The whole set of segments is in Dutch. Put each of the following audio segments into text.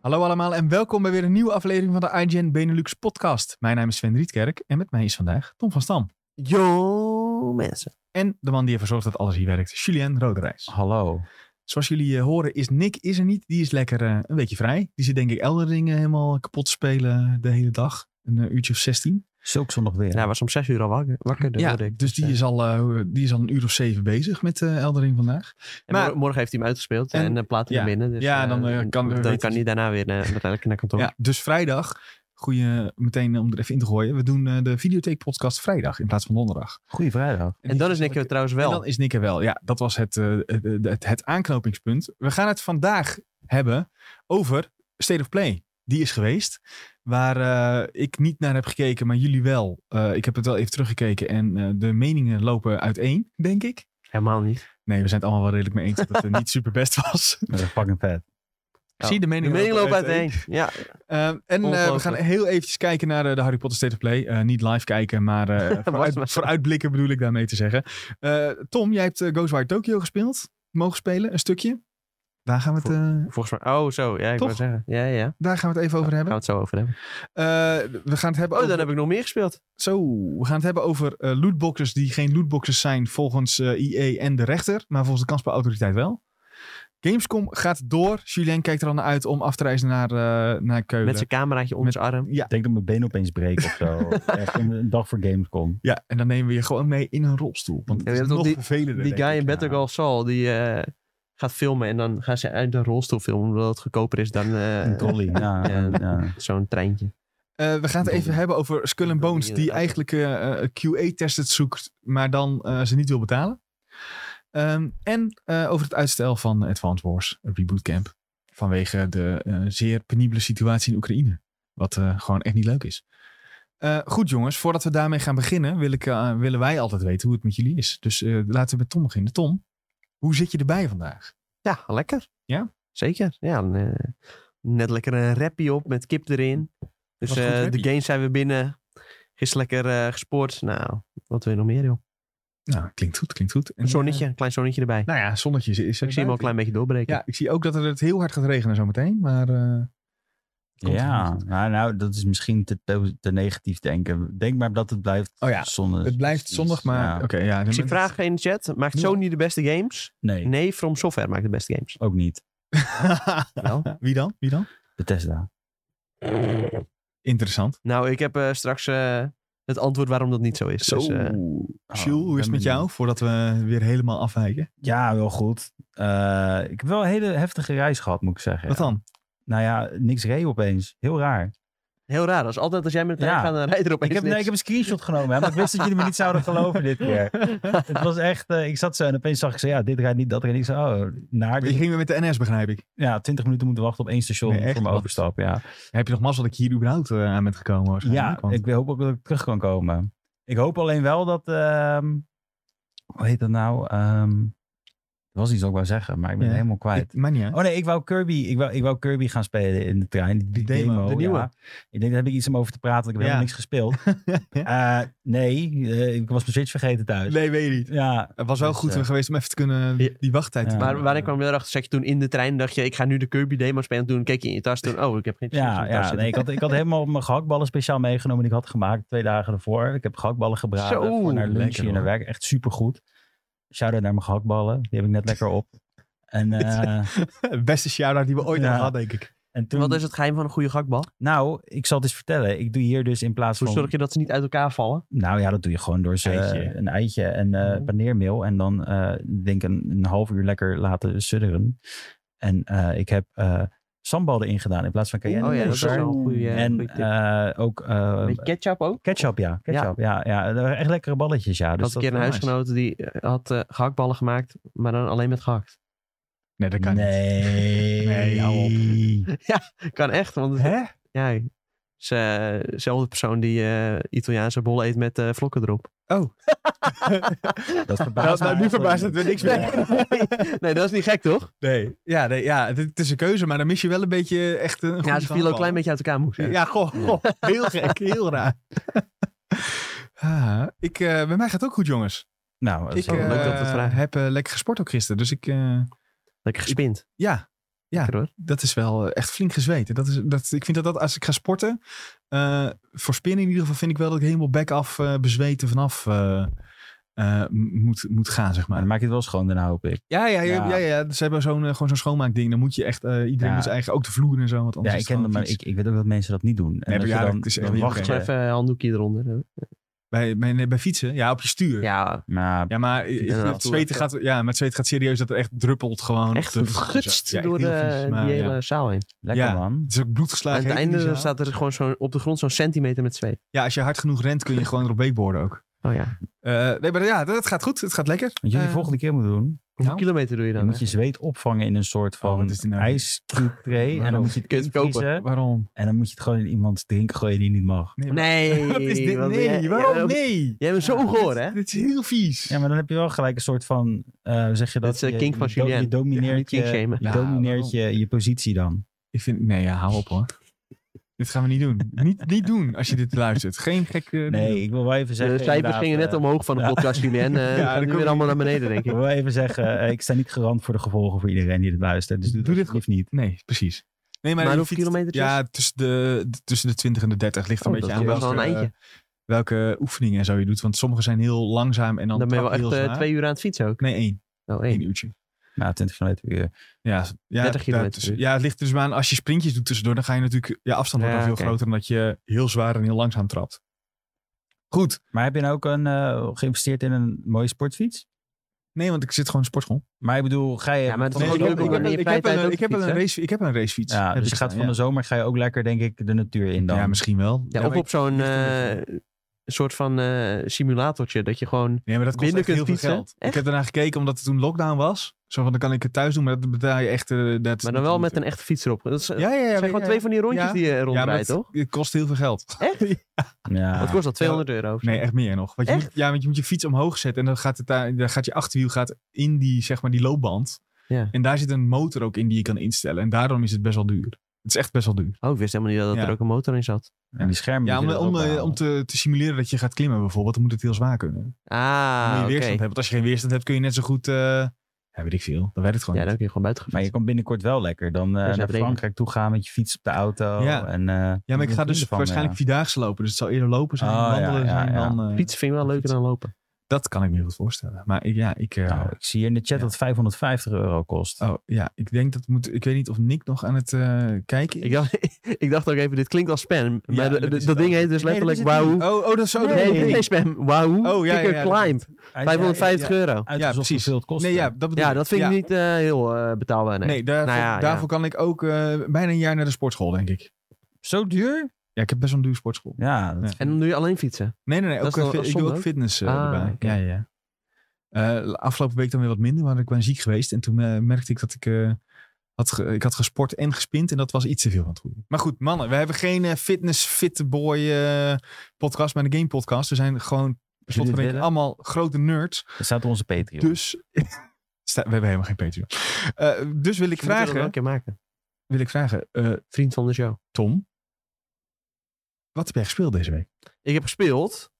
Hallo allemaal en welkom bij weer een nieuwe aflevering van de IGN Benelux podcast. Mijn naam is Sven Rietkerk en met mij is vandaag Tom van Stam. Yo, mensen. En de man die ervoor zorgt dat alles hier werkt, Julien Roderijs. Hallo. Zoals jullie eh, horen is Nick is er niet. Die is lekker eh, een beetje vrij. Die zit denk ik Eldering eh, helemaal kapot te spelen de hele dag. Een eh, uurtje of 16. Zulk zondag weer. Ja, Nou, hij was om zes uur al wakker. wakker dat hoorde ik. dus die ja. is, al, eh, die is al een uur of zeven bezig met eh, Eldering vandaag. En maar- mor- morgen heeft hij hem uitgespeeld En- en, eh, plaat hij ja. hem binnen. Dus, Ja, eh, dan, eh, kan- dan weet- kan hij daarna weer naar, uiteindelijk naar kantoor. Ja, dus vrijdag, goeie, meteen om er even in te gooien. We doen eh, de videotheek podcast vrijdag in plaats van donderdag. Goeie vrijdag. En dan is Nick er trouwens wel. En dan is Nick er wel. Ja, dat was het, eh, het, het, het aanknopingspunt. We gaan het vandaag hebben over State of Play. Die is geweest. Waar eh, ik niet naar heb gekeken, maar jullie wel. Eh, ik heb het wel even teruggekeken en eh, de meningen lopen uiteen, denk ik. Helemaal niet. Nee, we zijn het allemaal wel redelijk mee eens dat het eh, niet super best was. Dat is fucking vet. Ja. Zie, de Oh. De meningen mening loopt uiteen. uiteen. Ja, Eh, en eh, we Ongelooflijk. gaan heel eventjes kijken naar eh, de Harry Potter State of Play. Eh, niet live kijken, maar eh, vooruit, maar. vooruitblikken bedoel ik daarmee te zeggen. Eh, Tom, jij hebt eh, Ghostwire Tokyo gespeeld. Mogen spelen, een stukje. Daar gaan we het, eh, volgens mij. Oh, zo. Ja, ik Toch? wou zeggen. Ja, ja, ja. Daar daar gaan we het even over gaan we hebben. het zo over hebben. Eh, we gaan het hebben Oh, over, dan heb ik nog meer gespeeld. zo, we gaan het hebben over eh, lootboxes die geen lootboxes zijn volgens eh EA en de rechter. Maar volgens de kansspelautoriteit wel. Gamescom gaat door. Julien kijkt er al naar uit om af te reizen naar, eh, naar Keulen. Met zijn cameraatje onder zijn arm. ja, Ik denk dat mijn been opeens breekt of zo. Of Echt een, een dag voor Gamescom. Ja, en dan nemen we je gewoon mee in een rolstoel. Want Ja, het is je hebt nog ook vervelender. Die denk guy ik. in Better ja. Call Saul, die eh, gaat filmen en dan gaan ze uit een rolstoel filmen. Omdat het goedkoper is dan eh, Een trolley. Ja, ja. ja. ja. zo'n treintje. Eh, we gaan het even hebben over Skull and Bones, die Inderdaad. eigenlijk eh QA-tested zoekt, maar dan eh, ze niet wil betalen. Ehm, en eh, over het uitstel van Advance Wars Reboot Camp. Vanwege de eh, zeer penibele situatie in Oekraïne. Wat eh, gewoon echt niet leuk is. Eh, goed jongens, voordat we daarmee gaan beginnen, wil ik, eh, willen wij altijd weten hoe het met jullie is. Dus eh, laten we met Tom beginnen. Tom, hoe zit je erbij vandaag? Ja, lekker. Ja? Zeker. Ja, een, eh, net lekker een rappie op met kip erin. Dus Wat een goed eh, rappie. de gains zijn we binnen. Gisteren lekker eh, gesport. Nou, wat wil je nog meer, joh? Nou, klinkt goed, klinkt goed. En, eh, Een zonnetje, een klein zonnetje erbij. Nou ja, zonnetje is, is er ik zie hem al buiten. een klein beetje doorbreken. Ja, ik zie ook dat het heel hard gaat regenen zometeen. Maar eh, komt ja. goed. Nou, nou, dat is misschien te, po- te negatief denken. Denk maar dat het blijft Oh ja, zonnig. het blijft zondag, maar... Oké, Ja. ja, Ik zie vragen in de chat. Maakt Sony de beste games? Nee, Nee, From Software maakt de beste games. ook niet. Wel? Wie dan? Wie dan? Bethesda. Interessant. Nou, ik heb eh, straks eh, het antwoord waarom dat niet zo is. Dus, eh, Oh, Jules, hoe ik is het ben met jou? Voordat we weer helemaal afwijken. Ja, wel goed. Eh, ik heb wel een hele heftige reis gehad, moet ik zeggen. Wat dan? Nou ja, niks reed opeens. Heel raar. heel raar. Als altijd als jij met de trein Ja. gaat, dan rijdt er opeens Ik heb, nee, niks. ik heb een screenshot genomen, hè, maar ik wist dat jullie me niet zouden geloven dit keer. Het was echt, eh, ik zat zo en opeens zag ik zo, ja, dit rijdt niet, dat rijdt niet. Ik zei, oh, naar. Je ging weer met de NS, begrijp ik. Ja, 20 minuten moeten wachten op één station Nee, echt, voor mijn wat? overstap. Ja, Heb je nog mazzel dat ik hier überhaupt eh, aan bent gekomen? ja waarschijnlijk? Want- ik hoop ook dat ik terug kan komen. Ik hoop alleen wel dat, ehm, hoe heet dat nou? Ehm er was iets wat ik wou zeggen, maar ik ben Ja. het helemaal ik, kwijt. maar niet, hè? Oh nee, ik wou Kirby, ik wou, ik wou Kirby gaan spelen in de trein. Die, die Die demo, demo, de ja. nieuwe. Ik denk, daar heb ik iets om over te praten, want ik Ja. heb helemaal niks gespeeld. Eh, nee, eh, ik was mijn Switch vergeten thuis. Nee, weet je niet. Ja, Het was wel Dus, goed eh, geweest om even te kunnen die, Ja. die wachttijd Ja. te Maar waar ik kwam weer achter, zeg je toen in de trein, dacht je, ik ga nu de Kirby demo spelen. Toen keek je in je tas, toen, oh, ik heb geen chips in Ja, mijn tas ja nee, ik, had, ik had helemaal mijn gehaktballen speciaal meegenomen die ik had gemaakt twee dagen ervoor. Ik heb gehaktballen gebraden Zo, voor naar lunch lekker, hier naar hoor. werk. Echt supergoed. Shout-out naar mijn gehaktballen. Die heb ik net lekker op. En, eh, Het beste shout-out die we ooit Ja. hebben gehad, denk ik. en toen... zitten. Wat is het geheim van een goede gakbal? Nou, ik zal het eens vertellen. Ik doe hier dus in plaats Hoe van... zorg je dat ze niet uit elkaar vallen? Nou ja, dat doe je gewoon door ze Eitje. Oh. een eitje en eh Mhm. paneermeel. En dan eh, denk ik een, een half uur lekker laten sudderen. En eh, ik heb eh sambal erin gedaan in plaats van cayenne. Oh ja, dat is peper. wel een goede- En goede tip. eh, ook eh, Met ketchup ook? ketchup, ja. Ketchup, ja. ja. dat waren echt lekkere balletjes, ja. Ik Dus had een dat keer een was nice. huisgenoot die eh, had eh gehaktballen gemaakt, maar dan alleen met gehakt. Nee, dat kan niet. Nee. Nee, hou op. Kan echt, want het, Hè? ja, het is eh, dezelfde persoon die eh, Italiaanse bollen eet met eh, vlokken erop. Oh. Dat Nou, verbaast nou, me nu echt. verbaast het weer niks meer. nee, dat is niet gek, toch? Nee, ja, nee, ja het, het is een keuze, maar dan mis je wel een beetje eh, echt een goede Ja, ze viel ook een handbal. klein beetje uit elkaar, moet ik zeggen. Ja, goh, goh, heel gek, heel raar. Ah, ik, eh, bij mij gaat het ook goed, jongens. Nou, dat Ik is wel eh, leuk dat we het vragen. heb eh, lekker gesport ook gisteren, dus ik, eh, Lekker gespind. ja, Ja. Lekker hoor. dat is wel eh, echt flink gezweten. Dat is, dat, ik vind dat, dat als ik ga sporten, eh, voor spinnen in ieder geval, vind ik wel dat ik helemaal back af eh, bezweten vanaf eh, eh, m- moet, moet gaan, zeg Maar maar. dan maak je het wel schoon daarna, hoop ik. Ja, ja, ja. ja, Ja. ja. Ze hebben zo'n, eh, gewoon zo'n schoonmaakding. Dan moet je echt, eh, iedereen Ja. moet zijn eigen, ook de vloer en zo. Want anders Ja, ik is ken het gewoon dat, maar vies. ik, ik weet ook dat mensen dat niet doen. En Nee, dat maar je ja, dan, dat is echt dan niet wacht oké. Gewoon je. even een handdoekje eronder. Bij, bij, nee, bij fietsen, ja, op je stuur. Ja, Ja, Nou, maar eh, Ja, het toe, zweten ja. gaat, ja, maar het zweten gaat serieus dat er echt druppelt gewoon. echt op de vloer en zo. gutst Ja, echt door heel de, vies, maar die ja. hele zaal heen. lekker ja. man. Het is ook Aan bloedgeslagen. het heet in die einde zaal. staat er gewoon zo'n op de grond zo'n centimeter met zweet. Ja, als je hard genoeg rent kun je gewoon erop wakeboarden ook. Oh ja. Eh, nee, maar ja, dat, dat gaat goed. Het gaat lekker. Wat jullie Eh, volgende keer moeten doen, Hoeveel Nou, kilometer doe je je dan? moet je zweet opvangen in een soort Oh, van wat is die nou? ijscube tray. En Waarom? dan moet je het Kun je het kopen? invriezen. Waarom? En dan moet je het gewoon in iemands drinken gooien die niet mag. Nee. Nee. Wat is dit? wat- Nee, jij- waarom jij- nee? Jij bent zo goor, hè? Dit, dit is heel vies. Ja, maar dan heb je wel gelijk een soort van, eh, hoe zeg je dat? Dat is, eh, Je- kink van je do- Julien. Je domineert, Kink je, shamen. je, Ja, domineert je, je positie dan. Ik vind, nee, ja, hou op hoor. dit gaan we niet doen. Niet, niet doen als je dit luistert. Geen eh, gekke... Nee, ik wil wel even zeggen. De cijfers inderdaad, gingen net eh, omhoog van de ja. podcast Julien. eh dan gaan nu kom weer je- allemaal naar beneden, denk Ik ik. wil even zeggen, eh, ik sta niet garant voor de gevolgen voor iedereen die dit luistert. Dus doe, Doe dit dit alsjeblieft niet. Nee, precies. Nee, Maar je hoeveel fietst- kilometertjes? Ja, tussen de, d- tussen de 20 en de 30 ligt een Oh, beetje dat aan is wel welke, een eindje. welke oefeningen en zo je doet. Want sommige zijn heel langzaam en dan... Dan ben je wel trap echt heel eh, zwaar. twee uur aan het fietsen ook. Nee, één. Oh, Eén één. uurtje. Nou, 20 kilometer uur. Ja, ja, 30 kilometer daar tussen- Ja, het ligt dus maar aan. Als je sprintjes doet tussendoor, dan ga je natuurlijk... Je afstand wordt Ja, dan veel oké. groter omdat je heel zwaar en heel langzaam trapt. Goed. Maar heb je nou ook een, eh, geïnvesteerd in een mooie sportfiets? Nee, want ik zit gewoon in sportschool. Maar ik bedoel, ga je... Ja, maar het is van Nee, de gewoon ik, leuk om zomer- in je ik, ik, vrije heb tijd ook een, te ik, heb fietsen. een race, ik heb een racefiets. Ja, Heb dus ik je gaat staan, van de zomer ga je ook lekker, denk ik, de natuur in ja. dan. ja, misschien wel. Ja, Ja, of maar op zo'n ligt er een eh, soort van eh, simulatortje. Dat je gewoon... Nee, maar dat kost Binnen echt heel kunt veel fietsen? geld. Echt? Ik heb daarna gekeken omdat het toen lockdown was. Zo van, dan kan ik het thuis doen, maar dat betaal je echt... eh, dat Maar dan wel met een echte fiets erop. Dat is, Ja, ja, ja. zijn ja, gewoon ja. twee van die rondjes Ja. die je Ja, maar rondrijdt, het- toch? Het kost heel veel geld. Echt? Ja. Wat kost dat? 200 euro? of zo? Ah. Nee, echt meer nog. Want je Echt? Moet, ja, want je moet je fiets omhoog zetten en dan gaat, het daar, dan gaat je achterwiel gaat in die, zeg maar, die loopband. Ja. En daar zit een motor ook in die je kan instellen. En daarom is het best wel duur. Het is echt best wel duur. Oh, ik wist helemaal niet dat Ja. er ook een motor in zat. En die schermen. Ja, om, die om, erop eh, halen. om te, te simuleren dat je gaat klimmen bijvoorbeeld, dan moet het heel zwaar kunnen. Dan Ah, moet je oké. weerstand hebben. Want als je geen weerstand hebt, kun je net zo goed... eh, ja, weet ik veel. Dan werkt het gewoon Ja, dan niet. kun je gewoon buiten gaan Maar je kan binnenkort wel lekker dan eh, is het naar regen. Frankrijk toe gaan met je fiets op de auto. Ja. en, eh, Ja, maar ik je ga vrienden dus van eh, me, waarschijnlijk eh, ja. vierdaagse lopen. Dus het zal eerder lopen zijn, Oh, ja, wandelen ja, zijn ja. dan... eh, Fietsen vind ik wel leuker dan lopen. Dat kan ik me heel goed voorstellen. Maar ik- ja, ik... eh, Nou, ik zie hier in de chat Ja. dat 550 euro kost. Oh ja, ik denk dat moet. Ik weet niet of Nick nog aan het eh, kijken is. Ik dacht, ik dacht ook even, dit klinkt als spam. Maar Ja, de- dat de- is dat het ding ook. heet dus Nee, dat letterlijk is het Wahoo. niet. Oh, oh, dat is zo. nee, dat- nee, nee, spam. Wahoo. Oh, ja, Kicker ja, ja, dat- Climb. Hij is 550 euro. uitgezocht Ja, precies. hoeveel het kost. Nee, ja, dat bedoel Ja, ik. dat vind Ja. ik niet eh, heel eh, betaalbaar. Nee. Nee, daarvoor, Nou ja, ja. daarvoor kan ik ook eh, bijna een jaar naar de sportschool, denk ik. Zo duur? Ja, ik heb best wel een duur sportschool. Ja, dat- Ja. En dan doe je alleen fietsen. Nee, nee, nee. Dat Ook, is eh, dan ik zonde doe ook ook? fitness eh, Ah, erbij. oké. Ja, ja. ja. Eh, afgelopen week dan weer wat minder, want ik ben ziek geweest. En toen eh, merkte ik dat ik, eh, had ge- ik had gesport en gespind. En dat was iets te veel aan het goede. Maar goed, mannen. We hebben geen eh, fitness, fit boy eh, podcast, maar een game podcast. We zijn gewoon... Als jullie het slotverdeling willen. allemaal grote nerds. dat staat op onze Patreon. Dus. Sta- We hebben helemaal geen Patreon. Eh, dus wil ik Moeten we dat wel vragen. een keer maken. Wil ik vragen eh, Vriend van de show. Tom. Wat heb jij gespeeld deze week? Ik heb gespeeld.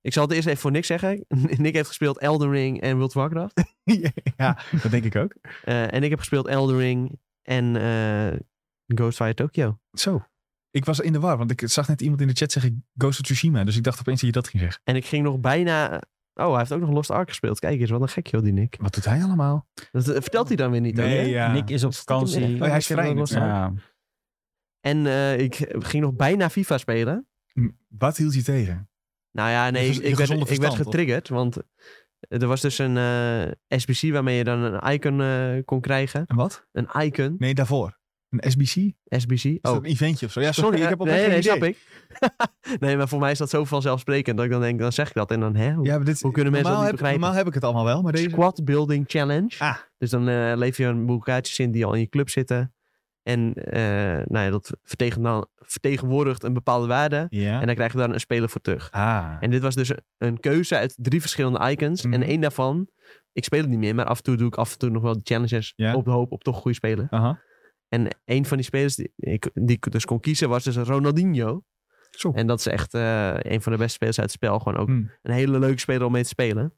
Ik zal het eerst even voor Nick zeggen. Nick heeft gespeeld Elden Ring en World of Warcraft. ja, dat denk ik ook. Eh, en ik heb gespeeld Elden Ring en eh Ghostfire Tokyo. Zo. Ik was in de war, want ik zag net iemand in de chat zeggen Ghost of Tsushima. Dus ik dacht opeens dat je dat ging zeggen. En ik ging nog bijna... Oh, hij heeft ook nog Lost Ark gespeeld. Kijk eens, wat een gek joh, die Nick. Wat doet hij allemaal? Dat eh, vertelt hij dan weer niet. ook, hè? ja. Oh, Nick is op Stiekem echt vakantie. wel hij is lekker vrij dus, Lost Ark. Ja. En eh, ik ging nog bijna FIFA spelen. Wat hield je tegen? Nou ja, nee, Je ik, gez- je ik gezonde werd, ik werd verstand, toch? getriggerd. Want er was dus een eh, SBC waarmee je dan een icon eh, kon krijgen. En wat? Een icon, Nee, daarvoor. Een SBC? Is SBC. dat oh. een eventje of zo? Ja, sorry, ik heb al Nee, geen nee, idee. snap ik. nee, maar voor mij is dat zo vanzelfsprekend dat ik dan denk, dan zeg ik dat en dan, hè, hoe- Ja, maar dit, Hoe kunnen mensen normaal dat heb, niet begrijpen? Normaal heb ik het allemaal wel, maar deze... Squad Building Challenge. Ah. Dus dan eh leef je een boekaartjes in die al in je club zitten. En eh, nou ja, dat vertegen- vertegenwoordigt een bepaalde waarde. Ja. En daar krijg je dan een speler voor terug. Ah. En dit was dus een- een keuze uit drie verschillende icons. Mhm. En één daarvan, ik speel het niet meer, maar af en toe doe ik af en toe nog wel de challenges Ja. op de hoop op toch goede spelen. Aha. En één van die spelers die ik, die ik dus kon kiezen was dus Ronaldinho. Zo. En dat is echt eh, een van de beste spelers uit het spel. Gewoon ook Hmm. een hele leuke speler om mee te spelen.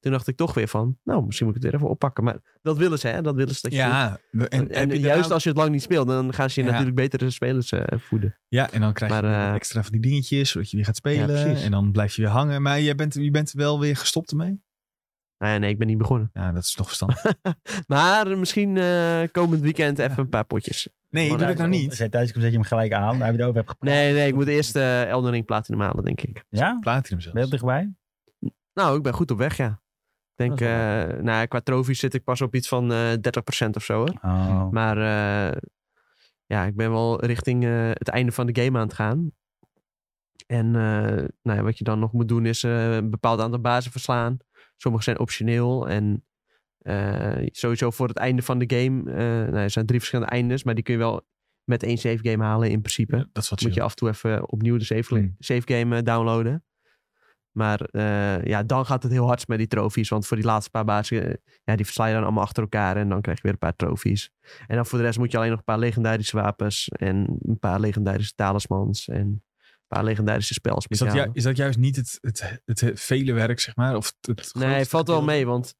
Toen dacht ik toch weer van, nou, misschien moet ik het weer even oppakken. Maar dat willen ze, hè? Dat willen ze. Dat je doet. Ja, en, En, heb je juist daarna- als je het lang niet speelt, dan gaan ze je Ja. natuurlijk betere spelers eh, voeden. Ja, en dan krijg je Maar, eh, weer extra van die dingetjes, zodat je weer gaat spelen. precies. en dan blijf je weer hangen. Maar je bent, je bent wel weer gestopt ermee. Nou ja, nee, ik ben niet begonnen. Ja, dat is toch verstandig. Maar misschien eh, komend weekend even een paar potjes. Nee, doe dat nou Als niet. jij thuis komt, zet je hem gelijk aan. Daar heb je het over hebt gepraat. Nee, nee, ik moet eerst eh Elden Ring Platinum halen, denk ik. Ja? Platinum Ben je zelfs. er dichtbij? Nou, ik ben goed op weg, ja. Ik denk, Dat is wel eh, nou, qua trofies zit ik pas op iets van eh 30% of zo. Hoor. Oh. Maar eh, ja, ik ben wel richting eh, het einde van de game aan het gaan. En eh, nou ja, wat je dan nog moet doen is eh, een bepaald aantal bazen verslaan. Sommige zijn optioneel. En eh, sowieso voor het einde van de game. eh, nou, er zijn drie verschillende eindes, maar die kun je wel met één save game halen in principe. Dat is wat Moet je je af en toe even opnieuw de save, Hmm. save game eh, downloaden. Maar eh, ja, dan gaat het heel hard met die trofies. Want voor die laatste paar bazen, eh, ja, die versla je dan allemaal achter elkaar. En dan krijg je weer een paar trofies. En dan voor de rest moet je alleen nog een paar legendarische wapens. En een paar legendarische talismans. En een paar legendarische spels. is moet dat, je ju- is dat juist niet het, het, het, het vele werk, zeg maar? Of het, het Nee, grootste het valt wel gedeelte? mee, want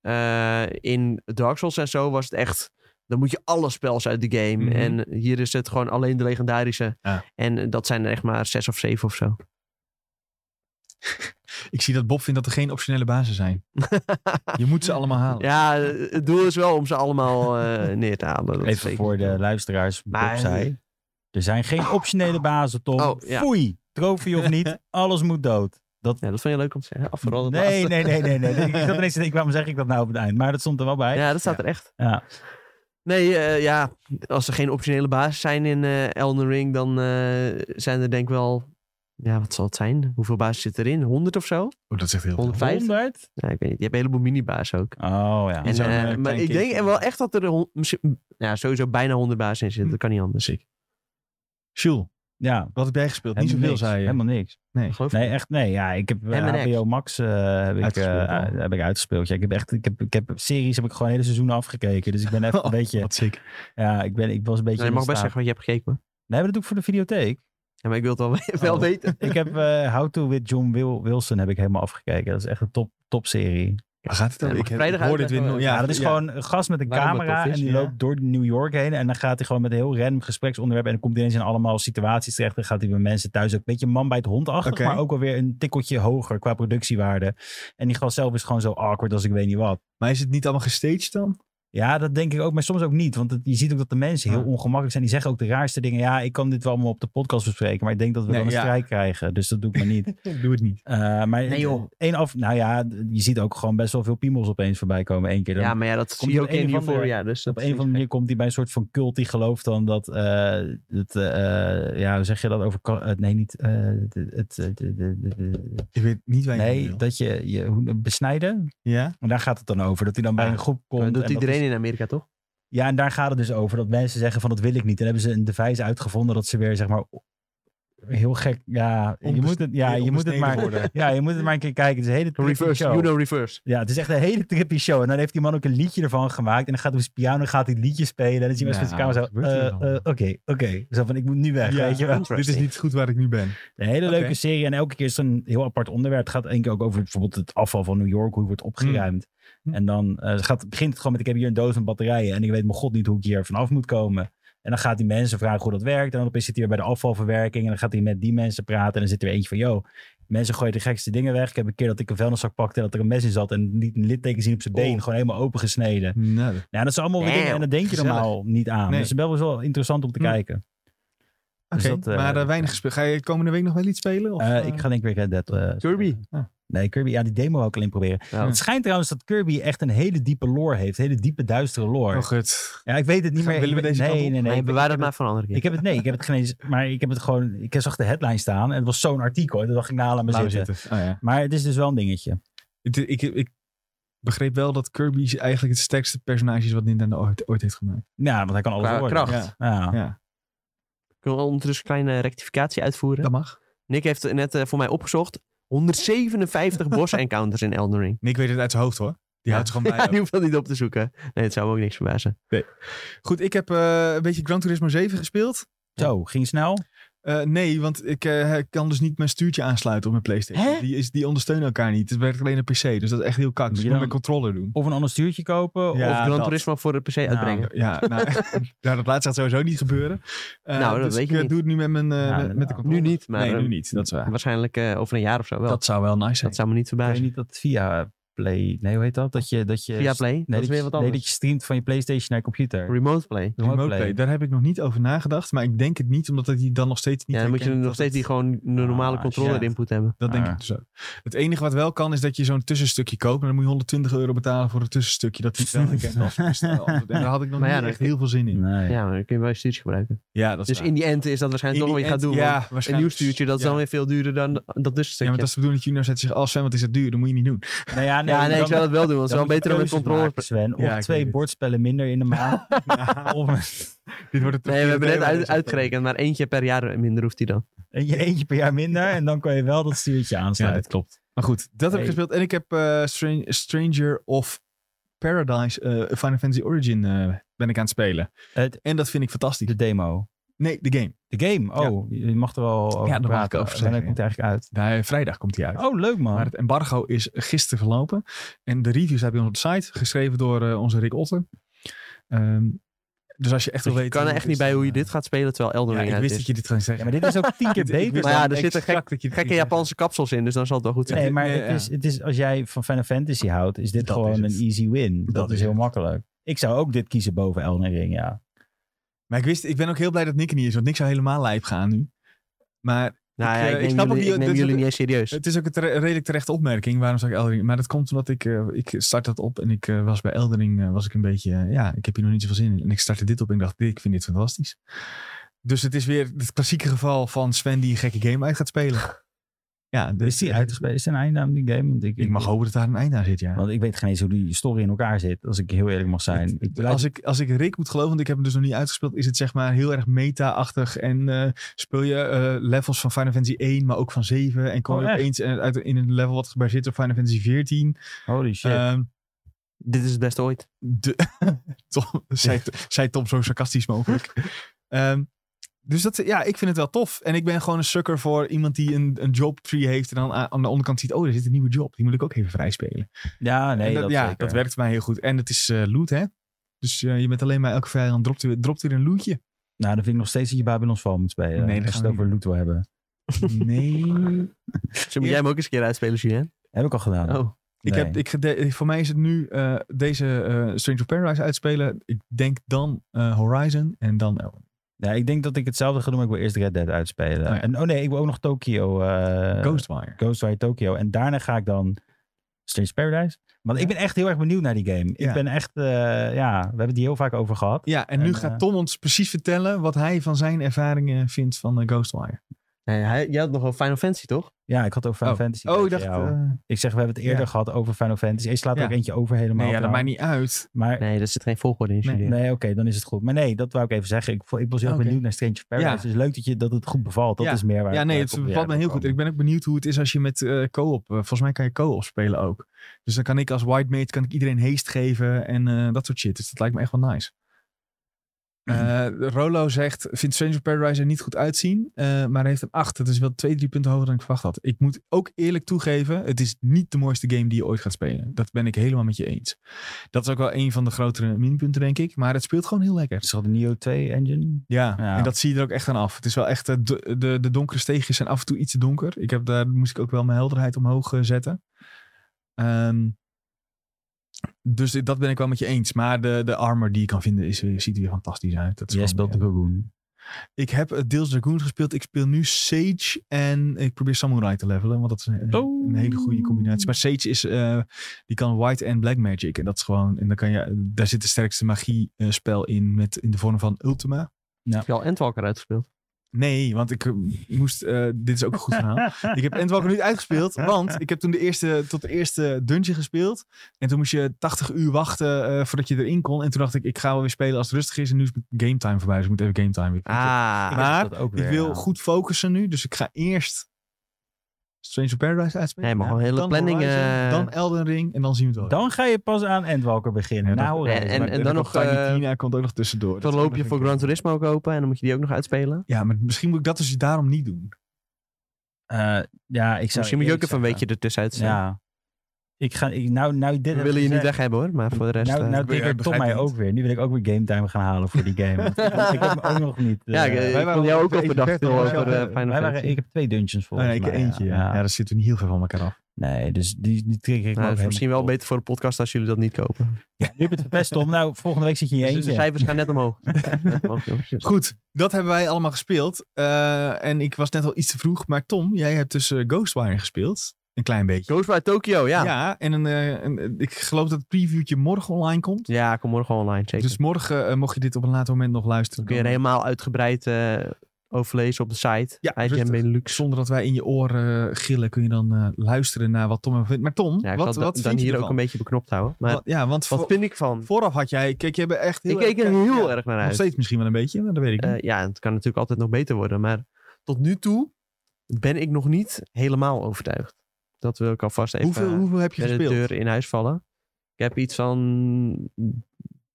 eh, in Dark Souls en zo was het echt... Dan moet je alle spels uit de game. Mhm. En hier is het gewoon alleen de legendarische. Ja. En eh, dat zijn er echt maar zes of zeven of zo. Ik zie dat Bob vindt dat er geen optionele bazen zijn. je moet ze allemaal halen. Ja, eh, het doel is wel om ze allemaal eh, neer te halen. dat Even zeker. voor de luisteraars. Bob Maar- zei, er zijn geen optionele bazen, Tom. Oh, ja. Foei. Trofee of niet, alles moet dood. Ja, dat vond je leuk om te zeggen. Af vooral dat Nee, laatste. nee, nee, nee, nee. Ik zat ineens te denken, waarom zeg ik dat nou op het eind? Maar dat stond er wel bij. Ja. Ja, dat staat er echt. Ja. Nee, eh, ja, als er geen optionele basis zijn in eh Elden Ring, dan eh, zijn er denk ik wel... Ja, wat zal het zijn? Hoeveel basis zit erin? 100 of zo? Oh, dat zegt heel veel. 105? 100? Ja, ik weet niet. Je hebt een heleboel minibaas ook. Oh ja. En, zo'n, eh, eh, klein maar ik kindje. denk wel echt dat er hon- misschien- ja, sowieso bijna 100 basis in Hm. zitten. Dat kan niet anders. Ziek. Jules, Ja. wat heb jij gespeeld? Helemaal Niet zoveel, niks. zei je. Helemaal niks. Nee. Geloof ik. Nee, echt nee. Ja, ik heb eh, En oh. mijn ex. HBO Max eh, heb, ik, Uitgespeeld, eh, hoor. heb ik uitgespeeld. Ja, ik heb echt, ik heb, ik heb series heb ik gewoon hele seizoenen afgekeken. Dus ik ben even een Oh, beetje, Wat ziek. ja, ik ben, ik was een beetje. Nou, je mag in de best staat- zeggen wat je hebt gekeken. hoor. Nee, maar dat doe ik voor de videotheek. Ja, maar ik wil het wel, wel Oh. weten. ik heb eh, How to with John Wil- Wilson heb ik helemaal afgekeken. Dat is echt een top, top serie. Waar gaat het Ja, over? mag ik heb- vrijdag ik hoor dit weer. uitleggen. no- Ja, Ja, dat is ja. gewoon een gast met een Waarom dat camera tof is, en die ja. loopt door New York heen. En dan gaat hij gewoon met een heel random gespreksonderwerp. En dan komt hij ineens in allemaal situaties terecht. Dan gaat hij bij mensen thuis ook een beetje man bij het hond achter. Oké. Maar ook alweer een tikkeltje hoger qua productiewaarde. En die gast zelf is gewoon zo awkward als ik weet niet wat. Maar is het niet allemaal gestaged dan? Ja, dat denk ik ook, maar soms ook niet. Want het- je ziet ook dat de mensen heel Ja. ongemakkelijk zijn. Die zeggen ook de raarste dingen. Ja, ik kan dit wel allemaal op de podcast bespreken, maar ik denk dat we Nee, dan een ja. strijd krijgen. Dus dat doe ik maar niet. Doe het niet. Eh, maar Nee, joh. één af, nou ja, d- je ziet ook gewoon best wel veel piemels opeens voorbij komen. Eén keer. Dan, Ja, maar ja, dat Komt zie je op ook een in of andere- Euphoria. Dus op een of andere manier komt hij bij een soort van cult die gelooft dan dat, eh, het, eh, ja, hoe zeg je dat over, ka- eh, nee niet, eh, het, het, het- het- het- het- Ik weet niet waar je heen nee, wil. dat je, je hoe- eh, besnijden, Ja? en daar gaat het dan over, dat hij dan bij Ja, een groep komt. Dat en doet dat iedereen in Amerika, toch? Ja, en daar gaat het dus over. Dat mensen zeggen van dat wil ik niet. En hebben ze een device uitgevonden dat ze weer zeg maar heel gek. Ja, je Onbes- moet het, ja, weer je moet het onbesneden maar. worden. Ja, je moet het maar een keer kijken. Het is een hele trippy Reverse, show. you know reverse. Ja, het is echt een hele trippy show. En dan heeft die man ook een liedje ervan gemaakt. En dan gaat hij op zijn piano gaat hij het liedje spelen. En dan zie je mensen Nou, met zijn wat camera zo. gebeurt eh, hier eh, Oké, dan? oké. Zo van ik moet nu weg. Ja. Weet je wel. Dit is niet goed waar ik nu ben. Een hele Oké. leuke serie. En elke keer is er een heel apart onderwerp. Het gaat één keer ook over bijvoorbeeld het afval van New York. Hoe wordt opgeruimd. Hmm. En dan eh, gaat, begint het gewoon met ik heb hier een doos met batterijen. En ik weet mijn god niet hoe ik hier vanaf moet komen. En dan gaat die mensen vragen hoe dat werkt. En dan opeens zit hij weer bij de afvalverwerking. En dan gaat hij met die mensen praten. En dan zit er eentje van, yo, mensen gooien de gekste dingen weg. Ik heb een keer dat ik een vuilniszak pakte en dat er een mes in zat. En niet een litteken zien op zijn Oh. been. Gewoon helemaal opengesneden. Nou, dat- Nou, dat zijn allemaal weer dingen. Damn, En dat denk je gezellig. normaal niet aan. Nee. Dus het is wel wel interessant om te Hmm. kijken. Dus Oké, dat, eh, maar eh, weinig gespeeld. Ga je komende week nog wel iets spelen? Of, Eh, eh, ik ga denk ik weer Red Dead eh, Kirby. Nee, Kirby, ja, die demo ook alleen proberen. Ja. Het schijnt trouwens dat Kirby echt een hele diepe lore heeft. Hele diepe, duistere lore. Oh, goed. Ja, ik weet het niet Gaan- meer. willen we Ik- deze kant nee, op? nee, nee, Nee, ik- bewaar dat maar voor een andere keer. Ik heb het, nee, ik heb het geen eens, maar ik heb het gewoon, ik zag de headline staan en het was zo'n artikel. En toen dacht ik, nou, laat maar Laten we zitten. zitten. Oh, ja. Maar het is dus wel een dingetje. ik, ik, ik begreep wel dat Kirby eigenlijk het sterkste personage is wat Nintendo ooit, ooit heeft gemaakt. Ja, want hij kan alles Qua worden. kracht. Ja. Ja. Ja, Kunnen we ondertussen een kleine rectificatie uitvoeren? dat mag. Nick heeft het net eh, voor mij opgezocht. 157 boss-encounters in Elden Ring. Nick weet het uit zijn hoofd hoor. Die houdt er gewoon bij. Ja, ook. die hoeft dat niet op te zoeken. Nee, het zou me ook niks verbazen. Goed, ik heb eh, een beetje Gran Turismo 7 gespeeld. Zo, ging snel. Eh, nee, want ik eh, kan dus niet mijn stuurtje aansluiten op mijn PlayStation. Hè? Die, is, die ondersteunen elkaar niet. Het werkt alleen een PC, dus dat is echt heel kak. Dus ik Moet je moet dan- mijn controller doen. Of een ander stuurtje kopen. Ja, of, of Gran Ah, dat. Turismo voor de PC Nou, uitbrengen. Ja, nou, nou, dat laatste gaat sowieso niet gebeuren. Eh, Nou, dat dus weet ik je eh, niet. doe het nu met, mijn, eh, Ja, met, met de nou, controller. Nu niet, maar nee, eh, nu niet. Dat is waar. waarschijnlijk eh, over een jaar of zo wel. Dat, Dat zou wel nice zijn. zou me niet Ik weet verbazen. niet dat via Play... Nee, hoe heet dat? Dat je... Dat je Via Play, dat is je- weer wat Nee, anders. dat je streamt van je PlayStation naar je computer. Remote Play. Remote Remote play. play. Daar heb ik nog niet over nagedacht. Maar ik denk het niet, omdat hij dan nog steeds niet Ja, dan moet je herkent nog dat steeds het- die gewoon de normale Ah, controller shit. input hebben. Dat denk Ah. ik dus ook. Het enige wat wel kan, is dat je zo'n tussenstukje koopt. Maar dan moet je 120 euro betalen voor een tussenstukje. Dat die het wel herkent als bestel. En eh, daar had ik nog Maar ja, niet dat- echt heel veel zin in. Nee. Ja, maar dan kun je wel je stuurtje gebruiken. Ja, dat is Dus waar. in die end is dat waarschijnlijk In toch die wat je gaat end- doen. Ja, want waarschijnlijk. Een nieuw stuurtje, dat is Ja. dan weer veel duurder dan dat Ja, maar tussenstukje. dat is de bedoeling dat Junior zet zich af, Sven, wat is dat duur? Dan moet je niet doen. Nou ja, nee, ja, nee, dan- ik zou dat wel doen, want het is dan wel moet je beter om een keuzes controller... maken, Sven. Of Ja, ik weet twee het. bordspellen minder in de maand. of Dit wordt het Nee, we hebben net thema uit, deze uitgerekend, maar eentje per jaar minder hoeft hij dan. eentje, eentje per jaar minder. En dan kan je wel dat stuurtje Ja, aansluiten. dat klopt. Maar goed, dat heb ik Hey. gespeeld. En ik heb eh, Stran- Stranger of Paradise eh, Final Fantasy Origin eh, ben ik aan het spelen. Het- en dat vind ik fantastisch. de demo. Nee, de game. De game. Oh, je mag er al over daar mag ik praten. over Wanneer zeggen, komt het eigenlijk uit? Daar, vrijdag komt die uit. Oh, leuk man. Maar het embargo is gisteren verlopen. En de reviews heb je op de site, geschreven door eh, onze Rick Otter. Ehm, dus als je echt Dus wil je weten... kan er hoe echt het niet is, bij hoe je dan, dit gaat spelen terwijl Elden eh, Ring Ja, ik uit wist is. dat je dit ging ja, zeggen. maar dit is ook tien keer Ik wist beter. dat Maar ja, dan er zitten exact dat je dit Gekke ging Japanse kapsels in, dus dan zal het wel goed zijn. Nee, maar Ja, het is, het is, als jij van Final Fantasy houdt, is dit Dat is gewoon het. een easy win. Dat, Dat is is heel het. makkelijk. Ik zou ook dit kiezen boven Elden Ring, ja. zeggen. Maar ik, wist, ik ben ook heel blij dat Nick er niet is, want Nick zou helemaal lijp gaan nu. Maar nou ik, ja, eh, ik, ik neem snap ook jullie, niet- ik neem dit is jullie ook- niet eens serieus. Het is ook een tere- redelijk terechte opmerking. Waarom zou ik Eldering? Maar dat komt omdat ik, eh, ik start dat op en ik eh, was bij Eldering eh, was ik een beetje, eh, ja, ik heb hier nog niet zoveel zin in. En ik startte dit op en ik dacht, ik vind dit fantastisch. Dus het is weer het klassieke geval van Sven die een gekke game uit gaat spelen. Ja, dus Is die uitgespeeld? Is er een einde aan die game? Want ik, Ik mag hopen dat daar een eind aan zit, ja. Want ik weet geen eens hoe die story in elkaar zit, als ik heel eerlijk mag zijn. Ik, Als ik, als ik Rick moet geloven, want ik heb hem dus nog niet uitgespeeld, is het zeg maar heel erg meta-achtig. En eh, speel je eh, levels van Final Fantasy 1, maar ook van 7. En kom Oh, je echt? opeens eh, uit, in een level wat gebaseerd is op Final Fantasy 14. holy shit. Ehm, Dit is het beste ooit. De, Tom, zei, zei Tom zo sarcastisch mogelijk. Ehm, dus dat, ja, ik vind het wel tof. En ik ben gewoon een sucker voor iemand die een, een jobtree heeft. En dan aan, aan de onderkant ziet, oh, er zit een nieuwe job. Die moet ik ook even vrijspelen. ja, nee, En dat, ja, zeker. dat werkt voor mij heel goed. En het is eh, loot, hè? Dus eh, je bent alleen maar elke vijand dropt weer, dropt weer een lootje. Nou, dan vind ik nog steeds dat je Babylon's Fall moet spelen. Nee, dat als je gaan het we over loot wil hebben. Nee. Zo moet jij hem ook eens een keer uitspelen, Julien. Heb ik al gedaan. Oh, ik Nee. heb, ik, gede- voor mij is het nu eh, deze eh, Strange of Paradise uitspelen. Ik denk dan eh, Horizon en dan eh, Elden. Ja, ik denk dat ik hetzelfde ga doen, maar ik wil eerst Red Dead uitspelen. Oh ja. en, oh nee, ik wil ook nog Tokyo. eh Ghostwire. Ghostwire Tokyo. En daarna ga ik dan Strange Paradise. Want ik ben echt heel erg benieuwd naar die game. Ik Ja. ben echt, eh, ja, we hebben het hier heel vaak over gehad. Ja, en nu En, eh, gaat Tom ons precies vertellen wat hij van zijn ervaringen vindt van eh, Ghostwire. nee, hij, jij had nog wel Final Fantasy, toch? Ja, ik had het over Final Fantasy. Oh, ik tegen dacht. jou. eh, Ik zeg, we hebben het eerder Ja. gehad over Final Fantasy. Ik slaat er Ja. ook eentje over helemaal. nee, ja, dat trouwens. maakt niet uit. Maar Nee, daar zit geen volgorde in, Nee. Julien. Nee, oké, dan is het goed. Maar nee, dat wou ik even zeggen. Ik, vo- ik was heel Oké. benieuwd naar Strange of Paradise. Ja. Dus leuk dat, je, dat het goed bevalt. Dat Ja. is meer waar Ja, ik, nee, eh, het op weer bevalt me heb heel goed. En ik gekomen. ben ook benieuwd hoe het is als je met eh, co-op. eh, volgens mij kan je co-op spelen ook. Dus dan kan ik als white mate kan ik iedereen haste geven en eh, dat soort shit. Dus dat lijkt me echt wel nice. Eh, Rolo zegt, vindt Stranger Paradise er niet goed uitzien, eh, maar heeft hem 8. Dat is wel 2, 3 punten hoger dan ik verwacht had. Ik moet ook eerlijk toegeven, het is niet de mooiste game die je ooit gaat spelen. Dat ben ik helemaal met je eens. Dat is ook wel een van de grotere minpunten, denk ik. Maar het speelt gewoon heel lekker. Is dat de Neo 2 engine? Ja, Ja. en dat zie je er ook echt aan af. Het is wel echt, eh, de, de, de donkere steegjes zijn af en toe iets te donker. Ik heb, daar moest ik ook wel mijn helderheid omhoog eh, zetten. Ehm, dus dit- dat ben ik wel met je eens. Maar de, de armor die je kan vinden is, weer- ziet er weer fantastisch uit. Dat is Jij gewoon speelt weer- de Goon. ik heb eh, deels Dragoon gespeeld. Ik speel nu Sage en ik probeer Samurai te levelen. Want dat is een, Oh. een hele goede combinatie. Maar Sage is, eh, die kan White en Black Magic. En dat is gewoon, en dan kan je, eh, daar zit de sterkste magie eh, spel in. Met, in de vorm van Ultima. Heb je al Endwalker uitgespeeld? Nee, want ik eh, moest. eh, dit is ook een goed verhaal. ik heb Endwalker niet uitgespeeld, want ik heb toen de eerste, tot de eerste dungeon gespeeld. En toen moest je 80 uur wachten eh, voordat je erin kon. En toen dacht ik, ik ga wel weer spelen als het rustig is. En nu is mijn game time voorbij, dus ik moet even game time weer. Ah, Maar Oh, dat ook ik weer, wil ja. goed focussen nu, dus ik ga eerst Stranger Paradise uitspelen. Nee, maar gewoon hele dan planning, Horizon, eh, dan Elden Ring en dan zien we het wel. Dan ga je pas aan Endwalker Ja, beginnen. dat- nou, en- en- en, En dan dan nog nog, eh, Tiny Tina komt ook nog tussendoor. Dan Dat loop is je ook nog voor een Gran keer. Turismo kopen en dan moet je die ook nog uitspelen. Ja, maar misschien moet ik dat dus daarom niet doen. eh, ja, ik zou Misschien moet je ook even eerlijk een zeggen- weekje ertussenuit zijn. Ja. Ik ga, ik, nou, nou, dit We heb willen je gezegd- niet weg hebben hoor, maar voor de rest... Nou, eh, nou Ik begrijp- triggert Tom mij begrijp het ook weer. Nu wil ik ook weer game time gaan halen voor die game. Want ik heb me ook nog niet. eh, ja, ik, wij eh, Dus, wij ik waren vond jou op ook de overdag Eventfest veel en wij over eh, waren- Final Fantasy. waren, ik heb twee dungeons Oh, volgens nee, ik mij. eentje. Ja. Ja. daar zitten we niet heel veel van elkaar af. Nee, dus die, die trigger Nou, ik me het ook is misschien wel helemaal beter voor de podcast als jullie dat niet kopen. op. Nu heb je het verpest, Tom. Nou, volgende week zit je in je Dus de eentje. cijfers gaan net omhoog. Net omhoog, jongens. Goed, dat hebben wij allemaal gespeeld. Eh, en ik was net al iets te vroeg, maar Tom, jij hebt dus eh, Ghostwire gespeeld. Een klein beetje. Ghostwire Tokyo, ja. ja. en een, eh, een- ik geloof dat het previewtje morgen online komt. kom morgen online, zeker. Dus morgen, eh, mocht je dit op een later moment nog luisteren, Dan kun je er dan- helemaal uitgebreid eh, overlezen op de site. Ja, IGN rustig. Benelux. zonder dat wij in je oren gillen, kun je dan eh, luisteren naar wat Tom ervan vindt. Maar Tom, Ja, ik wat, had da- wat dan vind je hier ervan? ook een beetje beknopt houden. Maar Wat- ja, want wat voor- vind ik van? vooraf had jij, kijk, je hebt echt heel Ik keek er erg- heel ja, erg naar Nog uit. steeds misschien wel een beetje, maar dat weet ik niet. Eh, ja, het kan natuurlijk altijd nog beter worden. Maar tot nu toe ben ik nog niet helemaal overtuigd. Dat wil ik alvast even hoeveel, hoeveel heb je bij de gespeeld? deur in huis vallen. Ik heb iets van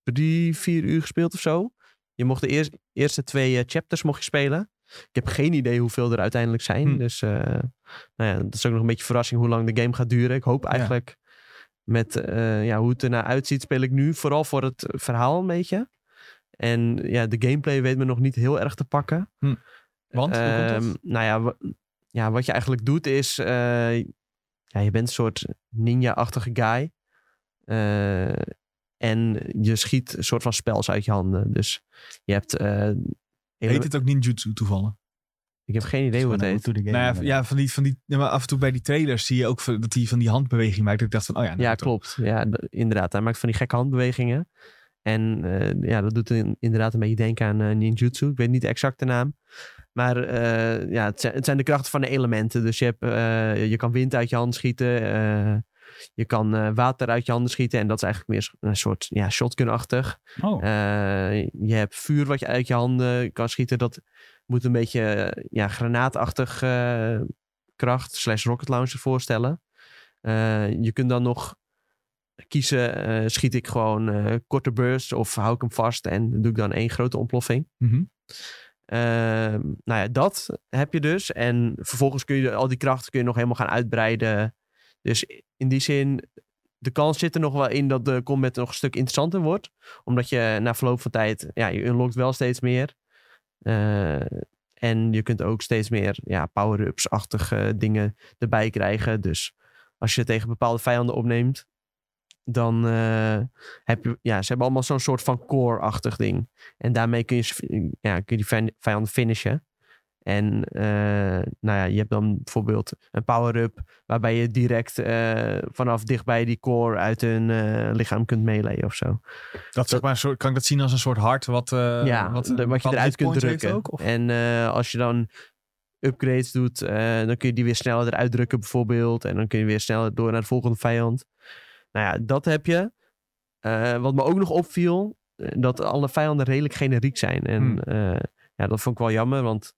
drie, vier uur gespeeld of zo. Je mocht de eerst, eerste twee eh, chapters mocht je spelen. Ik heb geen idee hoeveel er uiteindelijk zijn. Hm. Dus eh, nou ja, dat is ook nog een beetje verrassing hoe lang de game gaat duren. Ik hoop eigenlijk met eh, ja, hoe het ernaar uitziet speel ik nu. Vooral voor het verhaal een beetje. En ja, de gameplay weet me nog niet heel erg te pakken. Want, hoe komt dat? Ehm, nou ja, wa- ja, wat je eigenlijk doet is... eh, ja, je bent een soort ninja-achtige guy. Eh, en je schiet een soort van spels uit je handen. Dus je hebt... eh, Heet het ook ninjutsu toevallig? Ik heb geen idee hoe het heet. Nou ja, ja, van die, van die, ja, maar af en toe bij die trailers zie je ook van- dat hij van die handbeweging maakt. Ik dacht van, oh ja, nou, Ja, dat ook. klopt. Ja, d- inderdaad. Hij maakt van die gekke handbewegingen. En eh, ja, dat doet in- inderdaad een beetje denken aan eh, ninjutsu. Ik weet niet exact de naam. Maar eh, ja, het zijn, het zijn de krachten van de elementen. Dus je, hebt, eh, je kan wind uit je handen schieten. eh, je kan eh, water uit je handen schieten. En dat is eigenlijk meer een soort ja, shotgun-achtig. Oh, Eh, je hebt vuur wat je uit je handen kan schieten. Dat moet een beetje eh, ja, granaatachtig eh, kracht slash rocket launcher voorstellen. Eh, je kunt dan nog kiezen, eh, schiet ik gewoon eh, korte bursts of hou ik hem vast en doe ik dan één grote ontploffing. Mhm. Ehm, nou ja, dat heb je dus. En vervolgens kun je al die krachten kun je nog helemaal gaan uitbreiden. Dus in die zin, de kans zit er nog wel in dat de combat nog een stuk interessanter wordt. Omdat je na verloop van tijd, ja, je unlockt wel steeds meer. Eh, en je kunt ook steeds meer ja, power-ups-achtige dingen erbij krijgen. Dus als je tegen bepaalde vijanden opneemt, dan eh, heb je, ja, ze hebben allemaal zo'n soort van core-achtig ding. En daarmee kun je, s- ja, kun je die vij- vijanden finishen. En eh, nou ja, je hebt dan bijvoorbeeld een power-up waarbij je direct eh, vanaf dichtbij die core uit hun eh, lichaam kunt meeleeën of zo. Dat, zeg maar, een soort- kan ik dat zien als een soort hart wat, eh, ja, wat, de- wat, je eruit kunt drukken. Ook, of? En eh, als je dan upgrades doet, eh, dan kun je die weer sneller eruit drukken bijvoorbeeld. En dan kun je weer sneller door naar de volgende vijand. Nou ja, dat heb je. Eh, wat me ook nog opviel, eh, dat alle vijanden redelijk generiek zijn. En Hmm. eh, ja, dat vond ik wel jammer, want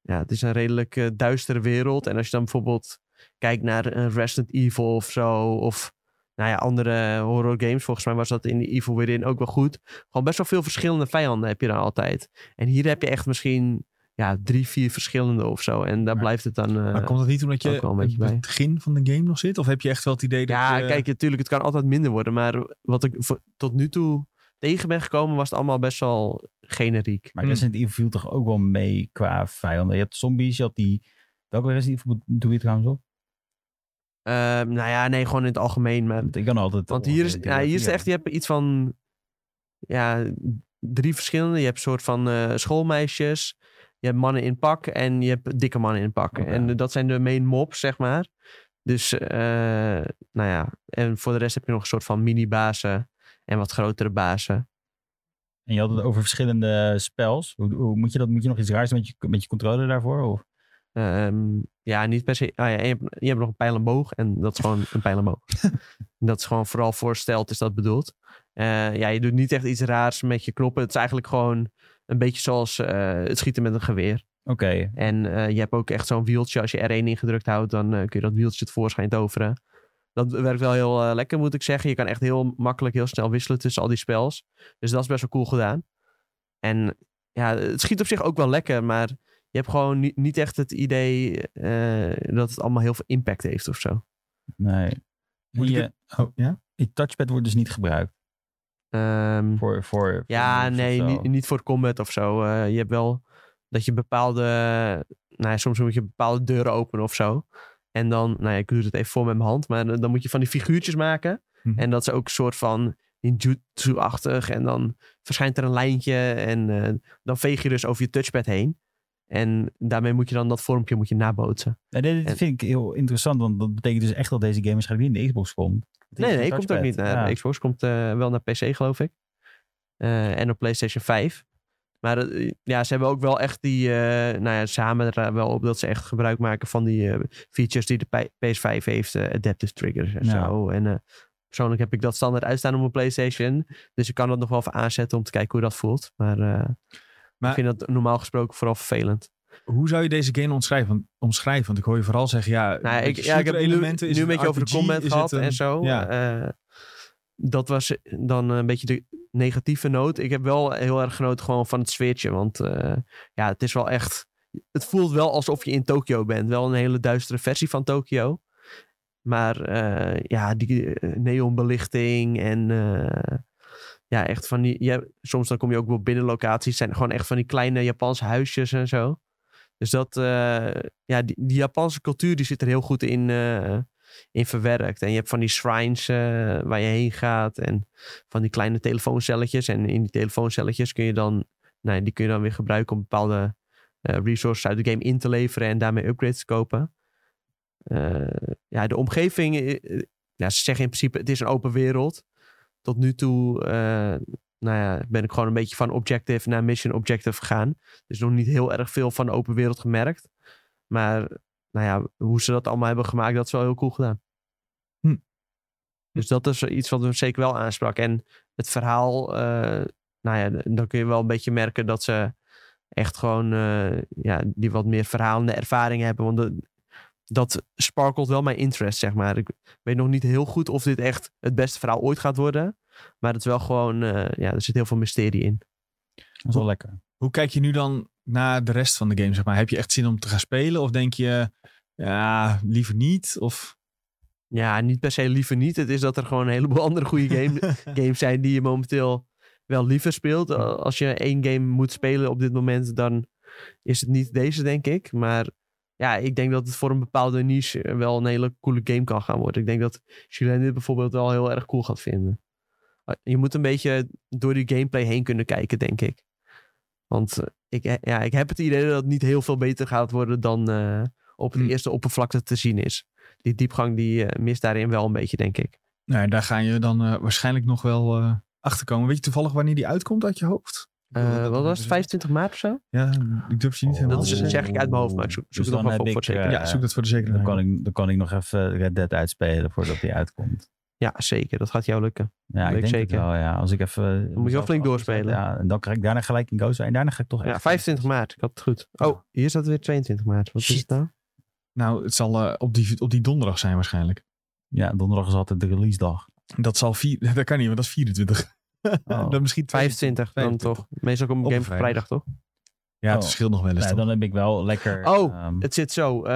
ja, het is een redelijk eh, duistere wereld. En als je dan bijvoorbeeld kijkt naar een Resident Evil of zo, of nou ja, andere horror games, volgens mij was dat in Evil Within ook wel goed. Gewoon best wel veel verschillende vijanden heb je dan altijd. En hier heb je echt misschien ja, drie, vier verschillende of zo. En daar Ja. blijft het dan... eh, maar komt dat niet omdat je ook wel een aan beetje het bij. begin van de game nog zit? Of heb je echt wel het idee dat eh, Ja, je- kijk, natuurlijk, het kan altijd minder worden. Maar wat ik vo- tot nu toe tegen ben gekomen, was het allemaal best wel generiek. maar hmm. Resident Evil viel toch ook wel mee qua vijanden. Je had zombies, je had die... Welke Resident Evil doe je trouwens op? Ehm, nou ja, nee, gewoon in het algemeen. Maar, Want ik kan altijd... want hier is, ongeveer ja, hier is het drie echt, je hebt iets van ja, drie verschillende. Je hebt een soort van eh, schoolmeisjes, je hebt mannen in pak en je hebt dikke mannen in pak. Oké. En eh, dat zijn de main mobs, zeg maar. Dus, eh, nou ja, en voor de rest heb je nog een soort van mini-bazen en wat grotere bazen. En je had het over verschillende spels. Hoe, hoe moet je dat? Moet je nog iets raars doen met je, met je controller daarvoor? Of? Ehm, ja, niet per se. Ah ja, en je, hebt, je hebt nog een pijl en boog en dat is gewoon een pijl en boog. dat is gewoon vooral voorsteld, is dat bedoeld. Eh, ja, je doet niet echt iets raars met je knoppen. Het is eigenlijk gewoon een beetje zoals eh, het schieten met een geweer. Oké. En eh, je hebt ook echt zo'n wieltje. Als je R1 ingedrukt houdt, dan eh, kun je dat wieltje tevoorschijn toveren. Dat werkt wel heel eh, lekker, moet ik zeggen. Je kan echt heel makkelijk, heel snel wisselen tussen al die spels. Dus dat is best wel cool gedaan. En ja, het schiet op zich ook wel lekker, maar je hebt gewoon ni- niet echt het idee eh, dat het allemaal heel veel impact heeft of zo. Nee. Moet ik Die, eh, het- Oh, ja? die touchpad wordt dus niet gebruikt Ehm, voor... voor, voor Ja, moves of nee, zo. niet, niet voor combat of zo. Eh, je hebt wel dat je bepaalde. Nou ja, soms moet je bepaalde deuren openen of zo. En dan, nou ja, ik doe het even voor met mijn hand, maar dan, dan moet je van die figuurtjes maken. Mhm. En dat is ook een soort van ninjutsu-achtig. En dan verschijnt er een lijntje en eh, dan veeg je dus over je touchpad heen. En daarmee moet je dan dat vormpje moet je nabootsen. Nee, dit- dit En- vind ik heel interessant, want dat betekent dus echt dat deze game waarschijnlijk niet in de Xbox komt. Het is Nee, een nee, komt ook touchpad. niet naar Ja. Xbox. Komt eh, wel naar PC, geloof ik. Eh, en op PlayStation 5. Maar eh, ja, ze hebben ook wel echt die... eh, nou ja, samen er wel op dat ze echt gebruik maken van die eh, features die de P- PS5 heeft. eh, adaptive triggers en Ja. zo. En eh, persoonlijk heb ik dat standaard uitstaan op mijn PlayStation. Dus ik kan dat nog wel even aanzetten om te kijken hoe dat voelt. Maar, eh, Maar- ik vind dat normaal gesproken vooral vervelend. Hoe zou je deze game omschrijven? Want, omschrijven? Want ik hoor je vooral zeggen, ja, Nou, ik, ja, ik heb shooter nu, elementen, is nu een het beetje over de RPG, combat is het gehad een- en zo. ja. Eh, dat was dan een beetje de negatieve noot. Ik heb wel heel erg genoten gewoon van het sfeertje. Want eh, ja, het is wel echt... Het voelt wel alsof je in Tokio bent. Wel een hele duistere versie van Tokio. Maar eh, ja, die eh, neonbelichting en... eh, ja, echt van die... Je, hebt- soms dan kom je ook wel binnen locaties. Het zijn gewoon echt van die kleine Japanse huisjes en zo. Dus dat, eh, ja, die, die Japanse cultuur die zit er heel goed in, eh, in verwerkt. En je hebt van die shrines eh, waar je heen gaat en van die kleine telefooncelletjes. En in die telefooncelletjes kun je dan, nou, die kun je dan weer gebruiken om bepaalde eh, resources uit de game in te leveren en daarmee upgrades te kopen. Eh, ja, de omgeving, eh, eh, ja, ze zeggen in principe het is een open wereld. Tot nu toe, eh, nou ja, ben ik gewoon een beetje van objective naar mission objective gegaan. Dus nog niet heel erg veel van de open wereld gemerkt. Maar nou ja, hoe ze dat allemaal hebben gemaakt, dat is wel heel cool gedaan. Hm. Dus dat is iets wat me zeker wel aansprak. En het verhaal, eh, nou ja, d- dan kun je wel een beetje merken dat ze echt gewoon eh, ja, die wat meer verhalende ervaring hebben. Want dat- dat sparkelt wel mijn interest, zeg maar. Ik weet nog niet heel goed of dit echt het beste verhaal ooit gaat worden. Maar het is wel gewoon, eh, ja, er zit heel veel mysterie in. Dat is wel lekker. Hoe kijk je nu dan naar de rest van de game, zeg maar? Heb je echt zin om te gaan spelen? Of denk je, ja, liever niet? Of... Ja, niet per se liever niet. Het is dat er gewoon een heleboel andere goede game, games zijn die je momenteel wel liever speelt. Al- Als je één game moet spelen op dit moment, dan is het niet deze, denk ik. Maar ja, ik denk dat het voor een bepaalde niche eh, wel een hele coole game kan gaan worden. Ik denk dat Julien dit bijvoorbeeld wel heel erg cool gaat vinden. Eh, Je moet een beetje door die gameplay heen kunnen kijken, denk ik. Want eh, ik, he- ja, ik heb het idee dat het niet heel veel beter gaat worden dan eh, op het Hmm. eerste oppervlakte te zien is die diepgang die eh, mist daarin wel een beetje, denk ik. Nou, ja, daar ga je dan eh, waarschijnlijk nog wel eh achter komen. Weet je toevallig wanneer die uitkomt uit je hoofd? Ik Eh, bedoel, dat- wat was het, 25 maart of zo? Ja, ik durf je Oh, niet helemaal Dat is- te zeggen. zeg ik uit mijn hoofd, maar ik zoek- zoek het nog Dus dan wel heb op voor ik, zeker. eh, eh, Ja, zoek dat voor de dan, zekerheid. kan ik, dan kan ik nog even eh, Red Dead uitspelen voordat die uitkomt. Ja, zeker. Dat gaat jou lukken. Ja, ik Leuk, denk zeker. het wel, ja. Als ik even... wel mezelf flink afgezet, doorspelen. Ja, en dan krijg ik daarna gelijk in Go zijn. En daarna ga ik toch Ja, echt- 25 maart. Ik had het goed. Ja. Oh, hier staat weer 22 maart. Wat is Shit. het nou? Nou, het zal eh, op, die, op die donderdag zijn waarschijnlijk. Ja, donderdag is altijd de release dag. Dat zal vier, dat kan niet, want dat is 24. Oh. dan misschien 25 dan 25. toch? Meestal komt Op een een game op vrijdag, toch? Ja, het Oh. verschilt nog wel eens. Ja, Dus dan. dan heb ik wel lekker... Oh, ehm, Het zit zo. eh,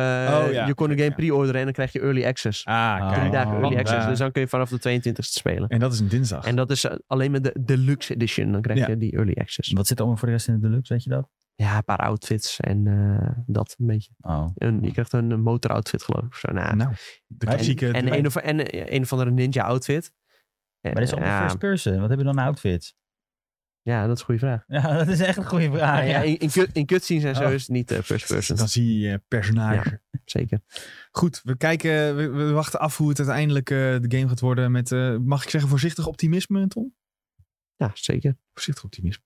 Oh, ja. Je kon de game Ja. pre-orderen en dan krijg je early access. Ah, Ah. kijk. Drie dagen early Vandaar. access. Dus dan kun je vanaf de 22e spelen. En dat is een dinsdag. En dat is eh, alleen met de deluxe edition. Dan krijg Ja. je die early access. Wat zit er allemaal voor de rest in de deluxe, weet je dat? Ja, een paar outfits en eh, dat een beetje. Oh. En je krijgt een motoroutfit geloof ik. of Zo, nou, nou, de Maar- klassieke... En, en, een of, en eh, een of andere ninja outfit. Maar dat is allemaal ja, first person. Wat heb je dan aan outfits? ja, dat is een goede vraag. Ja, dat is echt een goede vraag. Nou ja, ja. in, in, cut- in cutscenes en zo Oh. is het niet eh, first person. Dan zie je eh, personage. Zeker. Goed, we kijken, we, we wachten af hoe het uiteindelijk eh, de game gaat worden met, eh, mag ik zeggen, voorzichtig optimisme, Tom? Ja, zeker. Voorzichtig optimisme.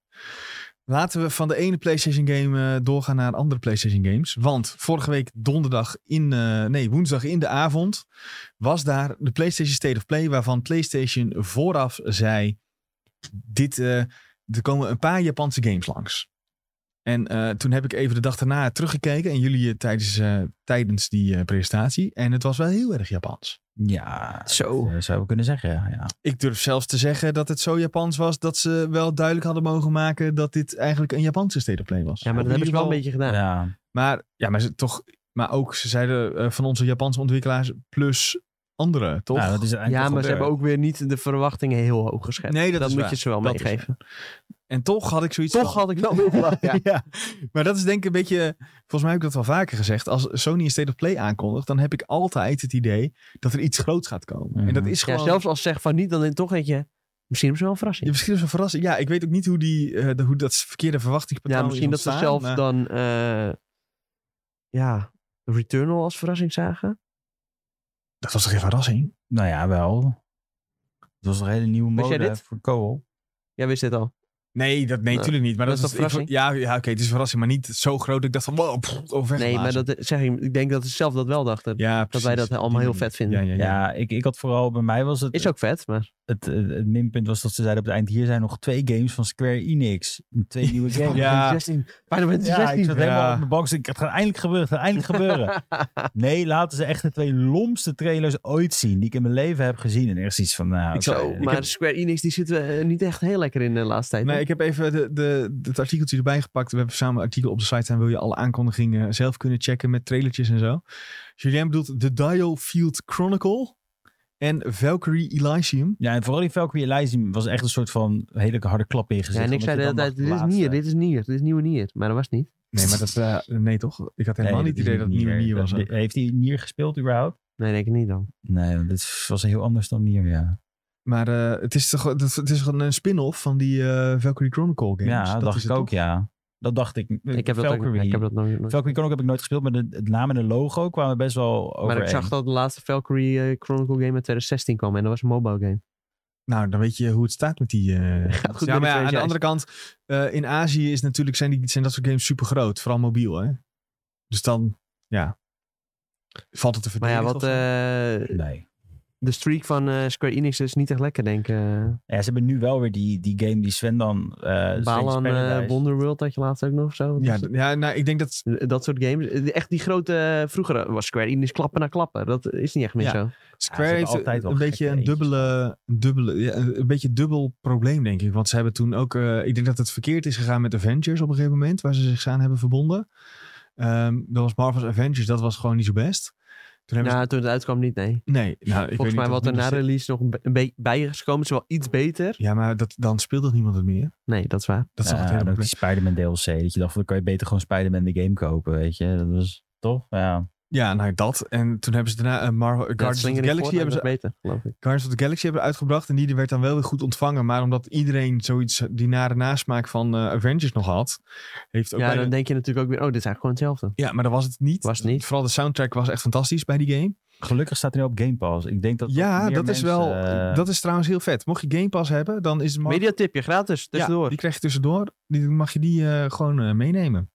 Laten we van de ene PlayStation game eh, doorgaan naar andere PlayStation games. Want vorige week donderdag in, eh, nee, woensdag in de avond was daar de PlayStation State of Play, waarvan PlayStation vooraf zei, dit, eh, er komen een paar Japanse games langs. En eh, toen heb ik even de dag daarna teruggekeken. En jullie eh, tijdens, eh, tijdens die eh, presentatie. En het was wel heel erg Japans. Ja, Zo. dat zou ik kunnen zeggen. ja, Ja. Ik durf zelfs te zeggen dat het zo Japans was. Dat ze wel duidelijk hadden mogen maken dat dit eigenlijk een Japanse state of play was. Ja, maar Of dat in hebben ze ieder wel een geval- beetje gedaan. Ja. Maar, ja, maar, ze, toch, maar ook, ze zeiden eh, van onze Japanse ontwikkelaars plus anderen, toch? Nou, dat is Ja, uiteindelijk maar toch ze gebeurd. hebben ook weer niet de verwachtingen heel hoog geschept. Nee, dat is moet waar. je ze wel Dat is meegeven. En toch had ik zoiets Toch van- had ik wel weer verwacht. Ja. ja. Maar dat is denk ik een beetje... Volgens mij heb ik dat wel vaker gezegd. Als Sony een State of Play aankondigt... dan heb ik altijd het idee dat er iets groots gaat komen. En dat Mhm. is Ja, gewoon... zelfs als ze zeggen van niet, dan denk ik toch dat je... Misschien hebben ze wel een Ja, verrassing. misschien is het een verrassing. Ja, ik weet ook niet hoe, die, eh, de, hoe dat verkeerde Ja, verwachtingspatroon is misschien dat ze ontstaan, zelf maar- dan... eh, ja, Returnal als verrassing zagen. Dat was toch geen verrassing? Nou ja, wel. Het was een hele nieuwe Wist jij mode dit? voor co-op. Jij wist dit al. Nee, dat, nee, Nou, natuurlijk niet. Maar dat, dat is was- toch ik- Ja, ja oké, het is een verrassing. Maar niet zo groot dat ik dacht van... Wow, pff, overweg Nee, maar dat eh, zeg ik. Ik denk dat ze zelf dat wel dachten. Ja, dat wij dat allemaal heel vet vinden. Ja, ja, Ja, ja. ik, ik had vooral bij mij was het. Is ook vet, maar het, het, het minpunt was dat ze zeiden op het eind: hier zijn nog twee games van Square Enix. Twee nieuwe games. Ja. Final Fantasy 16. Final Fantasy Ja, ik 16. zat Ja. helemaal op mijn bank. dus Ik, het gaat eindelijk gebeuren, het gaat eindelijk gebeuren. nee, laten ze echt de twee lomste trailers ooit zien die ik in mijn leven heb gezien. En eerst iets van, nou, Ik zou- oké. Zo, maar Square Enix die zitten eh, niet echt heel lekker in de laatste tijd. Nee, hè? ik heb even de, de, het artikeltje erbij gepakt. We hebben samen een artikel op de site en wil je alle aankondigingen zelf kunnen checken met trailertjes en zo. Julien bedoelt The Dial Field Chronicle en Valkyrie Elysium. Ja, en vooral die Valkyrie Elysium was echt een soort van hele harde klap in je ja, gezicht. en ik zei omdat de je hele dan tijd, dit dacht, is laatste. Nier, dit is Nier, dit is nieuwe Nier. Maar dat was niet. Nee, maar dat... eh, nee, toch? Ik had Nee, helemaal niet dit het is idee dat het niet nieuwe Nier. Nier was. Dat- Heeft hij Nier gespeeld überhaupt? Nee, denk ik niet dan. Nee, want dit was heel anders dan Nier, ja. Maar eh, het is toch het is- het is gewoon een spin-off van die eh, Valkyrie Chronicle games. ja, dat is dacht ik het ook, toch? ja. Dat dacht ik. Ik heb, dat ook, Valkyrie. ik heb dat nooit. nooit- Valkyrie Chronicle heb ik nooit gespeeld, maar de, het naam en de logo kwamen best wel over. maar ik zag dat de laatste Valkyrie eh, Chronicle game uit 2016 kwam en dat was een mobile game. Nou, dan weet je hoe het staat met die... eh, Gaat goed ja, met maar ja, de aan de andere franchise. kant, eh, in Azië is natuurlijk, zijn, die, zijn dat soort games super groot. Vooral mobiel, hè? Dus dan, ja, valt het te Maar ja, verdedigen. wat, of zo? eh, Nee. de streak van eh, Square Enix is niet echt lekker, denk ik. eh. Ja, ze hebben nu wel weer die, die game die Sven dan... eh Strange Balan, Paradise- eh Wonderworld had je laatst ook nog of zo. Wat ja, was dat? d- ja, nou, ik denk dat... dat soort games. Eh, Echt die grote... Vroeger was Square Enix klappen na klappen. Dat is niet echt meer Ja. zo. Square hebben heeft altijd wel een beetje gekke een dubbele, een dubbele, ja, een een beetje dubbel probleem, denk ik. Want ze hebben toen ook, eh, ik denk dat het verkeerd is gegaan met Avengers op een gegeven moment, waar ze zich aan hebben verbonden. Ehm dat was Marvel's Avengers, dat was gewoon niet zo best. Toen hebben Nou, toen het uitkwam niet, nee. ze, nee, nou, ik weet Volgens mij niet wat wat er na release nog een be- een beetje bij is gekomen. Het is wel iets beter. Ja, maar dat, dan speelt dat niemand het meer. Nee, dat is waar. Dat is toch Ja, het en hele ook probleem. die Spider-Man DLC. Dat je dacht, dan kan je beter gewoon Spider-Man de game kopen, weet je. Dat was toch? Ja. Ja, nou dat. En toen hebben ze daarna eh, Marvel, Guardians of Slinger the in Galaxy Fortnite hebben ze, was beter, geloof ik. Guardians of the Galaxy hebben uitgebracht. En die werd dan wel weer goed ontvangen. Maar omdat iedereen zoiets, die nare nasmaak van eh, Avengers nog had. Heeft ook ja, bijna- dan denk je natuurlijk ook weer, oh, dit is eigenlijk gewoon hetzelfde. ja, maar dat was het niet. Was het niet. Vooral de soundtrack was echt fantastisch bij die game. Gelukkig staat hij nu op Game Pass. Ik denk dat ook ja, meer dat is mensen, wel. eh, Dat is trouwens heel vet. Mocht je Game Pass hebben, dan is het maar. Mediatipje, gratis, Ja, tussendoor. die krijg je tussendoor. Die, mag je die eh, gewoon eh, meenemen.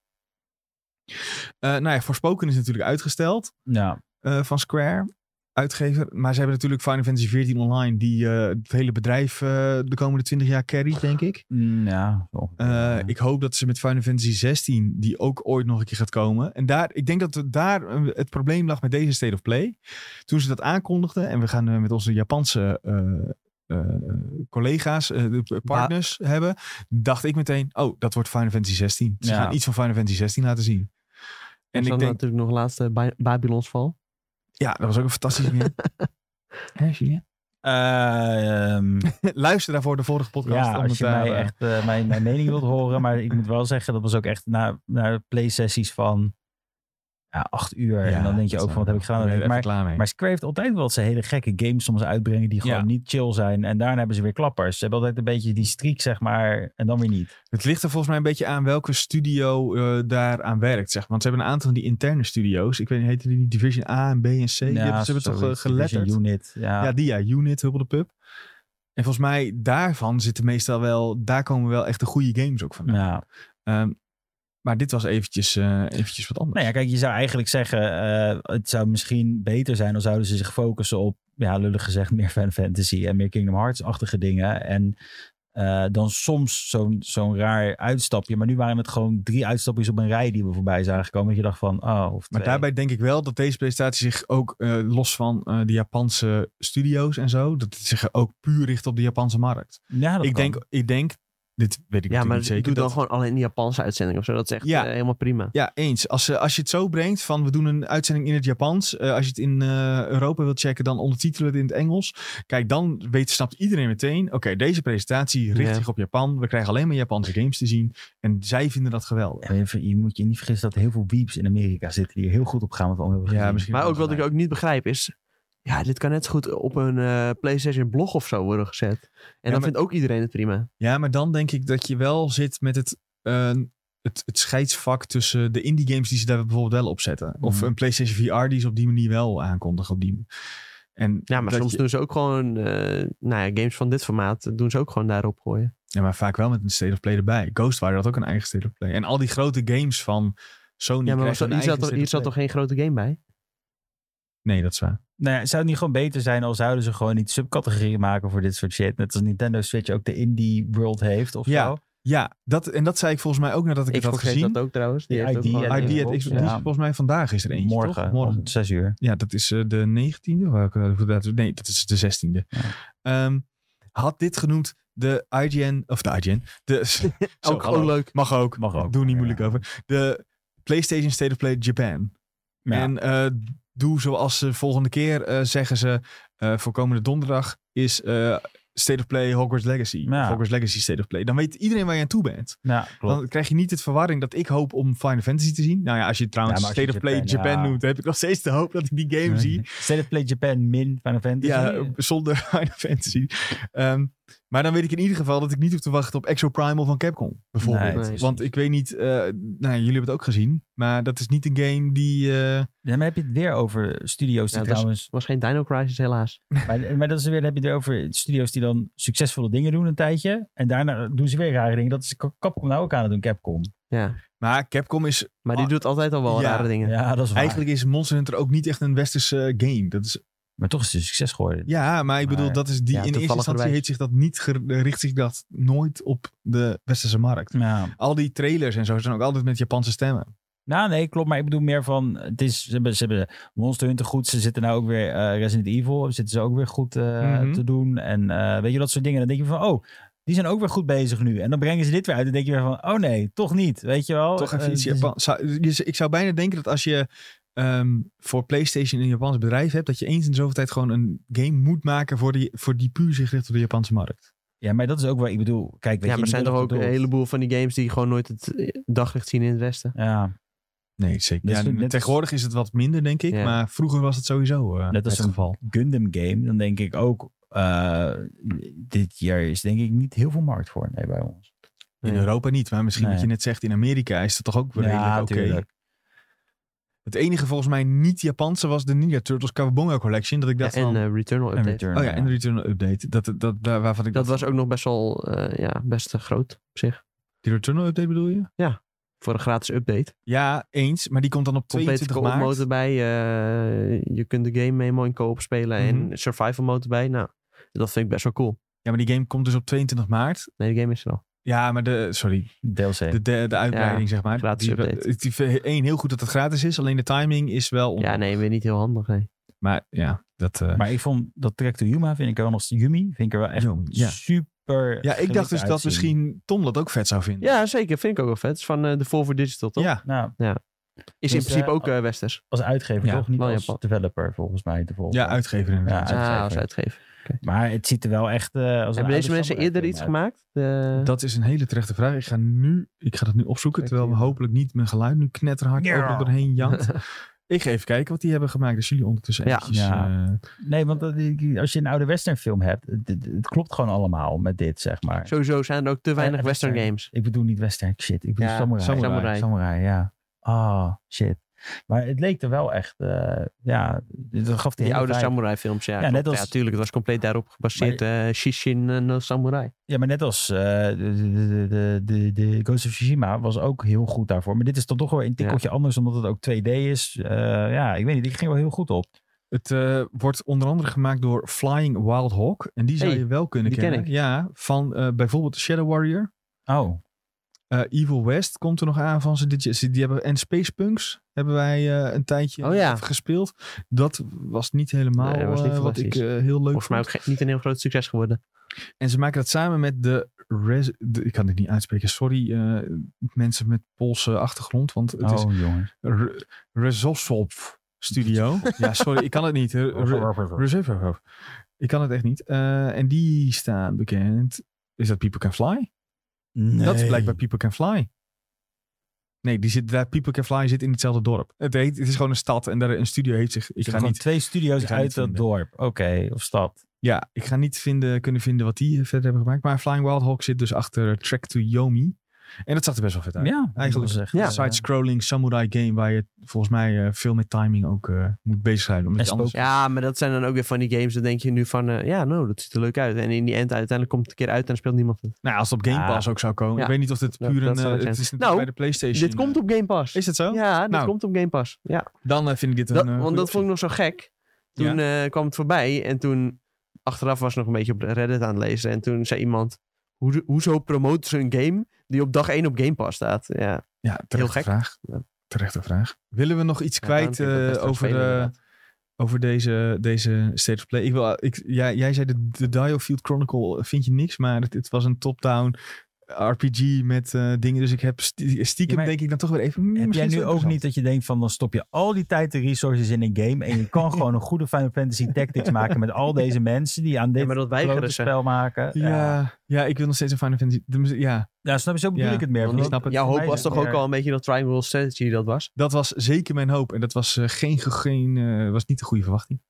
Eh nou ja, Forspoken is natuurlijk uitgesteld. Ja, eh, van Square, uitgever. Maar ze hebben natuurlijk Final Fantasy XIV Online, die eh, het hele bedrijf eh, de komende 20 jaar carryt, denk ik. mm, ja. zo. Eh, Ik hoop dat ze met Final Fantasy 16, die ook ooit nog een keer gaat komen. En daar, ik denk dat we daar eh, het probleem lag met deze State of Play. Toen ze dat aankondigden, en we gaan eh, met onze Japanse eh, eh, collega's, eh, de p- partners hebben, dacht ik meteen, oh, dat wordt Final Fantasy 16. Ze Ja. gaan iets van Final Fantasy 16 laten zien. en ik denk... natuurlijk nog laatste Ba- Babylon's Val. Ja, dat was ook een fantastische game. Hè, Julien? Eh, ehm, Luister daarvoor de vorige podcast. ja, om als het je daar, mij eh, echt eh, mijn, mijn mening wilt horen. Maar ik moet wel zeggen, dat was ook echt na, na play-sessies van ja, acht uur. ja, en dan denk je dat ook zou- van, wat heb ik gedaan? ben je er Maar echt klaar mee. Maar Square heeft altijd wel dat ze hele gekke games soms uitbrengen die gewoon Ja. niet chill zijn. En daarna hebben ze weer klappers. Ze hebben altijd een beetje die streak, zeg maar, en dan weer niet. het ligt er volgens mij een beetje aan welke studio eh daaraan werkt. Zeg. Want ze hebben een aantal van die interne studio's. Ik weet niet, heette die niet Division A en B en C? Die hebben- ze hebben toch eh, zoiets. geletterd? Division Unit, ja. Ja, die ja, Unit, Hubble de Pub. En volgens mij daarvan zitten meestal wel, daar komen wel echt de goede games ook van. Ja. Ehm, maar dit was eventjes, eh, eventjes wat anders. Nou ja, kijk, je zou eigenlijk zeggen, eh, het zou misschien beter zijn, dan zouden ze zich focussen op, ja, lullig gezegd, meer fan fantasy en meer Kingdom Hearts-achtige dingen. En eh, dan soms zo'n zo'n raar uitstapje. Maar nu waren het gewoon drie uitstapjes op een rij die we voorbij zagen komen. Dat je dacht van, oh, of Maar twee. daarbij denk ik wel dat deze presentatie zich ook eh, los van eh, de Japanse studio's en zo, dat het zich ook puur richt op de Japanse markt. Ja, dat Ik kan. denk, ik denk, dit weet ik Oh, Ja, natuurlijk maar niet zeker. doe dan dat- gewoon alleen die Japanse uitzending of zo. Dat is echt Ja. eh, helemaal prima. Ja, eens. Als, ze- als je het zo brengt van we doen een uitzending in het Japans. eh, als je het in eh, Europa wilt checken, dan ondertitelen het in het Engels. Kijk, dan weet, snapt iedereen meteen. Oké, deze presentatie richt Ja. zich op Japan. We krijgen alleen maar Japanse games te zien. En zij vinden dat geweldig. En je- je moet je niet vergissen dat heel veel weeps in Amerika zitten die er heel goed op gaan. Wat we allemaal hebben gezien. Maar ook wat ik ook niet begrijp is... Ja, dit kan net zo goed op een eh, PlayStation blog of zo worden gezet. En dan maar- vindt ook iedereen het prima. Ja, maar dan denk ik dat je wel zit met het, eh, het, het scheidsvak tussen de indie games die ze daar bijvoorbeeld wel op zetten. Of Mhm. een PlayStation VR die ze op die manier wel aankondigen. Op die... En Ja, maar dat soms je- doen ze ook gewoon... eh, nou ja, games van dit formaat eh, doen ze ook gewoon daarop gooien. Ja, maar vaak wel met een State of Play erbij. Ghostwire had ook een eigen State of Play. En al die grote games van Sony Ja, maar was krijgen dat- een hier zat, eigen toch, State hier of zat Play. toch geen grote game bij? Nee, dat is waar. Nou ja, zou het niet gewoon beter zijn als zouden ze gewoon niet subcategorieën maken voor dit soort shit? Net als Nintendo Switch ook de indie world heeft of Ja, zo. Ja, dat, en dat zei ik volgens mij ook nadat ik Xbox het had gezien. heeft dat ook trouwens. Die Die heeft ook ID gewoon- en ID Ja, at Xbox, ja. die is volgens mij vandaag is er eentje, Morgen, toch? om zes uur. Ja, dat is eh, de 19e. Welke, welke datum? nee, dat is de 16e. Ja. Ehm, had dit genoemd de IGN, of de IGN, de, Zo, Ook hallo. gewoon leuk. mag ook, Mag ook. doe niet Ja. moeilijk over, de PlayStation State of Play Japan. Ja. En eh, doe zoals ze volgende keer eh, zeggen ze eh, voor komende donderdag is eh, State of Play Hogwarts Legacy. Ja. Of Hogwarts Legacy State of Play. Dan weet iedereen waar je aan toe bent. ja, klopt. Dan krijg je niet het verwarring dat ik hoop om Final Fantasy te zien. Nou ja, als je trouwens Ja, maar als State je of Play Japan, Japan ja. noemt, heb ik nog steeds de hoop dat ik die game zie. State of Play Japan min Final Fantasy. Ja, zonder Final Fantasy. Ehm, maar dan weet ik in ieder geval dat ik niet hoef te wachten op Exo Primal van Capcom. Bijvoorbeeld. Nee, precies. Want ik weet niet, eh, nou, jullie hebben het ook gezien. Maar dat is niet een game die... eh, Ja, maar heb je het weer over studio's die Ja, dat is- trouwens... was geen Dino Crisis helaas. Maar, maar dat is weer, dan heb je het weer over studio's die dan succesvolle dingen doen een tijdje. En daarna doen ze weer rare dingen. Dat is Capcom nou ook aan het doen, Capcom. Ja. maar Capcom is Maar die Ah, doet altijd al wel ja. rare dingen. Ja, dat is waar. Eigenlijk is Monster Hunter ook niet echt een westerse game. Dat is, Maar toch is het een succes geworden. ja, maar ik bedoel, Maar, dat is die, ja, in eerste toevalligerwijs. instantie heeft zich dat niet, ger- richt zich dat nooit op de westerse markt. Ja. Al die trailers en zo zijn ook altijd met Japanse stemmen. Nou, nee, klopt. Maar ik bedoel meer van... Het is, ze, hebben, ze hebben Monster Hunter goed. Ze zitten nou ook weer eh, Resident Evil. Zitten ze ook weer goed eh, Mhm. te doen. En eh, weet je, dat soort dingen. Dan denk je van, oh, die zijn ook weer goed bezig nu. En dan brengen ze dit weer uit. Dan denk je weer van, oh nee, toch niet. Weet je wel? Toch even Eh, iets het is- Japans. Zou- dus ik zou bijna denken dat als je ehm, voor PlayStation een Japans bedrijf hebt, dat je eens in zoveel tijd gewoon een game moet maken voor die, voor die puur zich richt op de Japanse markt. Ja, maar dat is ook waar ik bedoel. Kijk, weet Ja, je, maar er zijn je toch ook bedoelt- een heleboel van die games die gewoon nooit het eh, daglicht zien in het Westen. Ja, Nee, zeker. Dat is Ja, net als- tegenwoordig is het wat minder, denk ik. Ja. Maar vroeger was het sowieso eh, Net als het een- geval. Gundam game, dan denk ik ook... eh, dit jaar is denk ik niet heel veel markt voor nee, bij ons. In Ja. Europa niet, maar misschien wat Nee. je net zegt, in Amerika is dat toch ook wel redelijk oké. tuurlijk. Het enige volgens mij niet Japanse was de Ninja Turtles Kawabonga Collection. Dat ik Ja, dacht en van... eh, Returnal En Update. Return. oh ja, en de Returnal Update. Dat, dat, dat, daar- waarvan ik Dat dacht- was ook nog best wel eh, ja, best eh, groot op zich. Die Returnal Update bedoel je? Voor een gratis update. Ja, eens. Maar die komt dan op Complete 22 co-op maart. mode erbij. eh, je kunt de game memo in co-op spelen. En survival mode erbij. Nou, dat vind ik best wel cool. Ja, maar die game komt dus op 22 maart. Nee, de game is er al. Ja, maar de... Sorry. DLC. De, de, de uitbreiding, zeg maar. gratis die, update. Het is één, heel goed dat het gratis is. Alleen de timing is wel... on- Ja, nee, weer niet heel handig. nee. Maar ja, dat... eh, Maar ik vond dat Track to Yuma vind ik er wel nog Yumi vind ik er wel echt Yumi, ja. super. ja, ik dacht gelikt dus dat uitzien. misschien Tom dat ook vet zou vinden. Ja, zeker. Vind ik ook wel vet. Het is van eh, de Volvo Digital, toch? Ja, Nou, Is in Dus, principe eh, ook eh, Westers. als uitgever Ja, toch niet wel als Japan. developer volgens mij te volgen. ja uitgever inderdaad. Ja, Ah, uitgever. als uitgever. Maar het ziet er wel echt. eh, als Hebben deze mensen eerder iets gemaakt? De- Dat is een hele terechte vraag. Ik ga, nu, ik ga dat nu opzoeken. Kijk, terwijl we hier. hopelijk niet mijn geluid nu knetterhard Ja. overal doorheen jankt. ik ga even kijken wat die hebben gemaakt. Dus jullie ondertussen Ja. eventjes... Ja. eh, Nee, want dat- als je een oude western film hebt, het, het- het klopt gewoon allemaal met dit zeg maar. Sowieso zijn er ook te weinig Eh, Western Western. games. Ik bedoel niet western shit. Ik bedoel Ja, samurai. samurai. samurai. Samurai, ja. Ah shit. Maar het leek er wel echt. eh, ja, dat gaf die, Die hele oude vibe. samurai films, ja. Ja, net klopt. als- Ja, tuurlijk. Het was compleet daarop gebaseerd. eh Shishin eh, no Samurai. Ja, maar net als eh, de, de, de, de, de Ghost of Tsushima was ook heel goed daarvoor. Maar dit is dan toch wel een tikkeltje anders, omdat het ook 2D is. Eh, ja, ik weet niet. Ik ging wel heel goed op. Het eh, wordt onder andere gemaakt door Flying Wild Hawk. En die zou Hey, je wel kunnen die ken kennen. ik. Ja, van eh, bijvoorbeeld Shadow Warrior. Oh, Eh, Evil West komt er nog aan van ze. Dit, die hebben, en Space Punks hebben wij eh, een tijdje Oh ja. gespeeld. Dat was niet helemaal Nee, dat was niet eh, wat ik fantastisch. eh, heel leuk Volgens mij vond. ook ge- niet een heel groot succes geworden. En ze maken dat samen met de, Res- de- Ik kan dit niet uitspreken. Sorry eh, mensen met Poolse achtergrond. Want het is oh jongens. Re- Rezosov Studio. ja, sorry. Ik kan het niet. Oh, Re- Re- Rezosov. Ik kan het echt niet. Eh, en die staan bekend. Is dat People Can Fly? Nee. Dat is blijkbaar People Can Fly. Nee, die zit daar. People Can Fly zit in hetzelfde dorp. Het, heet, het is gewoon een stad en daar een studio heeft zich. Ik Ik ga ga niet, twee studio's ik ga uit niet dat vinden. dorp. Oké, of stad. ja, ik ga niet vinden, kunnen vinden wat die eh, verder hebben gemaakt. Maar Flying Wild Hawk zit dus achter Track to Yomi. En dat zag er best wel vet uit. Ja, eigenlijk- Zeggen. eh, Ja. Een side-scrolling samurai game waar je volgens mij eh, veel met timing ook eh, moet bezig zijn. Omdat En je anders... Ja, maar dat zijn dan ook weer van die games. Dan denk je nu van, eh, ja, nou, dat ziet er leuk uit. En in die end uiteindelijk komt het een keer uit en dan speelt niemand het. Nou, ja, als het op Game Ja. Pass ook zou komen. Ja. Ik weet niet of dit Ja, puur dat een... zou eh, het het zijn. is natuurlijk Nou, bij de PlayStation. Dit komt eh, op Game Pass. Is het zo? Ja, dit Nou. komt op Game Pass. Ja. Dan eh, vind ik dit een... Dat- eh, want goede dat vond ik nog zo gek. Toen eh, kwam het voorbij en toen achteraf was ik nog een beetje op Reddit aan het lezen. En toen zei iemand, "Hoe- hoezo promoten ze een game die op dag 1 op Game Pass staat? Ja, optie. Ja, terechte heel gek. vraag. Ja. Terechte vraag. Willen we nog iets kwijt Ja, dan vind ik dat best eh, wel over, spelen, eh, inderdaad. over deze, deze State of Play? Ik wil, eh, ik, jij, jij zei de, de Diofield Chronicle eh, vind je niks, maar het, het was een top-down RPG met eh, dingen. Dus ik heb stie- stiekem Ja, maar denk ik dan toch weer even... hmm, Heb jij misschien is nu het ook niet interessant. dat je denkt van dan stop je al die tijd de resources in een game en je kan gewoon een goede Final Fantasy Tactics maken met al deze mensen die aan Ja, dit maar dat grote weigeren ze. spel maken? Ja, ja, ik wil nog steeds een Final Fantasy... de muziek- Ja, Ja, snap je, zo bedoel Ja, ik het meer. ik want snap het. Jouw voor hoop mij was is het toch ook meer- al een beetje dat Triangle Strategy dat was? dat was zeker mijn hoop. En dat was, eh, geen, ge- geen, eh, was niet de goede verwachting.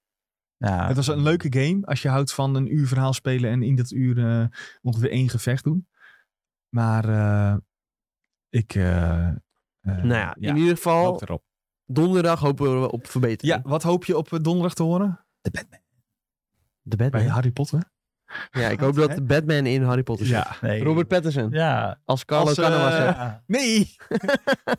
Ja. Het was een leuke game als je houdt van een uur verhaal spelen en in dat uur eh, ongeveer één gevecht doen. Maar eh, ik. eh, eh, nou ja, in ik ieder geval, hoop erop. donderdag hopen we op verbetering. Ja, wat hoop je op eh, donderdag te horen? De Batman. de Bij Batman. Harry Potter? Ja, ik hoop dat de Batman in Harry Dus Potter zit. Nee. Robert Pattinson. Ja. Als Carlo Als, eh, Cannavas. hè. Ja. Nee!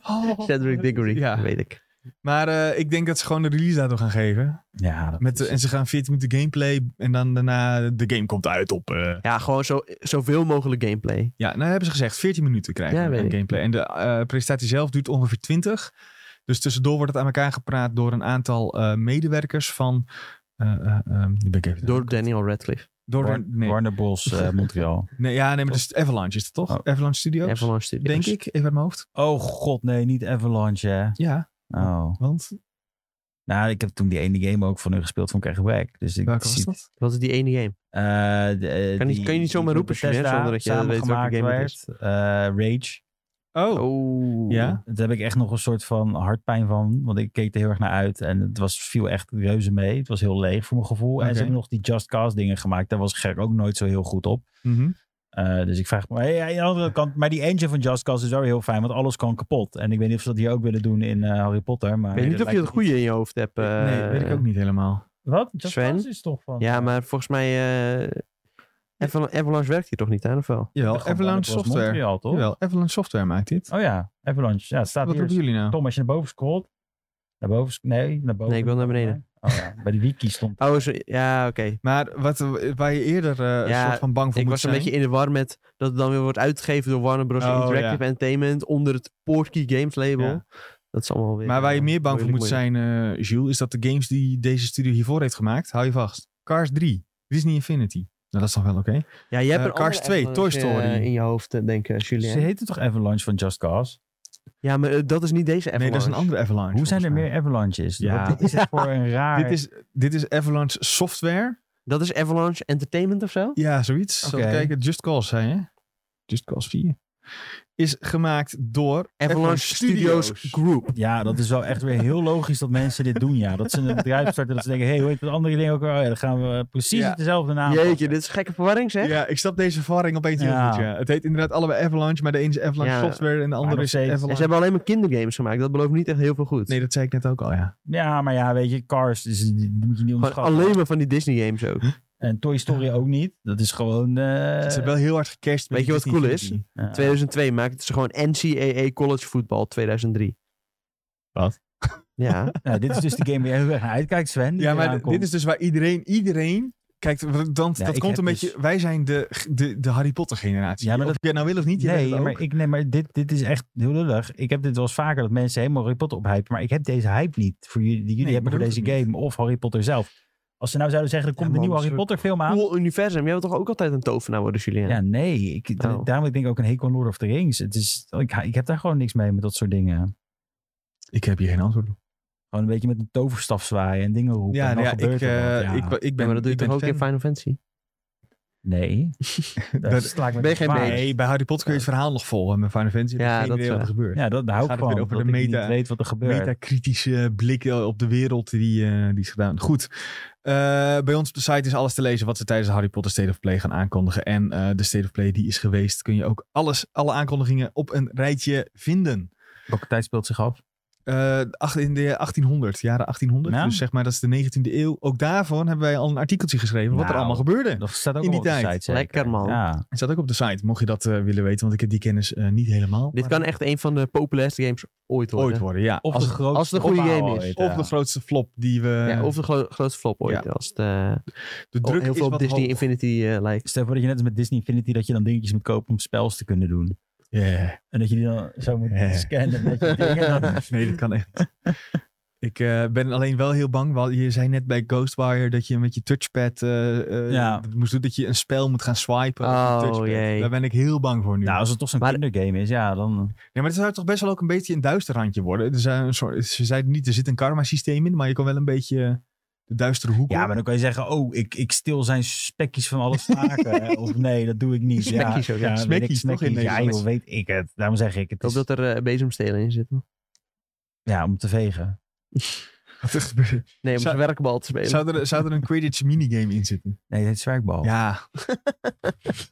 Oh. Cedric Diggory, Ja. weet ik. Maar eh, ik denk dat ze gewoon een release datum gaan geven. Ja, dat Met, de- en ze gaan 14 minuten gameplay en dan daarna de game komt uit op... eh, Ja, gewoon zo, zoveel mogelijk gameplay. Ja, nou hebben ze gezegd 14 minuten krijgen Ja, we weet een ik. gameplay. En de eh, presentatie zelf duurt ongeveer 20. Dus tussendoor wordt het aan elkaar gepraat door een aantal eh, medewerkers van... eh, eh, ehm, die ben ik even- Door Daniel Radcliffe. door de- Warner, nee. Warner Bros. eh, Montreal. nee, ja, nee, maar dat is Avalanche is het toch? Oh. Avalanche Studios, Avalanche Studios. denk ik, even uit mijn hoofd. Oh god, nee, niet Avalanche. hè. Ja, Oh. want Nou, ik heb toen die ene game ook van hun gespeeld, vond ik echt wack. Dus ik welke was zie- dat? Wat is die ene game? Eh, de, eh, Kan niet- die- kan je niet zomaar die roepen, Julien, Bethesda zonder dat je weet welke samengemaakt game het is. werd. Eh, Rage. Oh, Oh. ja. Daar heb ik echt nog een soort van hartpijn van. Want ik keek er heel erg naar uit. En het was, viel echt reuze mee. Het was heel leeg voor mijn gevoel. En Oké. ze hebben nog die Just Cause dingen gemaakt. Daar was Gerk ook nooit zo heel goed op. Mhm. Eh, dus ik vraag me... Hey, aan de andere kant, maar die engine van Just Cause is wel heel fijn. Want alles kan kapot. En ik weet niet of ze dat hier ook willen doen in eh, Harry Potter. Maar Ik weet niet dat of je het lijkt goede in je hoofd hebt. eh. nee, weet ik ook niet helemaal. me Wat? Just Sven? Cause is toch van... Ja, maar volgens mij... eh, Aval- Avalanche werkt hier toch niet aan, of wel? Jawel, Gewoon Avalanche Warner Bros. Software. Montreal, toch? Jawel, Avalanche Software maakt Ah, dit. Oh ja, Avalanche. Ja, het staat Wat hier. roepen jullie nou? Tom, als je naar boven scrolt... Naar boven... sc- Nee, naar boven. Nee, ik wil naar beneden. Oh ja, bij de wiki stond... Oh, zo- ja, oké. Maar wat, waar je eerder eh, Ja, een soort van bang voor Ik moet was een zijn- beetje in de war met dat het dan weer wordt uitgegeven door Warner Bros. Oh, Interactive Entertainment onder het Portkey Games label. Ja. Dat is allemaal weer... Maar waar je eh, meer bang voor moeilijk, moet moeilijk. zijn, eh Jules, is dat de games die deze studio hiervoor heeft gemaakt, hou je vast. Cars 3, Disney Infinity. Nou, dat is toch wel oké? Ja, jij eh, hebt een andere Cars 2, Avalanche, Toy Story. eh, in je hoofd, eh, denk ik, Ze Julien. heette toch Avalanche van Just Cause? Ja, maar eh, dat is niet deze Nee, Avalanche. dat is een andere Avalanche. Hoe zijn er volgens meer Avalanches? Ja. Wat is het voor een raar... mij. Dit is, dit is Avalanche Software. Dat is Avalanche Entertainment of zo? Ja, zoiets. Zal ik Oké. kijken, Just Cause zijn hè? Just Cause 4. Is gemaakt door Avalanche Studios Group. Ja, dat is wel echt weer heel logisch dat mensen dit doen. Ja. Dat ze een bedrijf starten en dat ze denken... Hé, hey, hoe heet dat andere ding ook? weer? Oh ja, dan gaan we precies Ja. dezelfde naam Jeetje, passen. dit is gekke verwarring zeg. Ja, ik snap deze verwarring opeens heel Ja. goed, ja. Het heet inderdaad allebei Avalanche, maar de ene is Avalanche Ja, Software en de andere nog is steeds. En ze Avalanche... hebben alleen maar kindergames gemaakt. Dat belooft niet echt heel veel goed. Nee, dat zei ik net ook al, ja. Ja, maar ja, weet je, Cars dus, die moet je niet Gewoon onderschatten. alleen maar van die Disney games ook. En Toy Story ook niet. Dat is gewoon... eh, Ze hebben wel heel hard gecashed. met weet je wat Disney cool is? Infinity. ja. 2002 maakten ze gewoon NCAA College Football 2003. Wat? Ja. Nou, dit is dus de game waar je heel erg naar uitkijkt, Sven. die Ja, eraan maar komt. dit is dus waar iedereen, iedereen... Kijk, dan, Ja, dat ik komt een heb dus- beetje... Wij zijn de, de, de Harry Potter generatie. Ja, maar of dat- je het nou wil of niet, je weet Nee, het ook. maar, ik, nee, maar dit, dit is echt heel lullig. Ik heb dit wel eens vaker dat mensen helemaal Harry Potter ophypen. Maar ik heb deze hype niet voor jullie, die jullie Nee, hebben voor maar dat deze hoeft game. Of Harry Potter zelf. Als ze nou zouden zeggen, er Ja, komt een man, nieuwe ze- Harry Potter film aan. Cool universum. Jij wilt toch ook altijd een tovenaar worden, Julien? Ja, nee. Ik, da- Oh. Daarom heb ik denk ik ook een hekel aan Lord of the Rings. Het is, ik, ik heb daar gewoon niks mee met dat soort dingen. Ik heb hier geen antwoord op. Gewoon een beetje met een toverstaf zwaaien en dingen roepen. Ja, en dan nou ja, gebeurt ik, er eh, wat. Ja. ik, ik Ja, ben... maar dat doe ik je toch ben ook in Final Fantasy? Nee. daar Dat- sla ik me ben je tegen geen paard. mage. Nee, bij Harry Potter kun je het verhaal nog volgen. Met Final Fantasy heb je Ja, geen dat idee is wat er waar. gebeurt. Ja, daar hou ik Gaat het van. weer over dat de ik meta- niet weet wat er gebeurt. Meta-kritische blik eh, op de wereld die, eh, die is gedaan. Goed, Eh, bij ons op de site is alles te lezen wat ze tijdens de Harry Potter State of Play gaan aankondigen. En eh, de State of Play die is geweest, kun je ook alles, alle aankondigingen op een rijtje vinden. Welke tijd speelt zich af? Eh, ach- in de 1800, jaren 1800, Nou. dus zeg maar dat is de 19e eeuw. Ook daarvan hebben wij al een artikeltje geschreven wat er Nou. allemaal gebeurde. Dat staat ook In die al op de tijd. site. zeker. Lekker, man. Ja. Het staat ook op de site, mocht je dat eh, willen weten, want ik heb die kennis eh, niet helemaal. Dit maar kan echt een van de populairste games ooit worden. ooit worden, ja. Of Als de het- eh, grootste als het een goede opbouw game is. ooit, of ja. de grootste flop die we... Ja, of de gro- grootste flop ooit. Ja. Als het, eh, de al druk heel is veel op wat Disney hoog. Infinity eh, lijkt. Stel voor dat je net als met Disney Infinity dat je dan dingetjes moet kopen om spels te kunnen doen. Ja. En dat je die dan zo moet Ja. scannen met je dingen. Dan... Nee, dat kan echt niet. Ik eh, ben alleen wel heel bang. want Je zei net bij Ghostwire dat je met je touchpad eh, eh, Ja. dat moest doen dat je een spel moet gaan swipen. op je Oh, touchpad. jee. Daar ben ik heel bang voor nu. Nou, als het toch zo'n Maar- kindergame is, ja, dan... nee, maar het zou toch best wel ook een beetje een duister randje worden. Er zijn een soort, ze zeiden niet, er zit een karma systeem in, maar je kan wel een beetje de duistere hoek Ja, op. maar dan kan je zeggen, oh, ik, ik stil zijn spekjes van alle staken. of nee, dat doe ik niet. Spekkies ja, ook, ja. ja, weet ik, Spekkies, toch in spekkies. Ja, Nederlands? joh, weet ik het. Daarom zeg ik, het Ik hoop is, dat er eh, bezemstelen in zitten. ja, om te vegen. Wat er gebeurt. Nee, om Zou- een werkbal te spelen. zou, er, zou er een Quidditch minigame in zitten? Nee, het heet zwerkbal. Ja.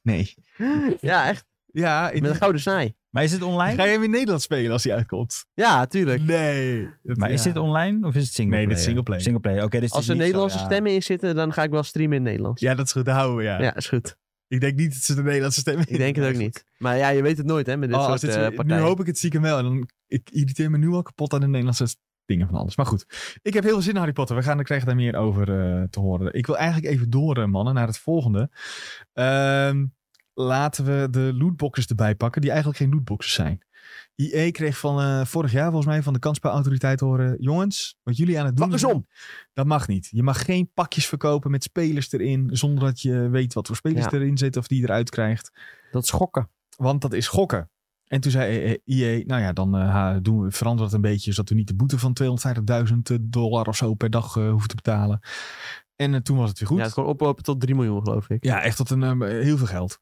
nee. Ja, echt. Ja, in Met een gouden snaai. Maar is het online? ga je hem in Nederland spelen als hij uitkomt? Ja, tuurlijk. Mm. Nee. Dat- Maar is ja. dit online of is het singleplayer? Nee, dit is singleplayer. Singleplayer, oké. dus Als er dit is niet Nederlandse zo, ja. stemmen in zitten, dan ga ik wel streamen in het Nederlands. Ja, dat is goed. Daar houden we, ja. Ja, is goed. Ik denk niet dat ze de Nederlandse stem Ik denk het ook niet. Maar ja, je weet het nooit, hè, met dit Oh, als soort dit, eh, zo- nu partijen. hoop ik het zieken wel. En dan, ik irriteer me nu al kapot aan de Nederlandse s- dingen van alles. Maar goed, ik heb heel veel zin in Harry Potter. We gaan er krijgen daar meer over eh, te horen. Ik wil eigenlijk even door, eh, mannen, naar het volgende. Ehm, laten we de lootboxes erbij pakken, die eigenlijk geen lootboxes zijn. IE kreeg van eh, vorig jaar volgens mij van de kansspelautoriteit te horen... jongens, wat jullie aan het doen Pak eens zijn, om. dat mag niet. Je mag geen pakjes verkopen met spelers erin... zonder dat je weet wat voor spelers Ja. erin zitten of die je eruit krijgt. Dat schokken. Want dat is gokken. En toen zei IE, nou ja, dan eh, ha- doen we, veranderen we het een beetje... zodat we niet de boete van 250.000 dollar of zo per dag eh, hoeven te betalen. En eh, toen was het weer goed. Ja, het gewoon oplopen tot 3 miljoen, geloof ik. Ja, echt tot een, eh, heel veel geld.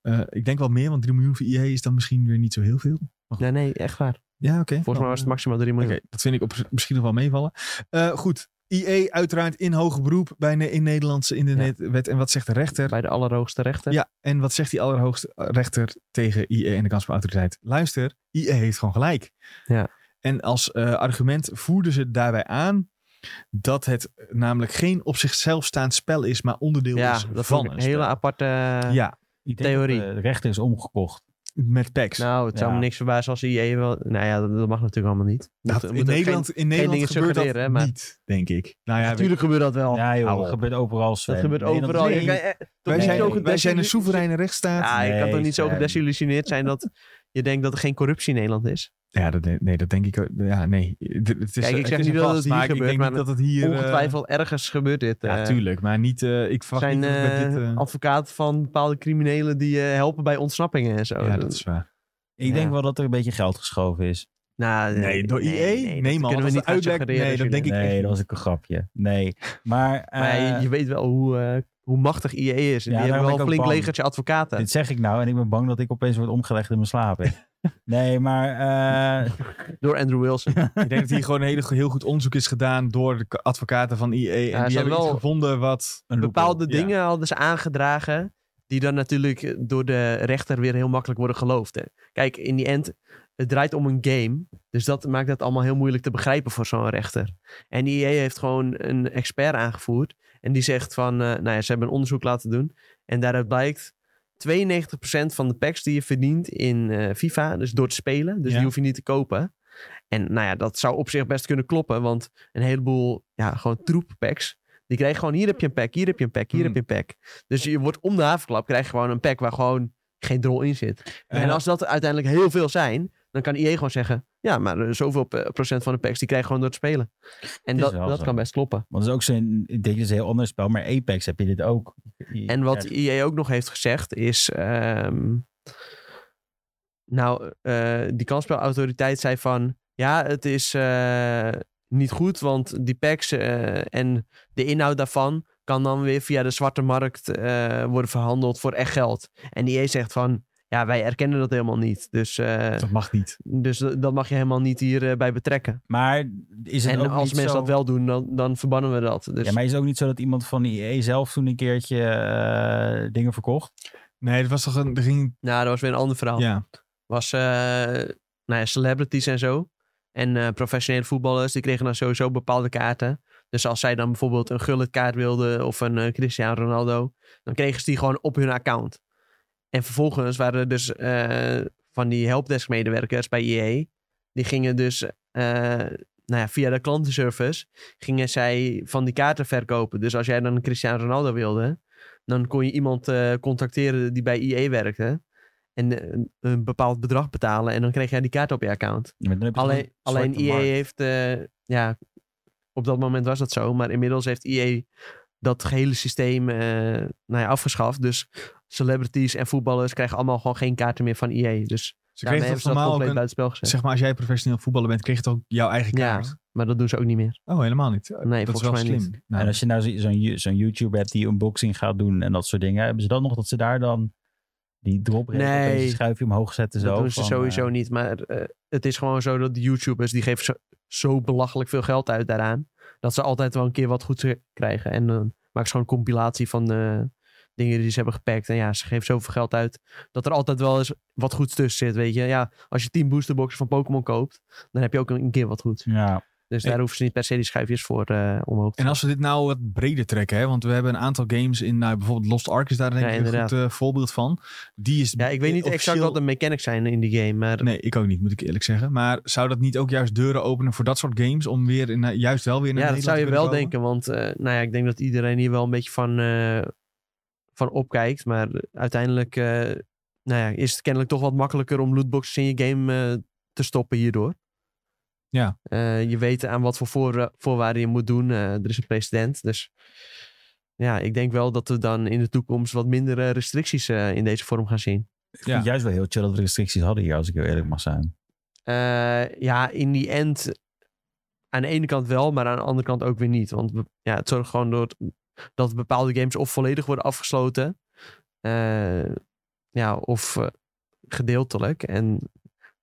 Eh, ik denk wel meer, want 3 miljoen voor IE is dan misschien weer niet zo heel veel. Nee, nee, echt waar. Ja, oké. Nou, Volgens mij was het maximaal 3 miljoen. Oké, dat vind ik op, misschien nog wel meevallen. Eh, goed, IE uiteraard in hoger beroep bij ne- in Nederlandse in de Ja. net- wet. En wat zegt de rechter? Bij de allerhoogste rechter. Ja, en wat zegt die allerhoogste rechter tegen IE en de kansspelautoriteit? Luister, IE heeft gewoon gelijk. Ja. En als eh, argument voerden ze daarbij aan dat het namelijk geen op zichzelf staand spel is, maar onderdeel Ja, is dat vond van ik een een hele spel. aparte... Ja, Ik denk dat eh, Theorie. De rechter is omgekocht. met packs. Nou, het zou Ja. me niks verbazen als IE wel... Nou ja, dat, dat mag natuurlijk allemaal niet. Dat- Moet- in moet ook Nederland, in Nederland dingen gebeurt dat suggereren, hè, maar- niet, denk ik. Nou ja, geen- weet- Natuurlijk gebeurt dat wel. Ja joh, hou dat op. gebeurt overal Sven. Oh, dat gebeurt Nederland is overal. niet- Je kan- eh, toch wij, niet zijn, zo wij wij zijn een gedesillu- soevereine rechtsstaat. Ja, je kan toch Nee, niet zo Sven. gedesillusioneerd zijn dat je denkt dat er geen corruptie in Nederland is. Ja, dat, nee, dat denk ik. ook- Ja, nee. Het het is, Kijk, ik het zeg is niet een dat vast, het hier maar gebeurt, ik denk maar niet dat het hier... eh, Ongetwijfeld ergens gebeurt dit. Ja, eh. tuurlijk. Maar niet, eh, ik verwacht zijn niet dat met dit... eh, eh, advocaat van bepaalde criminelen die eh, helpen bij ontsnappingen en zo. ja, dat is waar. Ik denk Ja. wel dat er een beetje geld geschoven is. Nou, Nee, door IE? Nee, man, dat kunnen dat we is niet een uitleg. uitleggen. Nee, dat denk ik- echt Nee, niet. dat was ook een grapje. Nee, maar... Maar ja, eh, je, je weet wel hoe, eh, hoe machtig IE is. En Ja, die hebben daarom wel ben ik een ook flink bang. legertje advocaten. Dit zeg ik nou en ik ben bang dat ik opeens word omgelegd in mijn slaap. hè. nee, maar eh, Door Andrew Wilson. ik denk dat hier gewoon een hele, heel goed onderzoek is gedaan door de k- advocaten van IE. En ze die hebben wel- iets gevonden wat... een Bepaalde Ja. dingen hadden ze aangedragen. Die dan natuurlijk door de rechter weer heel makkelijk worden geloofd. Hè. Kijk, in die end, het draait om een game. Dus dat maakt het allemaal heel moeilijk te begrijpen voor zo'n rechter. En IE heeft gewoon een expert aangevoerd. En die zegt van, eh, nou ja, ze hebben een onderzoek laten doen. En daaruit blijkt 92% van de packs die je verdient in eh, FIFA, dus door te spelen. Dus Ja. die hoef je niet te kopen. En nou ja, dat zou op zich best kunnen kloppen. Want een heleboel, ja, gewoon troep packs. Die krijg je gewoon, hier heb je een pack, hier heb je een pack, hier Hmm. heb je een pack. Dus je wordt om de havenklap, krijg je gewoon een pack waar gewoon geen drol in zit. Ja. En als dat uiteindelijk heel veel zijn, dan kan IE gewoon zeggen... Ja, maar eh, zoveel pe- procent van de packs, die krijg je gewoon door te spelen. En is dat, wel dat zo. kan best kloppen. Want het is ook zo'n, ik denk dat is een heel ander spel, maar Apex heb je dit ook. Je- En wat ja, EA ook nog heeft gezegd is... ehm, nou, eh, die kansspelautoriteit zei van... Ja, het is eh, niet goed, want die packs eh, en de inhoud daarvan... kan dan weer via de zwarte markt eh, worden verhandeld voor echt geld. En EA zegt van... Ja, wij erkennen dat helemaal niet. Dus, eh, Dat mag niet. dus d- dat mag je helemaal niet hierbij bij betrekken. Maar is het En ook als niet mensen zo... dat wel doen, dan, dan verbannen we dat. Dus, Ja, maar is het ook niet zo dat iemand van EA zelf toen een keertje eh, dingen verkocht? Nee, dat was toch een. Er ging, Nou, dat was weer een ander verhaal. ja. was eh, nou ja, celebrities en zo. En eh, professionele voetballers, die kregen dan sowieso bepaalde kaarten. Dus als zij dan bijvoorbeeld een gullet kaart wilden of een eh, Cristiano Ronaldo, dan kregen ze die gewoon op hun account. En vervolgens waren er dus eh, van die helpdesk medewerkers bij EA, die gingen dus eh, nou ja, via de klantenservice, gingen zij van die kaarten verkopen. Dus als jij dan een Cristiano Ronaldo wilde, dan kon je iemand eh, contacteren die bij EA werkte. En eh, een- een bepaald bedrag betalen. En dan kreeg jij die kaart op je account. Ja, maar dan heb je Alleen, gewoon alleen een zwarte EA markt. heeft, eh, ja, op dat moment was dat zo, maar inmiddels heeft EA dat gehele systeem eh, nou ja, afgeschaft. Dus celebrities en voetballers krijgen allemaal gewoon geen kaarten meer van EA. Dus Ze kregen daarmee hebben toch ze dat normaal ook compleet een. buitenspel gezet. Zeg maar, als jij professioneel voetballer bent, kreeg je toch ook jouw eigen Ja, kaart? maar dat doen ze ook niet meer. Oh, helemaal niet. Oh, Nee, dat is volgens wel mij slim. niet. Nou, En als je nou zo- zo'n you- zo'n YouTuber hebt die unboxing gaat doen en dat soort dingen, hebben ze dan nog dat ze daar dan die drop Nee. deze schuifje omhoog zetten? Zo, Dus dat doen ze van, sowieso niet. Maar eh, het is gewoon zo dat de YouTubers, die geven zo, zo belachelijk veel geld uit daaraan. Dat ze altijd wel een keer wat goed krijgen. En dan maken ze gewoon een compilatie van de dingen die ze hebben gepakt. En ja, ze geven zoveel geld uit. Dat er altijd wel eens wat goeds tussen zit, weet je. Ja, als je 10 boosterboxen van Pokémon koopt, dan heb je ook een keer wat goed. eh, ja, Dus Hey. daar hoeven ze niet per se die schuifjes voor eh, omhoog te En als we dit nou wat breder trekken, hè, want we hebben een aantal games in, nou, bijvoorbeeld Lost Ark is daar denk Ja, ik een goed eh, inderdaad. voorbeeld van. Die is Ja, ik weet niet exact officieel- wat de mechanics zijn in die game, maar... Nee, ik ook niet, moet ik eerlijk zeggen. Maar zou dat niet ook juist deuren openen voor dat soort games? Om weer in, eh, juist wel weer naar Ja, dat Nederland zou te je kunnen wel komen? denken, want eh, nou ja, ik denk dat iedereen hier wel een beetje van, eh, van opkijkt. Maar uiteindelijk eh, nou ja, is het kennelijk toch wat makkelijker om lootboxes in je game eh, te stoppen hierdoor. Ja. Eh, je weet aan wat voor voor, eh, voorwaarden je moet doen. Eh, er is een precedent, dus ja, ik denk wel dat we dan in de toekomst wat minder eh, restricties eh, in deze vorm gaan zien. Ik vind het juist wel heel chill dat we restricties hadden hier, als ik heel eerlijk mag zijn. Eh, ja, in die end aan de ene kant wel, maar aan de andere kant ook weer niet. Want we- ja, het zorgt gewoon door dat bepaalde games of volledig worden afgesloten, eh, ja, of eh, gedeeltelijk. En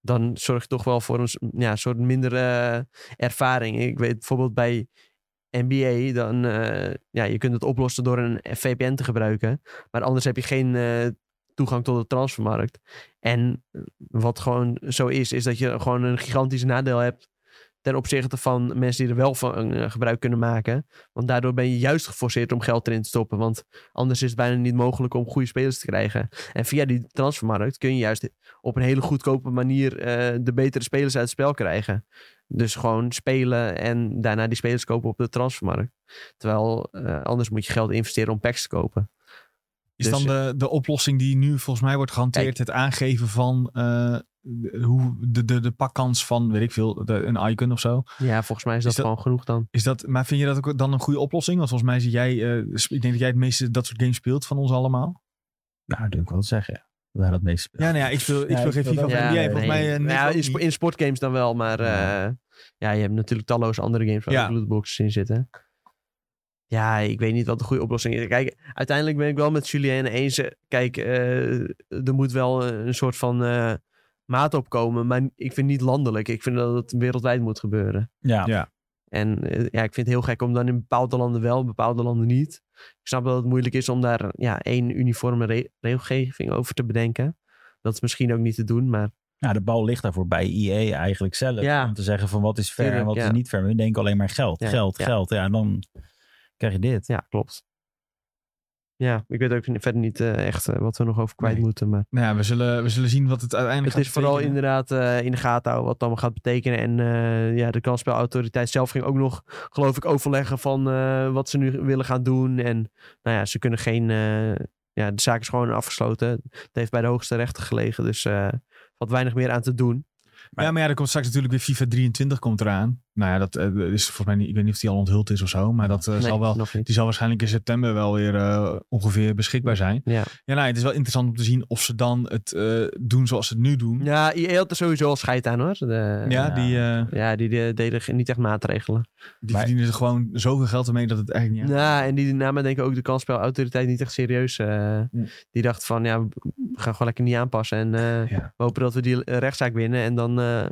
dan zorg je toch wel voor een s- ja, soort minder eh, ervaring. Ik weet bijvoorbeeld bij NBA, dan, eh, ja, je kunt het oplossen door een VPN te gebruiken. Maar anders heb je geen eh, toegang tot de transfermarkt. En wat gewoon zo is, is dat je gewoon een gigantisch nadeel hebt ten opzichte van mensen die er wel van eh, gebruik kunnen maken. Want daardoor ben je juist geforceerd om geld erin te stoppen. Want anders is het bijna niet mogelijk om goede spelers te krijgen. En via die transfermarkt kun je juist op een hele goedkope manier eh, de betere spelers uit het spel krijgen. Dus gewoon spelen en daarna die spelers kopen op de transfermarkt. Terwijl eh, anders moet je geld investeren om packs te kopen. Is Dus- dan de, de oplossing die nu volgens mij wordt gehanteerd het aangeven van eh, de- hoe de, de, de pakkans van, weet ik veel, de- een icon of zo. Ja, volgens mij is Is dat, dat- gewoon genoeg dan. Is dat, maar vind je dat ook dan een goede oplossing? Want volgens mij zit jij, eh, sp- ik denk dat jij het meeste dat soort games speelt van ons allemaal. Nou, dat wil ik wel zeggen. Wij dat meest Ja, nou ja, ik speel, ik Ja, speel ik geen speel FIFA dat of ook. NBA. Ja, Volgens mij eh, nee. Nick Ja, ook in, spo- niet. in sportgames dan wel, maar Ja. ja. ja, je hebt natuurlijk talloze andere games waar Ja. ook lootboxes in zitten. Ja, ik weet niet wat de goede oplossing is. Kijk, uiteindelijk ben ik wel met Julien eens. Eh, Kijk, eh, er moet wel een soort van eh, maat op komen, maar ik vind niet landelijk. Ik vind dat het wereldwijd moet gebeuren. Ja. Ja. En eh, ja, ik vind het heel gek om dan in bepaalde landen wel, in bepaalde landen niet. Ik snap dat het moeilijk is om daar ja, één uniforme re- regelgeving over te bedenken. Dat is misschien ook niet te doen, maar Nou, de bal ligt daarvoor bij EA eigenlijk zelf. Ja. Om te zeggen van wat is fair en Tuurlijk, wat ja. is niet fair. We denken alleen maar geld, Ja, geld, ja. geld. Ja, en dan krijg je dit. ja, klopt. Ja, ik weet ook niet- verder niet eh, echt eh, wat we nog over kwijt Nee. moeten. Maar Nou ja, we zullen, we zullen zien wat het uiteindelijk het is gaat vooral betekenen. inderdaad eh, in de gaten houden wat het allemaal gaat betekenen. En eh, ja, de kansspelautoriteit zelf ging ook nog, geloof ik, overleggen van eh, wat ze nu willen gaan doen. En nou ja, ze kunnen geen... eh, ja, de zaak is gewoon afgesloten. Het heeft bij de hoogste rechter gelegen. Dus eh valt weinig meer aan te doen. Ja, maar ja, er komt straks natuurlijk weer FIFA 23 komt eraan. Nou ja, dat eh, is volgens mij niet, ik weet niet of die al onthuld is of zo, maar dat eh, Nee, zal wel, nog niet. die zal waarschijnlijk in september wel weer eh, ongeveer beschikbaar zijn. Ja. Ja, nou, het is wel interessant om te zien of ze dan het eh, doen zoals ze het nu doen. Ja, IE had er sowieso al scheid aan hoor. De- Ja, die, eh, Ja, die, die deden ge- niet echt maatregelen. die Maar- verdienen er gewoon zoveel geld ermee dat het eigenlijk niet... Nou, en die namen denk ik ook de kansspelautoriteit niet echt serieus. eh. Hm. Die dacht van, ja, we gaan gewoon lekker niet aanpassen. En eh, Ja. we hopen dat we die eh, rechtszaak winnen. En dan eh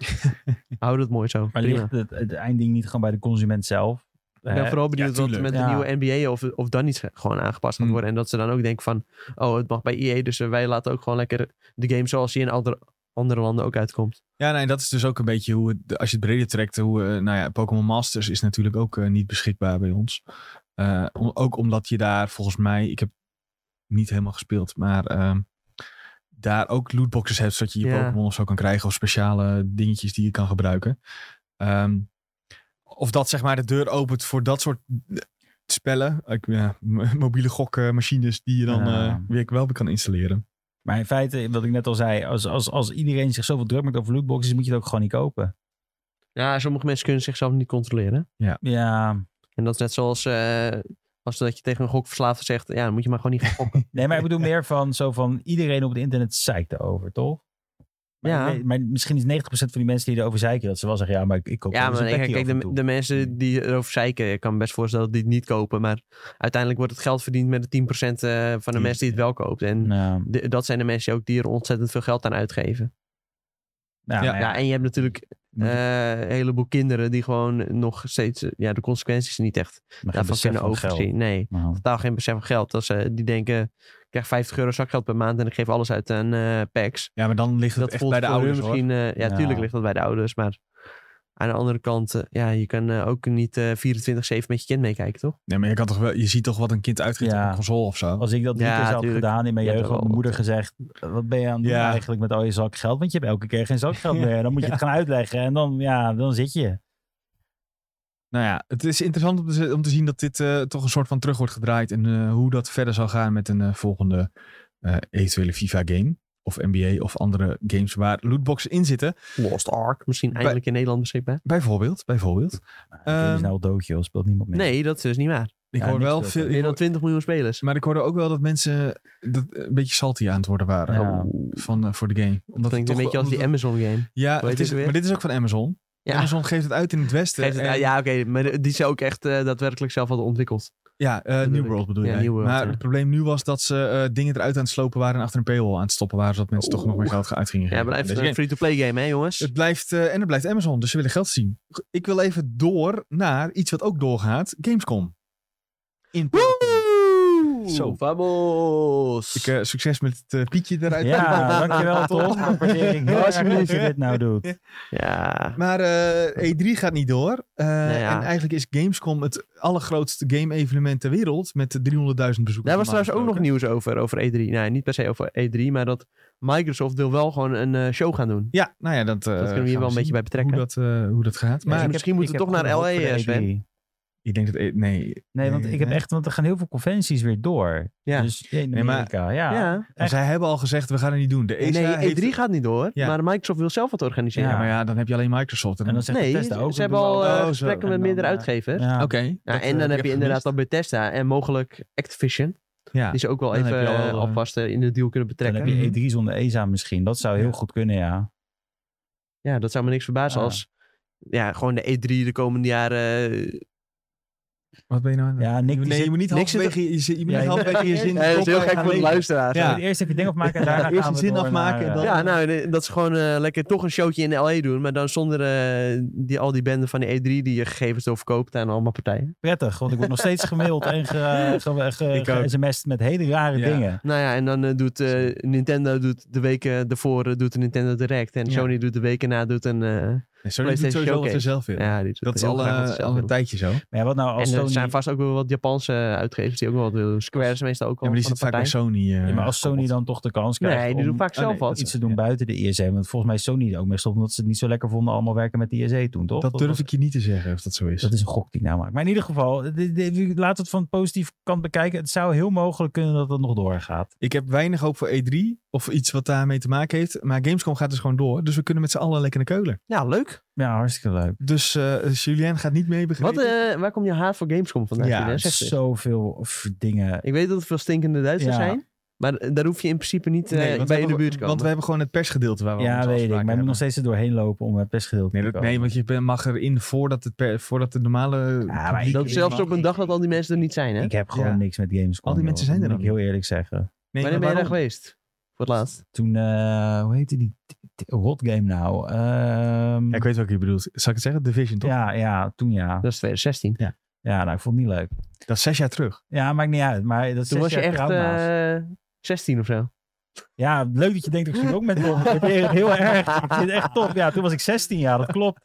houden we het mooi zo. Maar Prima. ligt het, het eindding niet gewoon bij de consument zelf? Ik ben vooral benieuwd wat er tuurlijk. met Ja. de nieuwe NBA of, of dan iets gewoon aangepast gaat Hm. worden. En dat ze dan ook denken van, oh, het mag bij EA. Dus eh, wij laten ook gewoon lekker de game zoals die in andere, andere landen ook uitkomt. Ja, nee, dat is dus ook een beetje hoe het, als je het breder trekt, hoe, eh, nou ja, Pokémon Masters is natuurlijk ook eh, niet beschikbaar bij ons. Eh, om- ook omdat je daar volgens mij, ik heb niet helemaal gespeeld, maar ehm, daar ook lootboxes hebt, zodat je je Ja. Pokémon of zo kan krijgen of speciale dingetjes die je kan gebruiken. Ehm, of dat zeg maar de deur opent voor dat soort eh, spellen, Ik- ja, m- mobiele gokmachines die je dan Ja. eh, weer wel weer kan installeren. Maar in feite, wat ik net al zei, als, als, als iedereen zich zoveel druk maakt over lootboxes, moet je het ook gewoon niet kopen. Ja, sommige mensen kunnen zichzelf niet controleren. Ja. En dat is net zoals eh, als dat je tegen een gokverslaafde zegt, ja, dan moet je maar gewoon niet gaan gokken. Nee, maar ik bedoel meer van, zo van iedereen op het internet zeikt erover, toch? Maar, Ja. ik weet- maar misschien is 90% van die mensen die erover zeiken, dat ze wel zeggen, ja, maar ik, ik koop ja, wel eens maar een kijk, plekje kijk af en de, toe. Hmm. de mensen die erover zeiken, ik kan me best voorstellen dat die het niet kopen. Maar uiteindelijk wordt het geld verdiend met de 10% eh, van de Ja. mensen die het wel koopt. En Nou, de- dat zijn de mensen ook die er ontzettend veel geld aan uitgeven. nou, Ja. Ja, nou ja, en je hebt natuurlijk moet je- eh, een heleboel kinderen die gewoon nog steeds eh, ja, de consequenties niet echt maar geen daarvan besef kunnen van geld. overzien. Nee, Nou, totaal geen besef van geld. Als ze die denken, ik krijg 50 euro zakgeld per maand en ik geef alles uit aan eh packs. Ja, maar dan ligt het dat echt voelt bij de voor hun ouders hoor. misschien. eh, ja, Ja. tuurlijk ligt dat bij de ouders. Maar aan de andere kant, eh, ja, je kan eh, ook niet eh, 24-7 met je kind meekijken, toch? Nee, maar je, kan toch wel, je ziet toch wat een kind uitgeeft Ja. op een console of zo. Als ik dat drie Ja, keer zou hebben tuurlijk. gedaan in mijn Ja, jeugd, dat had mijn wel. moeder gezegd, wat ben je aan het doen Ja. eigenlijk met al je zak geld? Want je hebt elke keer geen zak geld meer. Dan moet je het gaan uitleggen en dan, ja, dan zit je. Nou ja, het is interessant om te, ze- om te zien dat dit eh, toch een soort van terug wordt gedraaid. En eh, hoe dat verder zal gaan met een eh, volgende eh, eventuele FIFA-game. Of NBA of andere games waar lootboxen in zitten. Lost Ark, misschien eindelijk in Nederland beschikbaar. Bijvoorbeeld, bijvoorbeeld. Maar de game is Ehm, nou al dood, joh. Speelt niemand meer. Nee, dat is dus niet waar. Ik Ja, hoor niks wel wil veel... dat. ik Meer dan hoor- 20 miljoen spelers. maar ik hoorde ook wel dat mensen dat een beetje salty aan het worden waren Ja. Oeh, van, eh, voor de game. Omdat dat het klinkt toch- een beetje als die omdat- Amazon game. Ja, het Hoe heet het is, weer? maar dit is ook van Amazon. Ja. Amazon geeft het uit in het westen. Geeft het- en- ja, oké, maar die ze ook echt eh, daadwerkelijk zelf hadden ontwikkeld. Ja, eh, bedoel New ik. World bedoel Ja, je. New World, maar ja. het probleem nu was dat ze eh, dingen eruit aan het slopen waren en achter een paywall aan het stoppen waren, zodat mensen toch nog meer Oeh. geld uit gingen Ja, geven aan blijft eh, deze een game. free-to-play game, hè, jongens? Het blijft, eh, en het blijft Amazon, dus ze willen geld zien. Ik wil even door naar iets wat ook doorgaat, Gamescom. In Zo. vamos! Ik, eh, succes met het eh, pietje eruit. Ja, dankjewel Tom. Waardering. Ja. Alsjeblieft dat je dit nou doet. ja. Maar eh, E3 gaat niet door. Eh, Nou ja. En eigenlijk is Gamescom het allergrootste game-evenement ter wereld met 300.000 bezoekers. Daar was normaal trouwens ook nog gesproken. nieuws over, over E3. Nee, niet per se over E3, maar dat Microsoft wil wel gewoon een eh, show gaan doen. Ja, nou ja, dat, eh, Dat kunnen gaan we hier wel een zien beetje bij betrekken. Hoe dat, eh, hoe dat gaat. maar Maar misschien moeten we Ik toch heb naar gewoon LA, hoop voor de eh, Sven. E3. Ik denk dat. eh, Nee. Nee, want ik heb hè? echt, want er gaan heel veel conventies weer door. Ja. Dus in Nee, maar- Amerika, ja. Ja. En zij hebben al gezegd: we gaan het niet doen. De Nee, ESA E3 eh, heeft- gaat niet door, Ja. maar Microsoft wil zelf wat organiseren. Ja, maar ja, dan heb je alleen Microsoft. En En dan zegt nee, Bethesda ook. ze hebben al eh, Oh, zo. gesprekken En met dan, meerdere eh, uitgevers. Ja. Oké. Nou, dat, en eh, dan heb heb ik je inderdaad gemist. al Bethesda en mogelijk Activision. Ja. Die ze ook wel Dan heb even je al, eh, eh, alvast eh, in de deal kunnen Dan betrekken. heb je E3 zonder ESA misschien. Dat zou heel Ja. goed kunnen, ja. Ja, dat zou me niks verbazen Ja. als ja, gewoon de E3 de komende jaren... eh, Wat ben je nou aan het Ja, Nick, die Nee, zit- je moet niet niks halverwege je, zin- je, moet Ja, niet je- halverwege je zin. ja, dat eh, is heel kop gek gaan voor de lezen. luisteraars. Ja. moet Eerst even je ding afmaken en daarna Eerst gaan die we zin door afmaken naar, en dan- eh, Ja, nou, dus- de- dat ze gewoon eh, lekker toch een showtje in LA doen. Maar dan zonder eh, die, al die benden van de E3 die je gegevens door verkoopt aan allemaal partijen. prettig, want ik word nog steeds gemaild en ge, ge, ge, Ik ook. ge- sms'd met hele rare Ja. dingen. Nou ja, en dan eh, doet eh, Nintendo doet de weken daarvoor eh, doet de Nintendo Direct. En Ja. Sony doet de weken na doet een, eh, Nee, Sony doet PlayStation sowieso wat ze Showcase. zelf willen. Ja, die Dat is heel al, graag wat ze eh, zelf al een doen. tijdje zo. Ja, Maar ja, wat nou als En er Sony... zijn vast ook wel wat Japanse eh, uitgevers die ook wel wat willen doen. Square is meestal ook wel maar die van zit de vaak bij partij. Sony. eh, Ja, maar als Sony gekoppeld. dan toch de kans krijgt Nee, die om Oh, doen vaak Ah, nee, zelf dat wat. iets te doen Ja. buiten de ISE. Want volgens mij is Sony er ook mee gestopt omdat ze het niet zo lekker vonden allemaal werken met de ISE toen, toch? Dat durf ik je niet te zeggen of dat zo is. Dat is een gok die ik nou maak. Maar in ieder geval, dit- dit- laten we het van de positieve kant bekijken. Het zou heel mogelijk kunnen dat het nog doorgaat. Ik heb weinig hoop voor E3 of iets wat daarmee te maken heeft. Maar Gamescom gaat dus gewoon door. Dus we kunnen met z'n allen lekker naar Keulen. Ja, Nou, leuk. Ja, hartstikke leuk. Dus eh, Julien gaat niet mee Wat, begrijpen. eh, waar komt je haat voor Gamescom vandaan? Ja, Julien? Zeg eens. Zoveel f- dingen. Ik weet dat er veel stinkende Duitsers Ja. zijn. Maar eh, daar hoef je in principe niet eh, Nee, want we bij in de hebben- buurt te komen. Want we hebben gewoon het persgedeelte waar we Ja, onze weet ik. Maar afspraken je moet nog hebben. steeds er doorheen lopen om het persgedeelte Nee, te dat, komen. nee, want je ben- mag erin voordat, het per- voordat de normale... maar publiek dat erin zelfs mag. op een dag dat al die mensen er niet zijn, hè? Ik heb gewoon Ja. niks met Gamescom. Al die mensen joh. zijn er Moet ik dan heel eerlijk zeggen. Nee, Wanneer ben je maar daar waarom? geweest? Voor het laatst. Toen, eh, hoe heette die t- t- rot game nou? Ehm, Ja, ik weet welke je bedoelt. Zal ik het zeggen? Division, toch? ja, ja, toen ja. Dat is 2016. Ja, nou, ik vond het niet leuk. Dat is zes jaar terug. Ja, maakt niet uit. Maar dat Toen zes was je jaar echt trauma's. eh 16 of zo. Ja, leuk dat je denkt, ik zit ook met Bob. Ik waardeer het heel erg. Ik vind het echt top. Ja, toen was ik 16 jaar, dat klopt.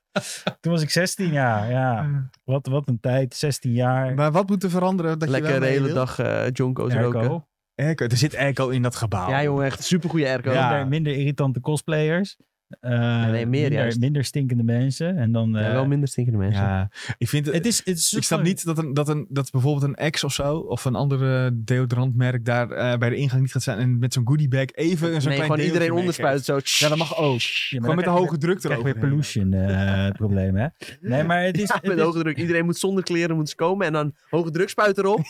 Toen was ik 16 jaar, ja. Wat, wat een tijd, 16 jaar. Maar wat moet er veranderen? Dat je Lekker wel de mee hele wil? dag eh Jonko's roken. Erco. Airco. Er zit airco in dat gebouw. Ja jongen, echt supergoeie airco. Ja. Minder, minder irritante cosplayers. Eh, nee, meer minder, juist. minder stinkende mensen. En dan... Ja, eh, wel minder stinkende mensen. Ja. Ik vind het... het is, het is Ik snap niet dat, een, dat, een, dat bijvoorbeeld een ex of zo, of een andere deodorantmerk daar eh, bij de ingang niet gaat staan en met zo'n goodiebag even zo'n nee, klein gewoon iedereen deeltje onderspuit meegeeft. zo. Ja, dat mag ook. Ja, maar Gewoon met de dan hoge druk krijg je weer- krijg je erover. weer pollution eh, probleem, hè? Nee, maar het is... Ja, het met is- hoge druk. Iedereen moet zonder kleren moeten ze komen. En dan hoge drukspuit erop.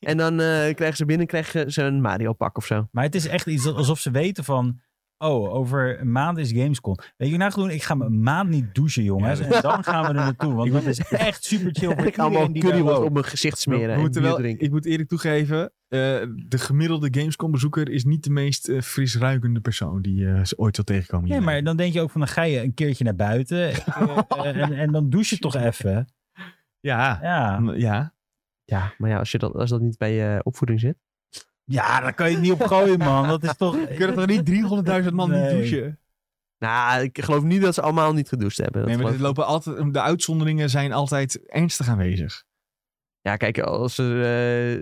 en dan eh, krijgen ze binnen krijgen ze een Mario pak of zo. Maar het is echt iets dat- alsof ze weten van... Oh, over een maand is Gamescom. Weet je wat ik nou ga doen? Ik ga me een maand niet douchen, jongens. Ja, dat- En dan gaan we er naartoe. Want dat is echt super chill voor Ik allemaal iedereen die daar curry woont. op mijn gezicht smeren We en moeten bier wel, drinken. ik moet eerlijk toegeven, eh, de gemiddelde Gamescom-bezoeker is niet de meest eh, fris ruikende persoon die eh, ze ooit zal tegenkomen. Nee, hier. maar dan denk je ook van... Dan ga je een keertje naar buiten. eh, eh, en, en dan douche je toch even. Ja, Ja. ja. Ja, maar ja, als, je dat, als dat niet bij je opvoeding zit. ja, daar kan je het niet op gooien, man. Dat is toch... Kunnen toch niet 300.000 man Nee. niet douchen? Nou, ik geloof niet dat ze allemaal niet gedoucht hebben. Dat Nee, maar geloof dit ik. lopen altijd, de uitzonderingen zijn altijd ernstig aanwezig. Ja, kijk, als er... eh,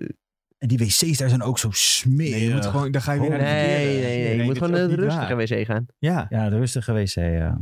En die wc's daar zijn ook zo smerig. Nee, je moet gewoon, dan ga je weer Oh, naar de Nee, nee, verkeerde. nee. Je dat moet is gewoon ook naar niet de rustige waar. wc gaan. Ja, Ja, de rustige wc, ja.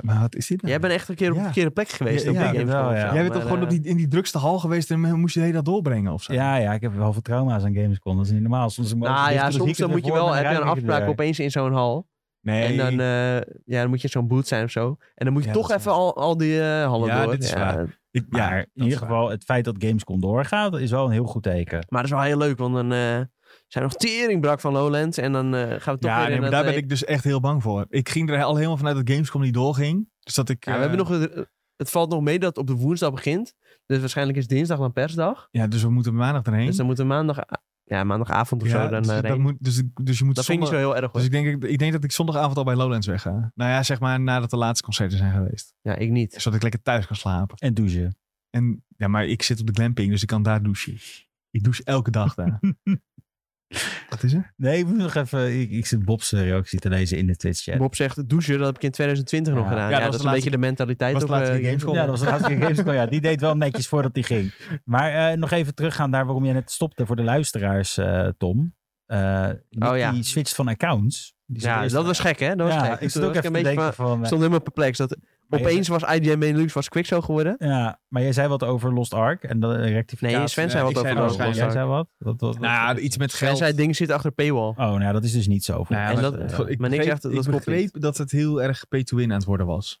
maar wat is dit nou? Jij bent echt een keer op Ja. de verkeerde plek geweest. Ja, op ja, de ik denk Gamescom wel, of ja. zo, Jij bent maar, toch gewoon op eh, die, in die drukste hal geweest en moest je de hele dag doorbrengen of zo? Ja, ja, ik heb wel veel trauma's aan Gamescom. Dat is niet normaal. Soms Nou ja, soms dan moet je wel... Heb je een afspraak opeens in zo'n hal. Nee. En dan, eh, ja, dan moet je in zo'n boot zijn of zo. En dan moet je Ja, toch dat is even al, al die eh hallen Ja, door. dit is waar. ik, ja, Maar in dat ieder is waar. geval, het feit dat Gamescom doorgaat, is wel een heel goed teken. Maar dat is wel heel leuk, want dan eh, zijn we nog teringbrak van Lowlands. En dan eh, gaan we toch Ja, weer nee, in maar dat, daar ben eh, ik dus echt heel bang voor. Ik ging er al helemaal vanuit dat Gamescom niet doorging. Dus dat ik... ja, eh, we hebben nog, een- het valt nog mee dat het op de woensdag begint. Dus waarschijnlijk is dinsdag dan persdag. Ja, dus we moeten maandag erheen. Dus dan moeten we maandag, ja, maandagavond of Ja, zo dan dus, eh, dat heen. moet, dus, dus je moet Dat vind ik zondag- niet zo heel erg hoor. Dus ik denk, ik denk dat ik zondagavond al bij Lowlands weg ga. Nou ja, zeg maar nadat de laatste concerten zijn geweest. Ja, ik niet. Zodat ik lekker thuis kan slapen. En douchen. En ja, maar ik zit op de glamping, dus ik kan daar douchen. Ik douche elke dag daar. Wat is er? Nee, ik moet nog even... Ik, ik zit Bob's reactie te lezen in de Twitch-chat. Bob zegt douchen, dat heb ik in 2020 nog Ja. gedaan. Ja, Ja, dat dat, was is de laatste- een beetje de mentaliteit. was de op, laatste eh, Gamescom. Gamescom. Ja, dat was de laatste keer Gamescom. Ja, die deed wel netjes voordat die ging. Maar eh, nog even teruggaan naar waarom jij net stopte voor de luisteraars, eh, Tom. Eh, niet Oh ja. Die switch van accounts. Die Ja, zat eerst- dat was gek hè? Dat was ja, gek. ik Toen zat ook was even een te beetje denken van- van... Ik eh, stond helemaal perplex. Dat Maar je- opeens was IGN Benelux was Quickshow geworden. eh, ja, maar jij zei wat over Lost Ark en de rectificatie. Nee, Sven zei ja, wat ik zei over dat Lost Oh, Ark. jij zei wat? Wat- wat- wat- Nou, iets met Sven geld. zei dingen zitten achter paywall. Oh, nou, dat is dus niet zo. Nou ja, En maar, dat- eh, ja. ik Maar niks begreep, echt, dat ik klopt begreep dat het heel erg pay-to-win aan het worden was.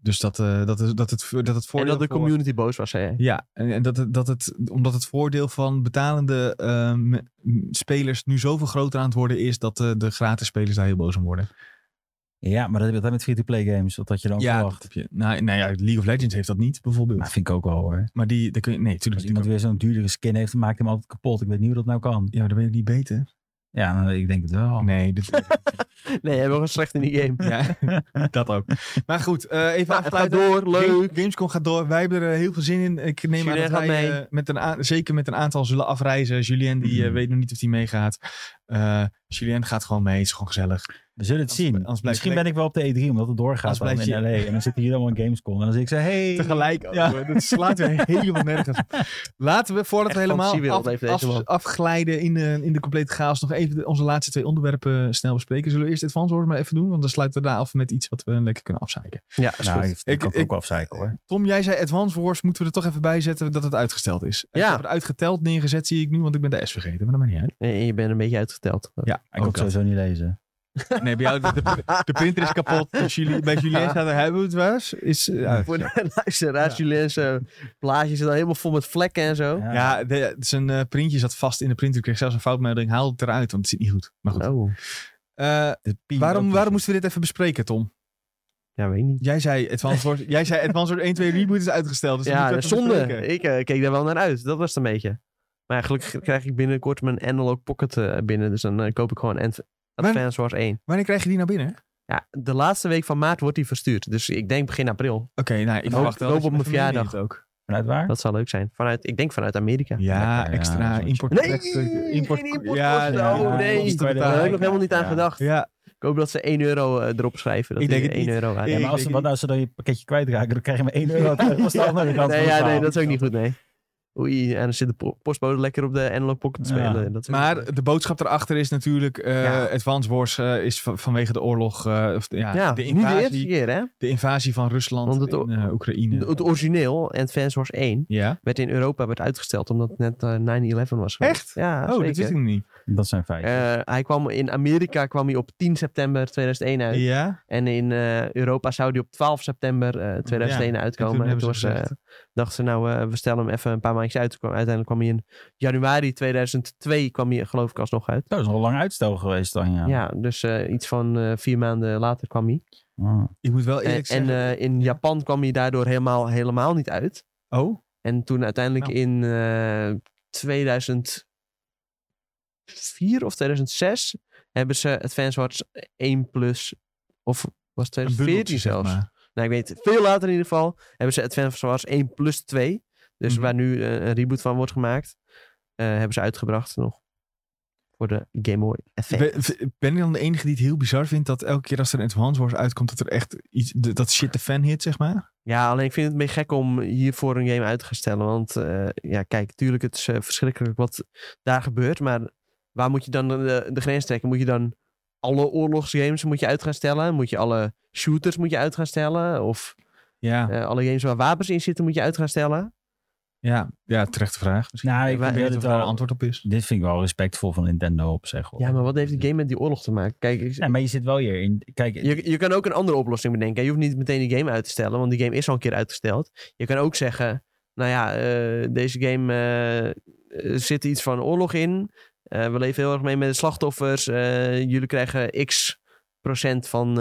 Dus dat, eh, dat, is, dat het, dat het en voordeel... dat de voor- community boos was, zei hij. Ja, en, en dat, het, dat het, omdat het voordeel van betalende ehm, m- spelers nu zoveel groter aan het worden is, dat eh, de gratis spelers daar heel boos om worden. Ja, maar dat heb je dan met free-to-play games. Wat had je dan ja, dat verwacht? heb Oh, je. Nou, nou ja, League of Legends heeft dat niet, bijvoorbeeld. Maar vind ik ook wel hoor. Maar die, daar kun je, nee, natuurlijk. Als iemand weer zo'n duurdere skin heeft, dan maakt hem altijd kapot. Ik weet niet hoe dat nou kan. Ja, maar dan ben je niet beter. Ja, nou, ik denk het wel. Nee, dit, Nee, hij was slecht in die game. ja, dat ook. Maar goed, eh, even Nou, het gaat afsluiten. door, leuk. Game- Gamescom gaat door. Wij hebben er eh, heel veel zin in. Ik neem aan Julien dat gaat wij mee. eh, met een a- zeker met een aantal zullen afreizen. Julien die eh, Mhm. weet nog niet of die meegaat. Eh Julien gaat gewoon mee. Het is gewoon gezellig. We zullen het Als- zien. als blijft Misschien plek- ben ik wel op de E3 omdat het doorgaat Als dan blijft in LA. En dan zitten hier allemaal in Gamescom. En dan zeg ik zo, hey. Tegelijk. ook, Ja. hoor. Dat slaat weer helemaal nergens op. Laten we, voordat we Echt helemaal fantasiewereld af- heeft deze af- man. afglijden in de, in de complete chaos, nog even de- onze laatste twee onderwerpen eh, snel bespreken. Zullen we eerst Advance Wars maar even doen? Want dan sluiten we daar af met iets wat we lekker kunnen afzeiken. Ja, is Nou, goed. ik, ik kan Ik- het ik- ook wel afzeiken hoor. Tom, jij zei Advance Wars, moeten we er toch even bij zetten dat het uitgesteld is. Ik Ja. heb het uitgeteld neergezet, zie ik nu, want ik ben de S vergeten. Maar dat maakt niet uit. En je bent een beetje uitgeteld. Ja, Ik kan het sowieso niet lezen. Nee, bij jou, de, de, de printer is kapot. Dus jullie, bij Julien staat er, hebben we het wel eens? Is, eh, uit. Voor de luisteraars, Ja. jullie zijn blaadje zit al helemaal vol met vlekken en zo. Ja, de- zijn eh, printje zat vast in de printer. Ik kreeg zelfs een foutmelding. Haal het eruit, want het zit niet goed. Maar goed. Oh, Eh, de pie- waarom, ook- waarom moesten we dit even bespreken, Tom? ja, weet ik niet. Jij zei Advanced Wars, jij zei Advanced Wars 1, 2 Reboot is uitgesteld. Dus ja, dat dat moeten we even zonde. bespreken. Ik eh, keek daar wel naar uit. Dat was het een beetje. Maar ja, gelukkig krijg ik binnenkort mijn Analog Pocket eh, binnen. Dus dan eh, koop ik gewoon Adv- Maar- Advance Wars 1. Wanneer krijg je die nou binnen? Oké, Ja, de laatste week van maart wordt die verstuurd. Dus ik denk begin april. nou, ik Hoop- verwacht wel hoop dat je op even mijn meeneemt verjaardag. ook. Vanuit waar? Dat zou leuk zijn. Vanuit, ik denk vanuit Amerika. Ja, Lekker, ja, extra zoiets. import. Nee, rechten, geen importkosten. Ja, Oh, ja, nee. kosten Daar Daar betalen. heb ik nog helemaal niet aan Ja. gedacht. Ja, Ik hoop dat ze 1 euro eh, erop schrijven. Dat Ik denk die het 1 euro waard Ik Ja, is. maar als, denk ze- niet. wat nou als ze dan je pakketje kwijtraken, dan krijg je maar 1 euro. Dat was de andere kant Nee, van het ja, nee, verhaal. dat is ook niet goed, nee. Oei, en dan zit de po- postbode lekker op de analog pocket te Ja. spelen. Dat is ook niet goed. maar de boodschap erachter is natuurlijk... eh Ja. Advanced Wars eh, is van- vanwege de oorlog... eh, of, de- ja, ja, de, niet de eerste invasie, keer, hè? de invasie van Rusland Want het o- in eh, Oekraïne. Het origineel, Advance Wars 1, ja. werd in Europa werd uitgesteld omdat het net eh, 9-11 was. geweest. Echt? Ja, Eh, Oh, dat wist ik nog niet. Dat zijn feiten. hij kwam in Amerika kwam hij op 10 september 2001 uit. Ja? En in eh, Europa zou die op 12 september eh 2001 uitkomen. toen hebben En ze toen was, eh, dachten ze, nou, eh, we stellen hem even een paar maandjes uit. Toen kwam- Uiteindelijk kwam hij in januari 2002, kwam hij, geloof ik, alsnog uit. Dat is nog een lang uitstel geweest dan, ja. Ja, dus eh, iets van eh, vier maanden later kwam hij. Ah. Ik moet wel En, eerlijk en, zeggen... eh, in Japan kwam hij daardoor helemaal, helemaal niet uit. oh? En toen uiteindelijk Nou. in eh 2004 of 2006 hebben ze Advance Wars 1 plus, of was het Een 2014 bundeltje, zeg zelfs. maar. Nou, ik weet veel later in ieder geval hebben ze Advance Wars 1 plus 2. Dus Mhm. waar nu eh, een reboot van wordt gemaakt, eh, hebben ze uitgebracht nog. Voor de Game Boy Advance. Ben, v- ben ik dan de enige die het heel bizar vindt dat elke keer als er een Advance Wars uitkomt, dat er echt iets, de- dat shit de fan hit, zeg maar? Ja, alleen ik vind het een beetje gek om hiervoor een game uit te gaan stellen. Want eh, ja, kijk, tuurlijk, het is eh, verschrikkelijk wat daar gebeurt. Maar waar moet je dan de, de grens trekken? Moet je dan alle oorlogsgames moet je uit gaan stellen? Moet je alle shooters moet je uit gaan stellen? Of Ja, eh, alle games waar wapens in zitten moet je uit gaan stellen? ja, ja terechte vraag. Misschien Nou, ik Wij- probeer weet het of daar een wel. antwoord op is. Dit vind ik wel respectvol van Nintendo op zich. hoor. Ja, maar wat heeft de game met die oorlog te maken? Kijk, ik- Ja, maar je zit wel hier in. Kijk, Je, je kan ook een andere oplossing bedenken. Je hoeft niet meteen die game uit te stellen, want die game is al een keer uitgesteld. Je kan ook zeggen, nou ja, eh, deze game eh, er zit iets van oorlog in. Eh, we leven heel erg mee met de slachtoffers. Eh, jullie krijgen x procent van eh,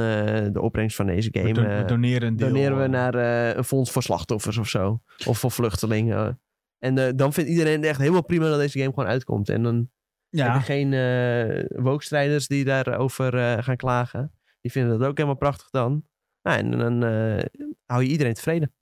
de opbrengst van deze We, game. don- we Eh, doneren een deel. doneren we naar eh, een fonds voor slachtoffers of zo. Of voor vluchtelingen. En eh, dan vindt iedereen het echt helemaal prima dat deze game gewoon uitkomt. En dan ja, heb je geen eh wokstrijders die daarover eh, gaan klagen. Die vinden dat ook helemaal prachtig dan. Nou, en dan eh, hou je iedereen tevreden.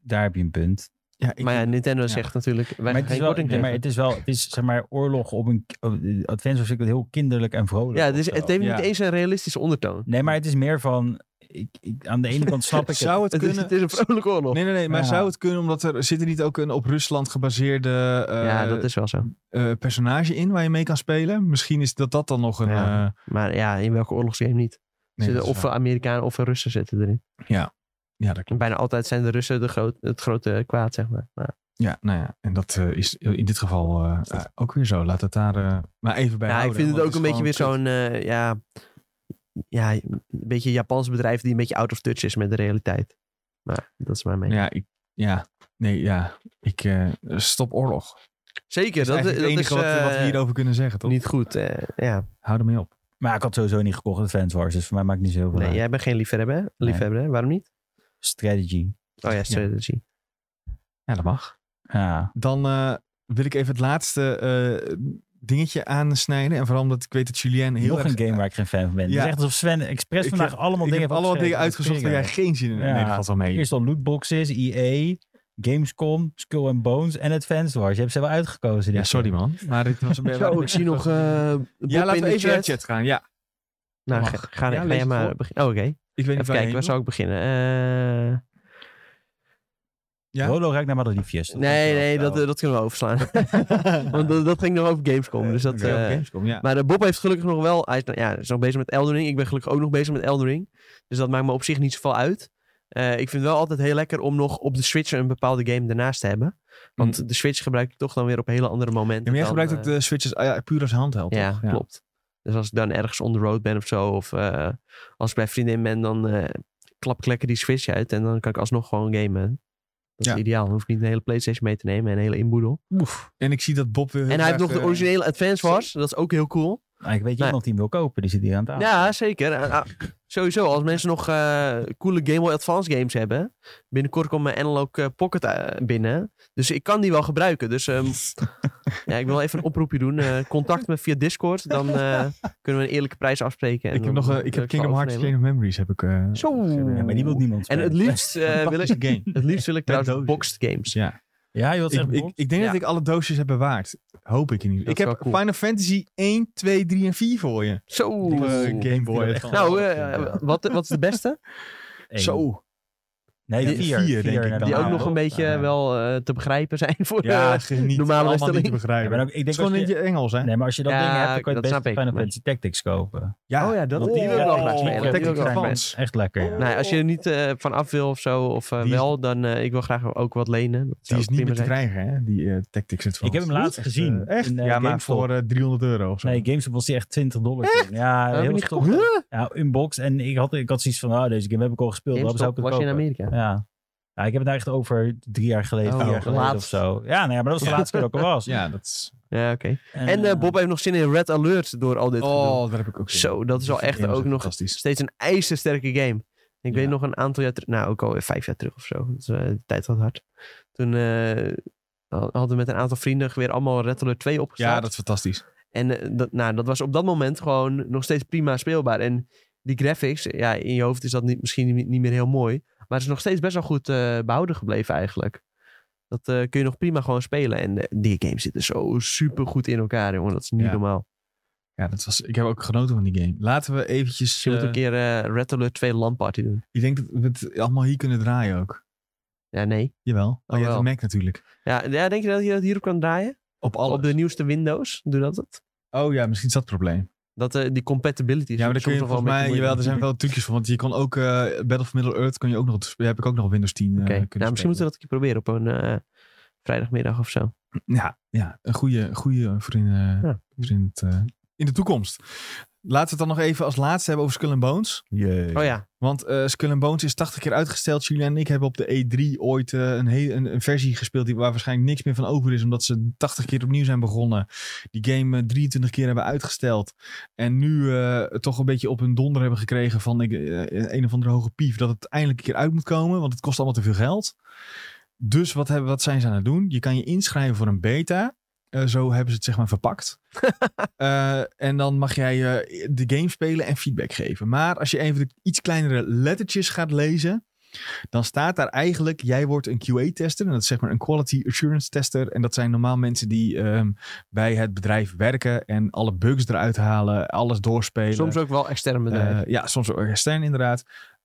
daar heb je een punt. Ja, ik, maar ja, Nintendo ja. zegt natuurlijk, wij Maar gaan het, is geen wel, korting nee, maar geven. het is wel, het is zeg maar oorlog op een. op- eh, Advance was ik dat heel kinderlijk en vrolijk. Ja, of dus zo. het heeft Ja. niet eens een realistische ondertoon. Nee, maar het is meer van. Ik, ik, aan de ene kant snap ik het. zou het, Het is, kunnen... het is een vrolijke oorlog. Nee, nee, nee, maar Ja. zou het kunnen omdat er zit er niet ook een op Rusland gebaseerde eh, ja, dat is wel zo. eh, personage in waar je mee kan spelen? Misschien is dat, dat dan nog een. Ja. eh, Maar ja, in welke oorlogsgame niet? nee, dat zitten is of eh, waar. Amerikanen of Russen zitten erin. ja, dat En klopt. bijna altijd zijn de Russen de groot, het grote kwaad, zeg maar. Nou, Ja, nou ja, en dat eh, is in dit geval eh, eh, ook weer zo. Laat het daar eh, maar even bij. ja, ik houden, vind het want ook een is beetje weer gewoon zo'n, eh, ja, ja, een beetje Japans bedrijf die een beetje out of touch is met de realiteit. Maar dat is mijn mening. Ja, ik, ja, nee, ja. Ik, eh, stop oorlog. Zeker, Dat is dat, eigenlijk dat het is enige wat, wat eh, we hierover kunnen zeggen, toch? niet goed. eh, ja. Hou ermee op. Maar ik had sowieso niet gekocht Advance Wars, dus voor mij maakt niet zo heel veel Nee, uit. jij bent geen liefhebber, hè? liefhebber hè? waarom niet? Strategy. Oh ja, strategy. Ja, dat mag. Ja. Dan eh, wil ik even het laatste eh, dingetje aansnijden. En vooral omdat ik weet dat Julien heel Nog erg... een game waar ik geen fan van ben. Ja. Het is echt alsof Sven expres Ik vandaag heb- allemaal ik dingen heb allemaal dingen uitgezocht waar jij geen zin in hebt. Ja. Nee, dat valt wel mee. Eerst al lootboxes, EA, Gamescom, Skull and Bones en Advance Wars. Je hebt ze wel uitgekozen. Ja, dit sorry man. Maar dit was een Zo, ik zie nog eh Bob Ja, laten in we de even naar chat. de chat gaan. Ja. Nou, Mag. ga, ga, Ja, ga lees jij het maar voor. beginnen. Oh, oké. Ik weet niet Even waar je kijken, waar heen zou ik beginnen? Eh, Ja? Rolo ruikt naar madeliefjes. Dat nee, is wel nee, zo. dat, dat kunnen we overslaan. wil. Want dat, dat ging nog over Gamescom. Dus dat, Oké, op eh, Gamescom, ja. Maar eh, Bob heeft gelukkig nog wel... Hij is, nou ja, is nog bezig met Elden Ring. Ik ben gelukkig ook nog bezig met Elden Ring. Dus dat maakt me op zich niet zoveel uit. Eh, ik vind het wel altijd heel lekker om nog op de Switch een bepaalde game daarnaast te hebben. Want de Switch gebruik ik toch dan weer op hele andere momenten. Mm. Ja, maar jij dan, gebruikt eh, ook de Switch als, ah ja, puur als handheld, ja, toch? klopt. Dus als ik dan ergens on the road ben of zo, of eh, als ik bij vriendin ben, dan eh, klap ik lekker die Switch uit en dan kan ik alsnog gewoon gamen. Dat is Ja. ideaal. Dan hoef ik niet een hele PlayStation mee te nemen en een hele inboedel. Oef. En ik zie dat Bob eh, weer... en hij heeft nog de originele Advance Wars. Dat is ook heel cool. Ah, ik weet Nee. iemand die hem wil kopen, die zit hier aan tafel. Ja, zeker. Eh, ah, sowieso, als mensen nog eh, coole Game Boy Advance games hebben. Binnenkort komt mijn Analog eh, Pocket eh, binnen. Dus ik kan die wel gebruiken. Dus ehm, ja, ik wil even een oproepje doen. Eh, contact me via Discord. Dan eh, kunnen we een eerlijke prijs afspreken. en Ik heb, dan nog, eh, wil ik heb het Kingdom wel Hearts overnemen. Chain of Memories heb ik... eh, Zo. Ja, maar die wil niemand En spelen. het liefst, eh, wil ik, fantastische game. het liefst wil Met ik trouwens dozen. boxed games. Ja. Ja, je wilt Ik, zeggen, ik, Bob? ik denk Ja. dat ik alle doosjes heb bewaard. Hoop ik in ieder Dat geval. Ik is heb wel cool. Final Fantasy 1, 2, 3 en 4 voor je. Zo. Op, eh, Game Boy. echt Advance. Nou, eh, wat, wat is de beste? Eén. Zo. Nee, Die vier. vier, denk ik hebben dan. Die we ook nog wel. een beetje ja. wel eh, te begrijpen zijn voor Ja, eh, geniet. normale Allemaal niet bestelling. te Ja, begrijpen. maar ook, ik Het is denk gewoon als in je, je Engels, hè? nee, maar als je dat Ja, ding hebt, dan kan je dat het best snap ik, Final maar- Fantasy Tactics kopen. Oh ja, dat- Want die die wil ik wel ja, graag die spelen. wil ik Die wil ik wel graag graag spelen. Echt lekker, ja. Nou, als je er niet eh, van af wil of zo, of eh, Die is- wel, dan eh, ik wil graag ook wat lenen. Dat Die zou is ook niet meer prima te zijn. krijgen, hè? Die eh, Tactics Advance. Ik heb hem laatst Echt, gezien. eh, Echt? in, eh, ja, maar GameStop. voor eh, 300 euro of zo. Nee, GameStop was die echt 20 dollar. toen. Ja, eh, Hebben we heel niet stom. gekocht? Ja, unbox. En ik had, ik had zoiets van, ah, deze game heb ik al gespeeld. Waarom zou GameStop ik het was je in kopen? Amerika. Ja. ja, ik heb het nou echt over drie jaar geleden, Oh, vier jaar geleden laatst. of zo. Ja, nou ja, maar dat was de Ja. laatste keer dat ik er was. Ja, dat is... Ja, oké. En eh, eh, Bob heeft nog zin in Red Alert door al dit gedoe. Oh, daar heb ik ook zin in. Zo, dat is wel Die echt game ook nog fantastisch. steeds een ijzersterke game. Ik Ja. weet nog een aantal jaar terug, nou ook al vijf jaar terug of zo. Dus, eh, de tijd gaat hard. Toen eh, hadden we met een aantal vrienden weer allemaal Red Alert 2 opgestart. Ja, dat is fantastisch. En eh, dat, nou, dat was op dat moment gewoon nog steeds prima speelbaar. En die graphics, ja, in je hoofd is dat niet, misschien niet, niet meer heel mooi. Maar het is nog steeds best wel goed eh, behouden gebleven eigenlijk. Dat eh, kun je nog prima gewoon spelen. En eh, die games zitten zo super goed in elkaar, jongen. Dat is niet Ja. normaal. Ja, dat was, ik heb ook genoten van die game. Laten we eventjes... Je moet eh, een keer eh Red Alert 2 LAN party doen. Ik denk dat we het allemaal hier kunnen draaien ook. Ja, nee. Jawel. Oh, je hebt wel. een Mac natuurlijk. Ja, ja, denk je dat je dat hierop kan draaien? Op alles. Op de nieuwste Windows? Doe dat het? Oh ja, misschien is dat het probleem. Dat eh, die compatibility is Ja, maar dan kun soms je nog wel volgens een beetje mij... Jawel, er moeilijk. zijn wel trucjes voor. Want je kon ook... eh Battle for Middle Earth kon je ook nog... op de sp- Heb ik ook nog op Windows 10 eh, Oké, kunnen nou, misschien moeten we dat een keer proberen op een eh, vrijdagmiddag of zo. Ja, ja een goede, goede voor, in, eh, Ja. voor in, het, eh, in de toekomst. Laten we het dan nog even als laatste hebben over Skull and Bones. Oh ja, Want eh Skull and Bones is 80 keer uitgesteld. Julia en ik hebben op de E3 ooit eh, een, he- een, een versie gespeeld die waar waarschijnlijk niks meer van over is. Omdat ze 80 keer opnieuw zijn begonnen. Die game eh, 23 keer hebben uitgesteld. En nu eh, toch een beetje op hun donder hebben gekregen van ik, eh, een of andere hoge pief. Dat het eindelijk een keer uit moet komen. Want het kost allemaal te veel geld. Dus wat, hebben, wat zijn ze aan het doen? Je kan je inschrijven voor een beta. Eh, zo hebben ze het zeg maar verpakt. Eh, en dan mag jij eh, de game spelen en feedback geven. Maar als je even de iets kleinere lettertjes gaat lezen, dan staat daar eigenlijk: jij wordt een QA-tester. En dat is zeg maar een quality assurance tester. En dat zijn normaal mensen die ehm, bij het bedrijf werken en alle bugs eruit halen, alles doorspelen. soms ook wel extern bedrijf. Eh, ja, soms ook extern inderdaad.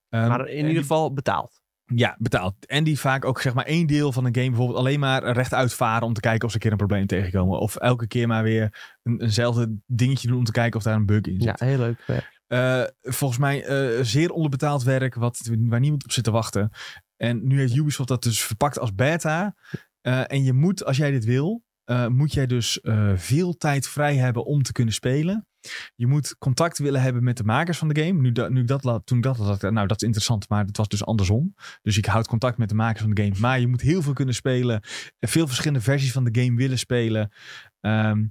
Ehm, maar in en ieder die- geval betaald. ja, betaald. En die vaak ook zeg maar één deel van een game bijvoorbeeld alleen maar rechtuit varen om te kijken of ze een keer een probleem tegenkomen. Of elke keer maar weer een, eenzelfde dingetje doen om te kijken of daar een bug in zit. Ja, heel leuk. werk. Eh, volgens mij eh, zeer onderbetaald werk wat, waar niemand op zit te wachten. En nu heeft Ubisoft dat dus verpakt als beta. Eh, en je moet, als jij dit wil, eh, moet jij dus eh, veel tijd vrij hebben om te kunnen spelen. Je moet contact willen hebben met de makers van de game. Nu, da- nu ik dat la- toen ik dat had, nou dat is interessant, maar het was dus andersom. Dus ik houd contact met de makers van de game. Maar je moet heel veel kunnen spelen. eh, Veel verschillende versies van de game willen spelen. Ehm,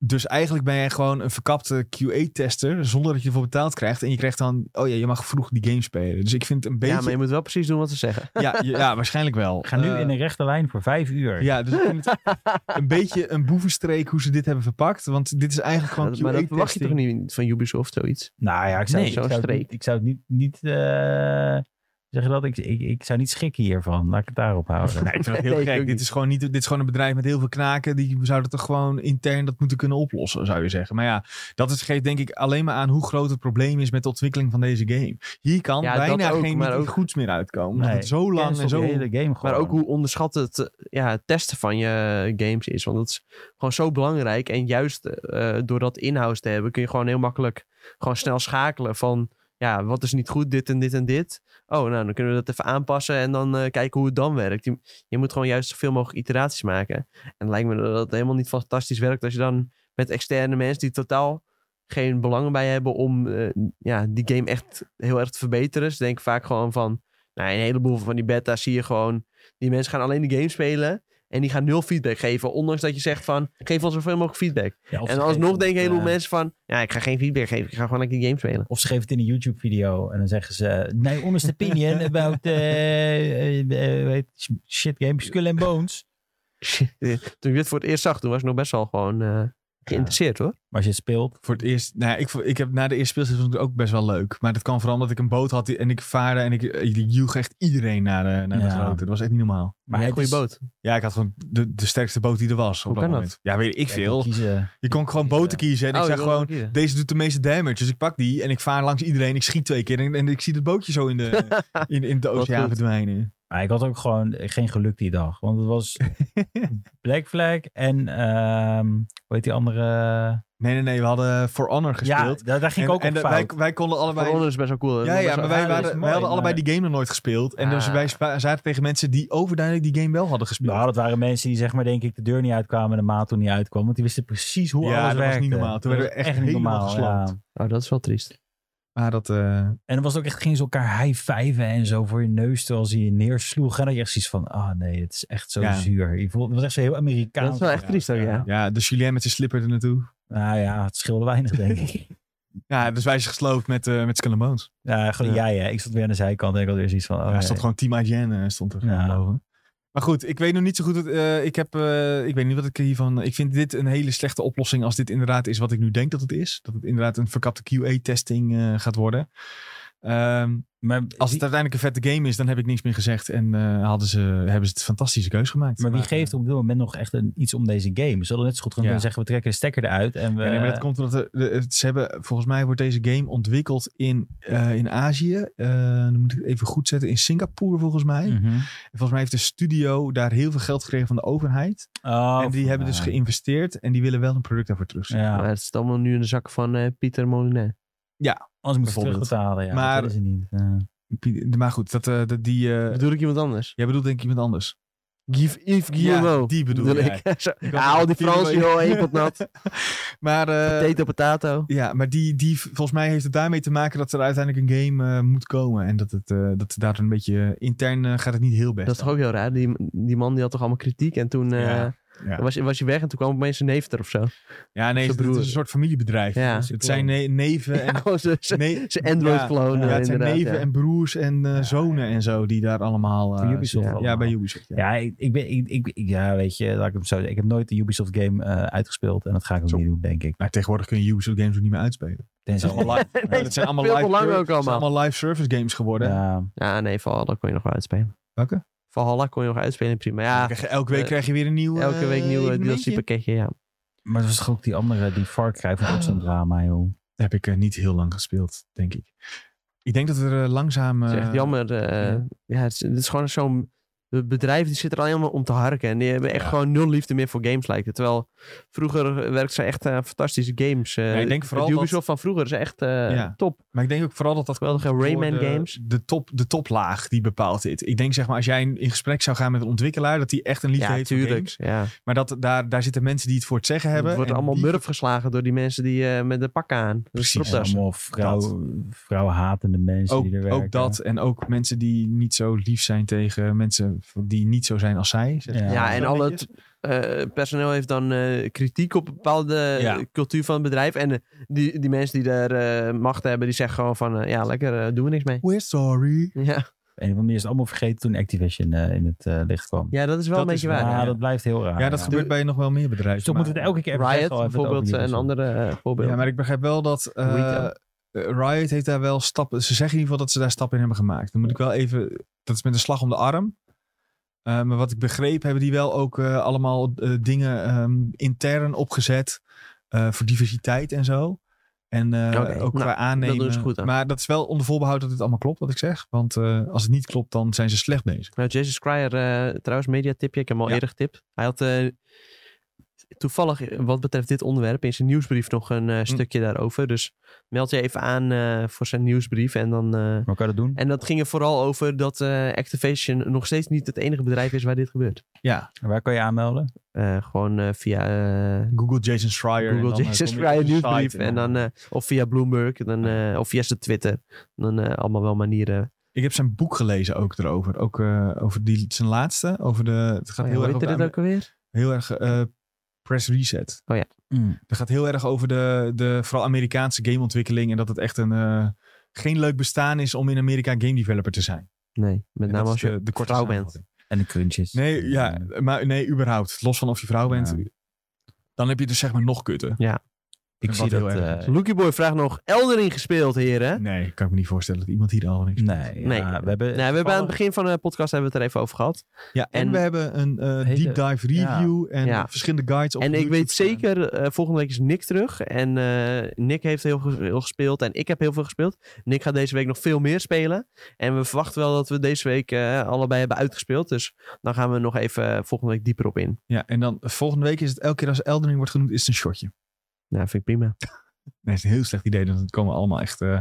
dus eigenlijk ben jij gewoon een verkapte QA-tester zonder dat je ervoor betaald krijgt. En je krijgt dan, oh ja, je mag vroeg die game spelen. Dus ik vind het een beetje... Ja, maar je moet wel precies doen wat ze zeggen. Ja, je- ja, waarschijnlijk wel. Ga nu Eh, in een rechte lijn voor vijf uur. Ja, dus ik vind het een beetje een boevenstreek hoe ze dit hebben verpakt. Want dit is eigenlijk gewoon Dat- maar dat verwacht je toch QA-testing. niet van Ubisoft zoiets? Nou ja, ik zou, Nee, ik zou, zo'n het, streek. niet, ik zou het niet, niet eh, Zeg je dat? Ik, ik, ik zou niet schikken hiervan. Laat ik het daarop Nee, houden. ik vind dat heel Nee, ik ook gek. Dit niet. is, gewoon niet, dit is gewoon een bedrijf met heel veel knaken. Die zouden toch gewoon intern dat moeten kunnen oplossen, zou je zeggen. Maar ja, dat is, geeft denk ik alleen maar aan hoe groot het probleem is met de ontwikkeling van deze game. Hier kan Ja, bijna dat ook, geen maar iets ook- goeds meer uitkomen. Nee, Want zo lang en Cancel zo... die hele game Maar gewoon. ook hoe onderschat het eh, ja, het testen van je games is. Want dat is gewoon zo belangrijk. En juist eh, door dat in-house te hebben, kun je gewoon heel makkelijk gewoon snel schakelen van ja, wat is niet goed, dit en dit en dit. Oh, nou, dan kunnen we dat even aanpassen en dan eh, kijken hoe het dan werkt. Je, je moet gewoon juist zoveel mogelijk iteraties maken. En het lijkt me dat het helemaal niet fantastisch werkt als je dan met externe mensen die totaal geen belang bij hebben om eh, ja, die game echt heel erg te verbeteren. Ze denken vaak gewoon van, nou, een heleboel van die beta's zie je gewoon, die mensen gaan alleen de game spelen en die gaan nul feedback geven. Ondanks dat je zegt van, geef ons zoveel mogelijk feedback. Ja, of En ze alsnog geven denken het, heel veel eh, mensen van... Ja, ik ga geen feedback geven. Ik ga gewoon lekker die game spelen. Of ze geven het in een YouTube-video en dan zeggen ze... My honest opinion about eh eh, eh, hoe heet het? shit games, Skull and Bones. toen ik dit voor het eerst zag, toen was ik nog best wel gewoon eh, geïnteresseerd hoor. Maar als je het speelt... Voor het eerst, nou ja, ik, vo- ik heb na de eerste speelsessie vond ik het ook best wel leuk. Maar dat kwam vooral omdat ik een boot had die- en ik vaarde en ik, ik joeg echt iedereen naar de, naar de Ja. grote. Dat was echt niet normaal. Maar een het goede is- boot. Ja, ik had gewoon de, de sterkste boot die er was op Hoe dat kan dat? moment. Ja, weet ik ja, je kan veel. Kiezen. Je kon gewoon boten kiezen en ik Oh, je zei wil gewoon... wel kiezen. Deze doet de meeste damage, dus ik pak die en ik vaar langs iedereen. Ik schiet twee keer en, en ik zie het bootje zo in de, in, in de oceaan goed. verdwijnen. Maar ik had ook gewoon geen geluk die dag. Want het was Black Flag en... ehm, hoe heet die andere... Nee, nee, nee. We hadden eh, For Honor gespeeld. Ja, daar, daar ging en ik ook en op dat- fout. wij, wij konden allebei... Voor ons is best wel cool. Ja, ja, maar wij, ja, dat waren, is wij mooi, hadden allebei maar- die game nog nooit gespeeld. En dus Ah. wij spa- zaten tegen mensen die overduidelijk die game wel hadden gespeeld. Nou, dat waren mensen die zeg maar denk ik de deur niet uitkwamen en de maat toen niet uitkwam. Want die wisten precies hoe Ja, alles dat was werkte. niet normaal. Toen Dat werden we was echt helemaal gesloopt. ja. Oh, dat is wel triest. Maar dat... eh, En dan was het ook echt, gingen ze elkaar high-fiven en zo voor je neus terwijl ze je neersloegen. En dan had je echt zoiets van, ah nee, het is echt zo Ja. zuur. Je voelt, het was echt zo heel Amerikaans. Dat is wel echt triest ook, ja. ja, de Julien met zijn slipper er naartoe. Nou ja, het scheelde weinig denk ik. Ja, dus wij zijn gesloopt met, eh met Skull and Bones. ja, gewoon, ja. ja, ik stond weer aan de zijkant en ik had weer zoiets van, oh ja, nee. stond gewoon Team IGN eh, stond er. Ja. boven. Maar goed, ik weet nog niet zo goed. Wat, eh, ik, heb, eh, ik weet niet wat ik hiervan. Ik vind dit een hele slechte oplossing. Als dit inderdaad is wat ik nu denk dat het is. Dat het inderdaad een verkapte QA-testing eh, gaat worden. Ehm, Maar, als wie, het uiteindelijk een vette game is, dan heb ik niks meer gezegd. En eh, hadden ze, hebben ze het fantastische keus gemaakt. maar wie eh, geeft op dit moment nog echt een, iets om deze game? Ze hadden net zo goed gewoon Ja. kunnen zeggen, we trekken de stekker eruit. En we, Ja, nee, maar dat komt omdat er- de- het- ze hebben, volgens mij wordt deze game ontwikkeld in, eh, in Azië. Eh, dan moet ik het even goed zetten. In Singapore volgens mij. Mhm. En volgens mij heeft de studio daar heel veel geld gekregen van de overheid. Oh, en die hebben dus vandaar. geïnvesteerd en die willen wel een product daarvoor terugzien. Ja. Maar het zit allemaal nu in de zakken van eh, Pieter Molinet. Anders moet je het Bijvoorbeeld. terugbetalen. Ja, Maar- maar, dat is niet. Ja. Pie- Maar goed, dat, eh, dat die. eh, Bedoel ik iemand anders? jij bedoelt denk ik iemand anders. Give Yves Guillemot. Ja, die bedoel jij. ik. Zo, Ik had- haal die Frans, Guillemot. joh, één pot nat. Maar. eh, Potato, potato. ja, maar die, die, volgens mij heeft het daarmee te maken dat er uiteindelijk een game eh, moet komen. En dat het eh, dat daar een beetje eh, intern eh, gaat het niet heel best. Dat is toch ook heel raar. Die, die man die had toch allemaal kritiek en toen eh, Ja, ja. Was, was je weg en toen kwam opeens zijn neef er of zo. Ja, nee, Zijn het, het broer. is een soort familiebedrijf. Ja. Dus het zijn ne- neven en. Gewoon zijn- zijn nee, zijn Ja. Android-clone. ja, eh, het zijn inderdaad, neven ja. en broers en eh, zonen en zo die daar allemaal. eh, Bij Ubisoft zitten. Ja, allemaal. bij Ubisoft. Ja. Ja, ik, ik ben, ik, ik- ik- ja, weet je, laat ik hem zo zeggen. Ik heb nooit de Ubisoft game eh, uitgespeeld en dat ga ik ook Zo. niet doen, denk ik. Maar tegenwoordig kun je Ubisoft games ook niet meer uitspelen. Tenzij allemaal live, Nee, dat zijn allemaal veel live, te lang ser- ook zijn allemaal. allemaal live service games geworden. Ja, Ja, nee, Valhalla kon je nog wel uitspelen. Welke? Valhalla kon je nog uitspelen, prima. Dan Ja, krijg je- elke week eh, krijg je weer een nieuw. elke eh, week nieuw eh, evenementje. DLC-pakketje, ja. maar dat was toch ook die andere, die Far Cry van ook Ah. zo'n drama, joh. Heb ik eh, niet heel lang gespeeld, denk ik. Ik denk dat er eh, langzaam. Het is eh, echt jammer. eh, ja. ja, het, is, het is gewoon zo'n het bedrijf die zit er al helemaal om te harken. En die hebben echt Ja. gewoon nul liefde meer voor games, lijkt het. Terwijl vroeger werkten ze echt aan fantastische games. eh, ik denk het vooral dat- Ubisoft van vroeger is echt eh, Ja. top. Maar ik denk ook vooral dat dat Geweldige komt door Rayman de- games. De, top, de toplaag die bepaalt dit. Ik denk zeg maar als jij in, in gesprek zou gaan met een ontwikkelaar dat die echt een liefde Ja, heeft voor tuurlijk. games. Ja. Maar dat, daar, daar zitten mensen die het voor het zeggen hebben. Het wordt en allemaal die- murf geslagen door die mensen die eh, met de pakken aan. Dus Precies. klopt En dat. allemaal vrouw, vrouwhatende mensen Ook, die er werken. ook dat. En ook mensen die niet zo lief zijn tegen mensen die niet zo zijn als zij. zeg Ja. maar. Ja, en Zo al netjes. het eh, personeel heeft dan eh, kritiek op bepaalde Ja. cultuur van het bedrijf. En eh, die, die mensen die daar eh, macht hebben, die zeggen gewoon van... eh, ja, lekker, eh, doen we niks mee. We're sorry. Ja, En van manier is het allemaal vergeten toen Activision eh, in het eh, licht kwam. ja dat is wel Dat een beetje is waar. waar, ja. Ja, dat blijft heel raar. Ja, dat ja. gebeurt bij nog wel meer bedrijven. Dus toch maar- moeten we het elke keer even Riot zeggen, oh, even het bijvoorbeeld, over een Ubisoft. andere eh, voorbeeld. Ja, maar ik begrijp wel dat eh, Retail. eh, Riot heeft daar wel stappen. Ze zeggen in ieder geval dat ze daar stappen in hebben gemaakt. Dan moet ik wel even. Dat is met een slag om de arm. Eh, maar wat ik begreep, hebben die wel ook eh, allemaal eh, dingen ehm, intern opgezet. eh, voor diversiteit en zo. En eh, Oké, ook nou, qua aannemen. dat doen ze goed aan. Maar dat is wel onder voorbehoud dat dit allemaal klopt, wat ik zeg. Want eh, als het niet klopt, dan zijn ze slecht bezig. Nou, Jason Cryer, eh, trouwens, mediatipje. Ik heb hem al Ja. eerder getipt. Hij had eh, toevallig, eh, wat betreft dit onderwerp, in zijn nieuwsbrief nog een eh, Hm. stukje daarover. Dus meld je even aan eh, voor zijn nieuwsbrief. En, dan, eh, Maar kan je dat doen? en dat ging er vooral over dat eh, Activation nog steeds niet het enige bedrijf is waar dit gebeurt. Ja, En waar kan je aanmelden? Eh, gewoon eh, via eh, Google Jason Schreier. en Google dan, eh, Jason kom je op Cryer de site nieuwsbrief. En dan, eh, of via Bloomberg. Dan, eh, of via zijn Twitter. Dan eh, allemaal wel manieren. Ik heb zijn boek gelezen ook erover. Ook eh, over die, zijn laatste. Over de, het gaat Oh ja, heel, hoe erg heette over dit de- ook alweer? heel erg eh, press reset. Het gaat heel erg over de, de vooral Amerikaanse gameontwikkeling. En dat het echt een, eh, geen leuk bestaan is om in Amerika game developer te zijn. Nee, met En name dat als is je de, de korte vrouw bent. samenvatting. En de crunches. Nee, ja, maar nee, überhaupt. Los van of je vrouw bent. Ja. Dan heb je dus zeg maar nog kutten. Ik Wat zie heel dat... erg is. eh, Lucky Boy vraagt nog Elden Ring gespeeld, heren. Nee, kan ik me niet voorstellen dat iemand hier al niks Mm. nee, Nee. ja, we hebben... Nou, we hebben aan het begin van de podcast hebben we het er even over gehad. Ja, en, En- we hebben een eh, Hele- deep dive review en Ja. verschillende guides op en ik YouTube weet staan. zeker, eh, volgende week is Nick terug. En eh, Nick heeft heel ge- veel gespeeld en ik heb heel veel gespeeld. Nick gaat deze week nog veel meer spelen. En we verwachten wel dat we deze week eh, allebei hebben uitgespeeld. Dus dan gaan we nog even eh, volgende week dieper op in. Ja, en dan volgende week is het elke keer als Elden Ring wordt genoemd, is het een shotje. Nou, vind ik prima. Nee, het is een heel slecht idee. Dan komen we allemaal echt eh,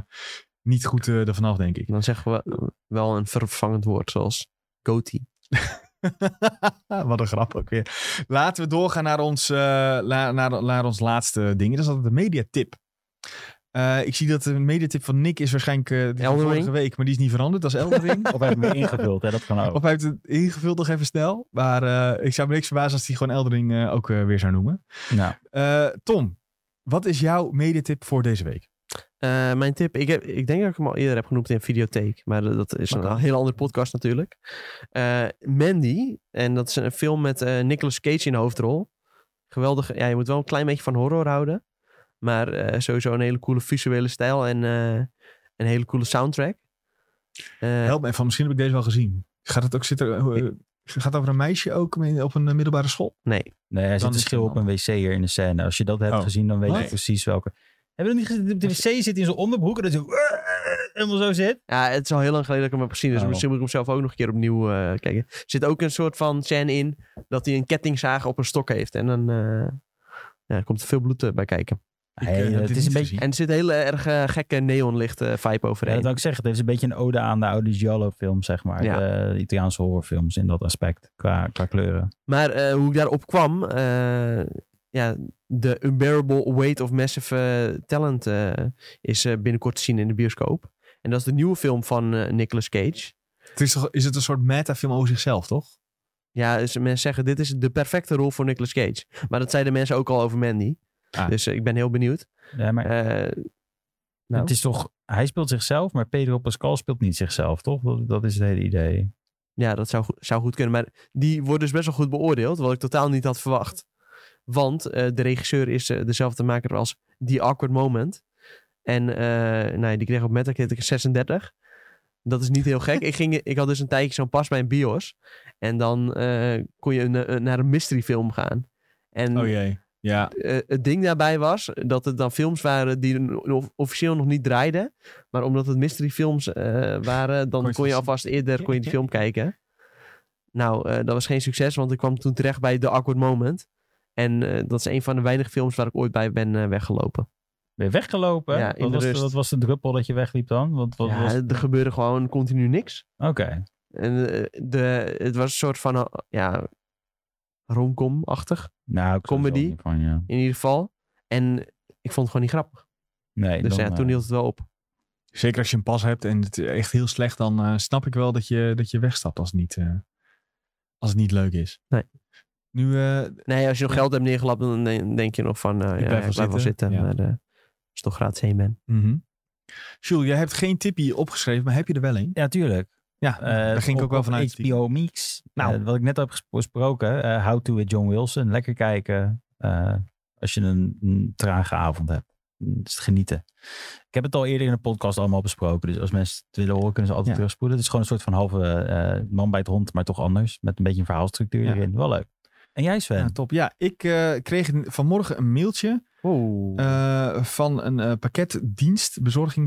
niet goed eh ervan af, denk ik. Dan zeggen we eh, wel een vervangend woord zoals goatee. Wat een grap ook weer. Laten we doorgaan naar ons, eh, la- naar, naar ons laatste ding. Dat is altijd de mediatip. Eh, ik zie dat de mediatip van Nick is waarschijnlijk eh, die van Elden vorige Ring. week, maar die is niet veranderd. Dat is Elden Ring. Of we hebben hem ingevuld, hè? dat kan ook. Of hij heeft het ingevuld nog even snel. Maar eh, ik zou me niks verbazen als hij gewoon Elden Ring eh, ook eh, weer zou noemen. Nou, Eh, Tom, wat is jouw mediatip voor deze week? Eh, mijn tip, ik, heb, ik denk dat ik hem al eerder heb genoemd in Videotheek. Maar dat- dat is een Makkelijk. heel andere podcast natuurlijk. Eh, Mandy, en dat is een film met eh, Nicolas Cage in de hoofdrol. Geweldig, ja, je moet wel een klein beetje van horror houden. Maar eh, sowieso een hele coole visuele stijl en eh, een hele coole soundtrack. Eh, Help me even, misschien heb ik deze wel gezien. Gaat het ook zitten... eh, gaat het over een meisje ook op een eh, middelbare school? nee, nee, er Dan zit een is schil het op een wc hier in de scène. Als je dat hebt Oh. gezien, dan weet je Nee. precies welke. Hebben we dat niet gezien? De wc zit in zijn onderbroek en dat hij zo- helemaal zo zit. ja, het is al heel lang geleden dat ik hem heb gezien. Dus Oh. misschien moet ik hem zelf ook nog een keer opnieuw eh, kijken. Er zit ook een soort van scène in dat hij een kettingzaag op een stok heeft. En dan eh, ja, komt er veel bloed eh, bij kijken. Ik, eh, Hey, heb dit het is niet een beetje... gezien. En er zit een hele erg eh, gekke neonlicht eh, vibe Ja, overheen. dat wil ik zeggen. Het heeft een beetje een ode aan de oude Giallo-film, zeg maar. Ja. De eh, Italiaanse horrorfilms in dat aspect, qua, qua kleuren. Maar eh, hoe ik daarop kwam, eh, ja, de Unbearable Weight of Massive eh, Talent eh, is eh, binnenkort te zien in de bioscoop. En dat is de nieuwe film van eh, Nicolas Cage. Het is, toch, is het een soort metafilm over zichzelf, toch? Ja, dus mensen zeggen dit is de perfecte rol voor Nicolas Cage. Maar dat zeiden mensen ook al over Mandy. Ah. Dus eh, ik ben heel benieuwd. Ja, maar Eh, nou. het is toch... Hij speelt zichzelf, maar Pedro Pascal speelt niet zichzelf, toch? Dat, dat is het hele idee. Ja, dat zou, goed- zou goed kunnen. Maar die wordt dus best wel goed beoordeeld, wat ik totaal niet had verwacht. Want eh, de regisseur is eh, dezelfde maker als The Awkward Moment. En eh, nou, ja, die kreeg op Metacritic een 36. Dat is niet heel gek. ik, ging, ik had dus een tijdje zo'n pas bij een bios. En dan eh, kon je een- een- naar een mysteryfilm gaan. Mm. En Oh jee. Ja. eh, het ding daarbij was dat het dan films waren die n- of- officieel nog niet draaiden. Maar omdat het mysteryfilms eh, waren, dan Kon je kon het je, zien. alvast eerder kon je die film kijken. Nou, eh, dat was geen succes, want ik kwam toen terecht bij The Awkward Moment. En eh, dat is een van de weinige films waar ik ooit bij ben eh, weggelopen. Ben je weggelopen? Ja, in wat, de was de, rust. wat was de druppel dat je wegliep dan? Wat, wat ja, was... Er gebeurde gewoon continu niks. Oké. En, eh, de, het was een soort van, eh, ja, romcom-achtig Nou, ik zou er Comedy. ook niet Van, ja. in ieder geval. En ik vond het gewoon niet grappig. Nee, Dus dan, ja, eh, toen hield het wel op. Zeker als je een pas hebt en het echt heel slecht, dan eh, snap ik wel dat je, dat je wegstapt als het niet, eh, als het niet leuk is. Nee. Nu, eh, Nee, als je nog geld hebt neergelapt, dan de- denk je nog van, eh, ja, ik blijf blijf wel wel zitten. zitten. Ja. Maar eh, als je toch gratis heen bent. mhm. Jules, jij hebt geen tipje opgeschreven, maar heb je er wel een? Ja, tuurlijk. Ja, Eh, daar ging ik ook op- wel op vanuit. HBO Mix. Nou. Nou. wat ik net heb gesp- besproken. eh, How to with John Wilson. Lekker kijken eh, als je een, een trage avond hebt. het is genieten. Ik heb het al eerder in een podcast allemaal besproken. Dus als mensen het willen horen, kunnen ze altijd Ja. terugspoelen. Het is gewoon een soort van halve eh, man bij het hond, maar toch anders. Met een beetje een verhaalstructuur Ja. erin. Wel leuk. En jij Sven? Ja, top. Ja, ik eh, kreeg vanmorgen een mailtje Wow. eh, van een eh, pakketdienst,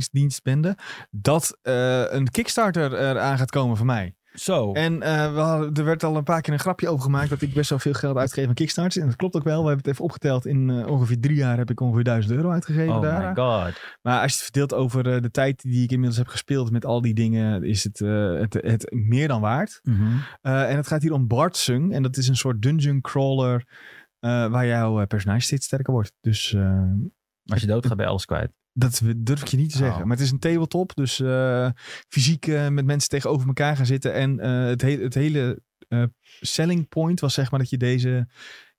bezorgingsdienstbende, dat eh, een Kickstarter eraan gaat komen van mij. Zo. En eh, we hadden- er werd al een paar keer een grapje over gemaakt dat ik best wel veel geld uitgeef aan Kickstarters. En dat klopt ook wel. We hebben het even opgeteld. In eh, ongeveer drie jaar heb ik ongeveer 1000 euro uitgegeven oh daar. my god. Maar als je het verdeelt over eh, de tijd die ik inmiddels heb gespeeld met al die dingen, is het, eh, het, het meer dan waard. Eh, en het gaat hier om Bartsung. En dat is een soort dungeon crawler eh, waar jouw eh, personage steeds sterker wordt. Dus eh, Als je dood gaat, bij alles kwijt. dat we- durf ik je niet te Oh. zeggen. Maar het is een tabletop. Dus eh, fysiek eh, met mensen tegenover elkaar gaan zitten. En eh, het, he- het hele eh, selling point was zeg maar dat je deze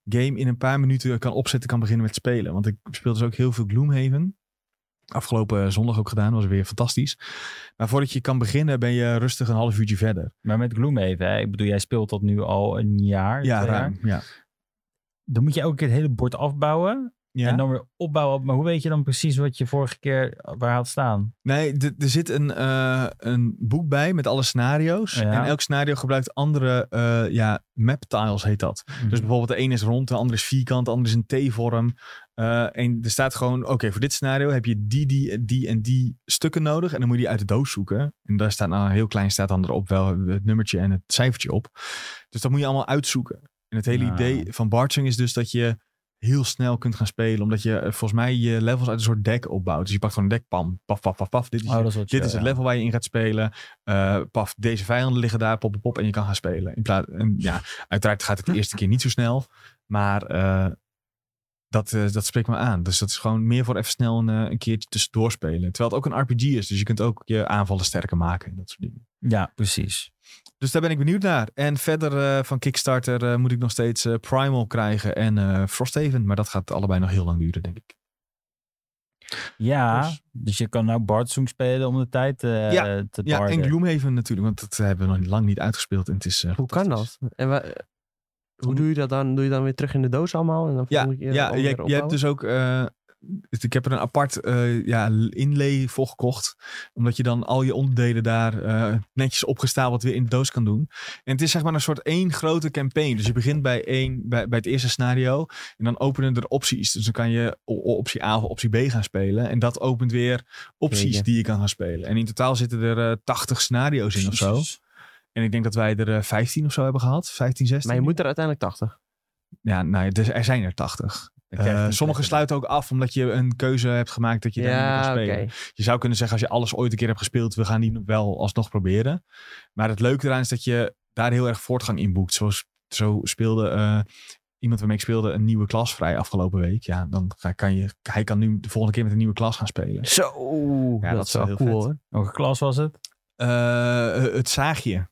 game in een paar minuten kan opzetten, kan beginnen met spelen. Want ik speelde dus ook heel veel Gloomhaven. Afgelopen eh, zondag ook gedaan, was weer fantastisch. Maar voordat je kan beginnen, ben je rustig een half uurtje verder. Maar met Gloom even. Hè? Ik bedoel, jij speelt dat nu al een jaar. Ja, twee ruim. jaar. Ja. Dan moet je elke keer het hele bord afbouwen. Ja. En dan weer opbouwen. op- Maar hoe weet je dan precies wat je vorige keer eh, waar had staan? Nee, d- er zit een, eh, een boek bij met alle scenario's. Ja. En elk scenario gebruikt andere eh, ja, map tiles, heet dat. Mm. Dus Hmm. bijvoorbeeld de een is rond, de ander is vierkant, de ander is een T-vorm. Eh, en er staat gewoon, oké, voor dit scenario heb je die, die, die en die stukken nodig. En dan moet je die uit de doos zoeken. En daar staat nou heel klein staat dan erop wel het nummertje en het cijfertje op. Dus dat moet je allemaal uitzoeken. En het hele Ah. idee van Bartsing is dus dat je heel snel kunt gaan spelen. Omdat je eh, volgens mij je levels uit een soort deck opbouwt. Dus je pakt gewoon een deck, pam, paf, paf, paf, paf. Dit is, Oh, dat is wat je- dit is het ja. level waar je in gaat spelen. Eh, paf, deze vijanden liggen daar, pop, pop, pop. En je kan gaan spelen. In plaats, en ja, uiteraard gaat het de eerste keer niet zo snel. Maar eh, dat, eh, dat spreekt me aan. Dus dat is gewoon meer voor even snel een, eh, een keertje tussendoor spelen. Terwijl het ook een RPG is. Dus je kunt ook je aanvallen sterker maken en dat soort dingen. Ja, precies. Dus daar ben ik benieuwd naar. En verder eh, van Kickstarter eh, moet ik nog steeds eh, Primal krijgen en eh, Frosthaven. Maar dat gaat allebei nog heel lang duren, denk ik. Ja, Dus- dus, je kan nou Bartsong spelen om de tijd eh, Ja, te Ja, barden. en Gloomhaven natuurlijk. Want dat hebben we nog lang niet uitgespeeld. En het is, eh, Hoe kan fantastisch. dat? En wa- eh, hoe doe je dat dan? Doe je dan weer terug in de doos allemaal? En dan Ja, moet je ja, eh, allemaal jij- weer je opbouwen? hebt dus ook... eh, ik heb er een apart eh, ja, inlay voor gekocht. Omdat je dan al je onderdelen daar eh, netjes opgestapeld weer in de doos kan doen. En het is zeg maar een soort één grote campaign. Dus je begint bij, één, bij, bij het eerste scenario. En dan openen er opties. Dus dan kan je o- o- optie A of optie B gaan spelen. En dat opent weer opties Jeetje. die je kan gaan spelen. En in totaal zitten er eh 80 scenario's in of zo. Jezus. En ik denk dat wij er eh, 15 of zo hebben gehad. 15, 16. Maar je moet er uiteindelijk 80. Ja, nou, ja, dus er zijn er 80. Dan Eh, krijg je een sommige plek. sluiten ook af omdat je een keuze hebt gemaakt dat je daar niet meer kan oké. spelen. Je zou kunnen zeggen als je alles ooit een keer hebt gespeeld, we gaan die wel alsnog proberen. Maar het leuke eraan is dat je daar heel erg voortgang in boekt. Zo, zo speelde eh, iemand waarmee ik speelde een nieuwe klas vrij afgelopen week. Ja, dan ga- kan je, hij kan nu de volgende keer met een nieuwe klas gaan spelen. Zo, Ja, dat, dat is is wel heel cool vet. hoor. Welke klas was het? Eh, het zaagje.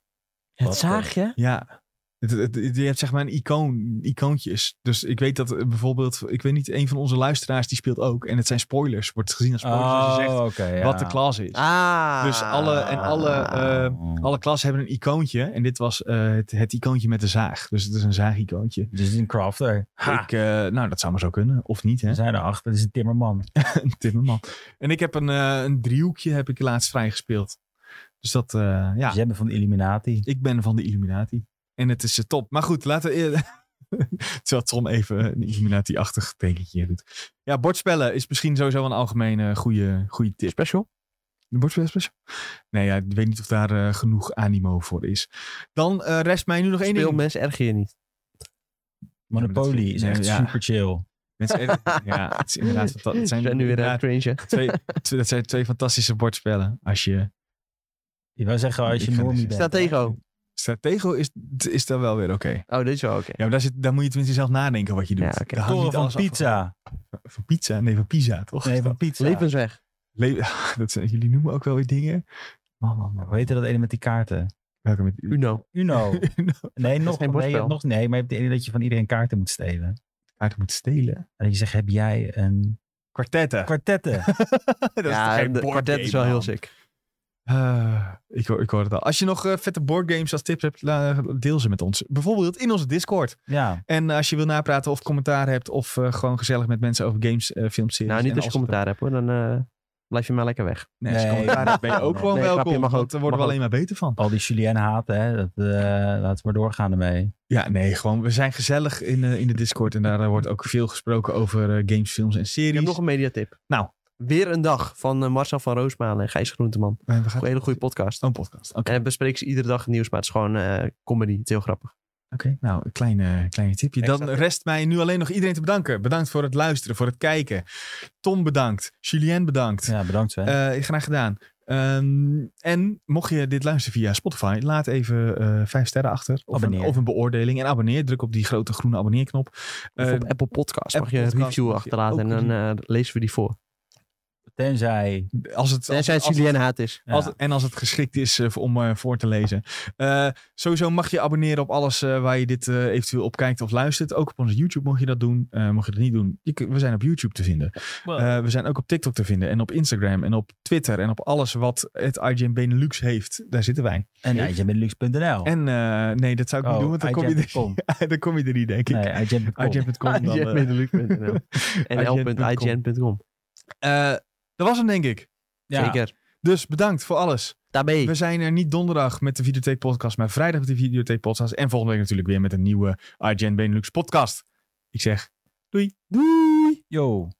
Het Wat, eh, zaagje? Ja. Het, het- het- je hebt zeg maar een icoon, icoontjes. Dus ik weet dat eh, bijvoorbeeld, ik weet niet, een van onze luisteraars die speelt ook. En het zijn spoilers. Wordt gezien als spoilers als je zegt Oh, oké, ja. wat de klas is. Ah. Dus alle- en alle, eh, Oh. Alle klassen hebben een icoontje. En dit was eh, het, het icoontje met de zaag. Dus het is een zaagicoontje. Dus het is een crafter. Ha! Ik, eh, nou, dat zou maar zo kunnen. Of niet, hè? We zijn erachter. Het is een timmerman. Een timmerman. En ik heb een, eh, een driehoekje heb ik laatst vrijgespeeld. Dus dat, eh, ja. Ze hebben van de Illuminati. Ik ben van de Illuminati. En het is eh, top. Maar goed, laten we... eer- Terwijl Tom even een Illuminati-achtig tekentje doet. Ja, bordspellen is misschien sowieso een algemene eh, goede, goede tip. Special? De bordspelspecial? Nee, ja, ik weet niet of daar eh, genoeg animo voor is. Dan eh, rest mij nu nog één Speel ding. mensen erg hier niet. Ja, maar Monopoly dat is vind- echt ja. super chill. Mensen- ja, het is inderdaad... fanta- Het zijn We zijn nu weer aan inderdaad het cringen. twee, twee- dat zijn twee fantastische bordspellen. Als je... Je wou zeggen als je Ik ga normie niet bent. Stratego. Stratego is, is daar wel weer oké. Oh, dit is wel oké. Ja, maar daar, zit, daar moet je tenminste zelf nadenken wat je doet. Ja, oké. Daar hang je Toren niet alles van af pizza. Van, van pizza? Nee, van pizza, toch? Nee, van pizza. Levensweg. Le- dat zijn, jullie noemen ook wel weer dingen. Man, man, man. Hoe heette dat ene met die kaarten? Welke met Uno. Uno. Nee, nog, geen nee, je hebt bordspel. nog nee. Maar je hebt de ene dat je van iedereen kaarten moet stelen. kaarten moet stelen. En dat je zegt, heb jij een Kwartetten. kwartetten? dat ja, toch geen de board kwartet game, is wel heel man? sick. Eh, ik, hoor, ik hoor het al. Als je nog eh, vette boardgames als tips hebt, la- deel ze met ons. Bijvoorbeeld in onze Discord. Ja, En eh, als je wil napraten of commentaar hebt of eh, gewoon gezellig met mensen over games, eh filmseries. Nou, niet en als je alles- commentaar hebt hoor, dan eh, blijf je maar lekker weg. Nee, als je Nee, commentaar hebt ben je ook gewoon Nee, welkom. grapje, mag want ook, daar worden mag we alleen maar beter van. al die Julien haten, hè, dat, eh, laten we maar doorgaan ermee. Ja, nee, gewoon we zijn gezellig in, eh, in de Discord en daar eh, wordt ook veel gesproken over eh, games, films en Ik series. heb nog een mediatip. Nou. Weer een dag van eh, Marcel van Roosmalen en Gijs Groenteman. Eh, we gaan Een hele goede podcast. Oh, een podcast. Oké, En dan bespreken ze iedere dag het nieuws, maar het is gewoon eh, comedy. Het is heel grappig. oké. nou een klein, eh, klein tipje. Dan Extra tip. rest mij nu alleen nog iedereen te bedanken. Bedankt voor het luisteren, voor het kijken. Tom bedankt. Julien bedankt. Ja, bedankt Sven. Eh, graag gedaan. Ehm, en mocht je dit luisteren via Spotify, laat even eh vijf sterren achter. Of een, Abonneer. of een beoordeling. En abonneer. Druk op die grote groene abonneerknop. Of Eh, op Apple Podcast mag Apple je een Podcast review mag je achterlaten en ook dan eh, lezen we die voor. Tenzij... eh, als het, als, Tenzij het als- Julien Haat is. Ja. Als- en als het geschikt is eh, om eh, voor te lezen. Eh, sowieso mag je abonneren op alles eh, waar je dit eh, eventueel op kijkt of luistert. Ook op onze YouTube mocht je dat doen. Eh, mocht je dat niet doen, je kun- we zijn op YouTube te vinden. Eh, we zijn ook op TikTok te vinden. En op Instagram en op Twitter. En op alles wat het IGN Benelux heeft. Daar zitten wij. en ijsjamiddelux.nl. En eh, nee, dat zou ik niet doen, want dan kom, je er, IGN.com. dan kom je er niet, denk ik. Nee, IGN.com. IGN.com dan, eh. IGN.nl. En l.ign.com. Eh, dat was hem, denk ik. Ja. Zeker. Dus bedankt voor alles. Daarmee. We zijn er niet donderdag met de Videotheek Podcast, maar vrijdag met de Videotheek Podcast. En volgende week natuurlijk weer met een nieuwe IGN Benelux podcast. Ik zeg, doei. Yo.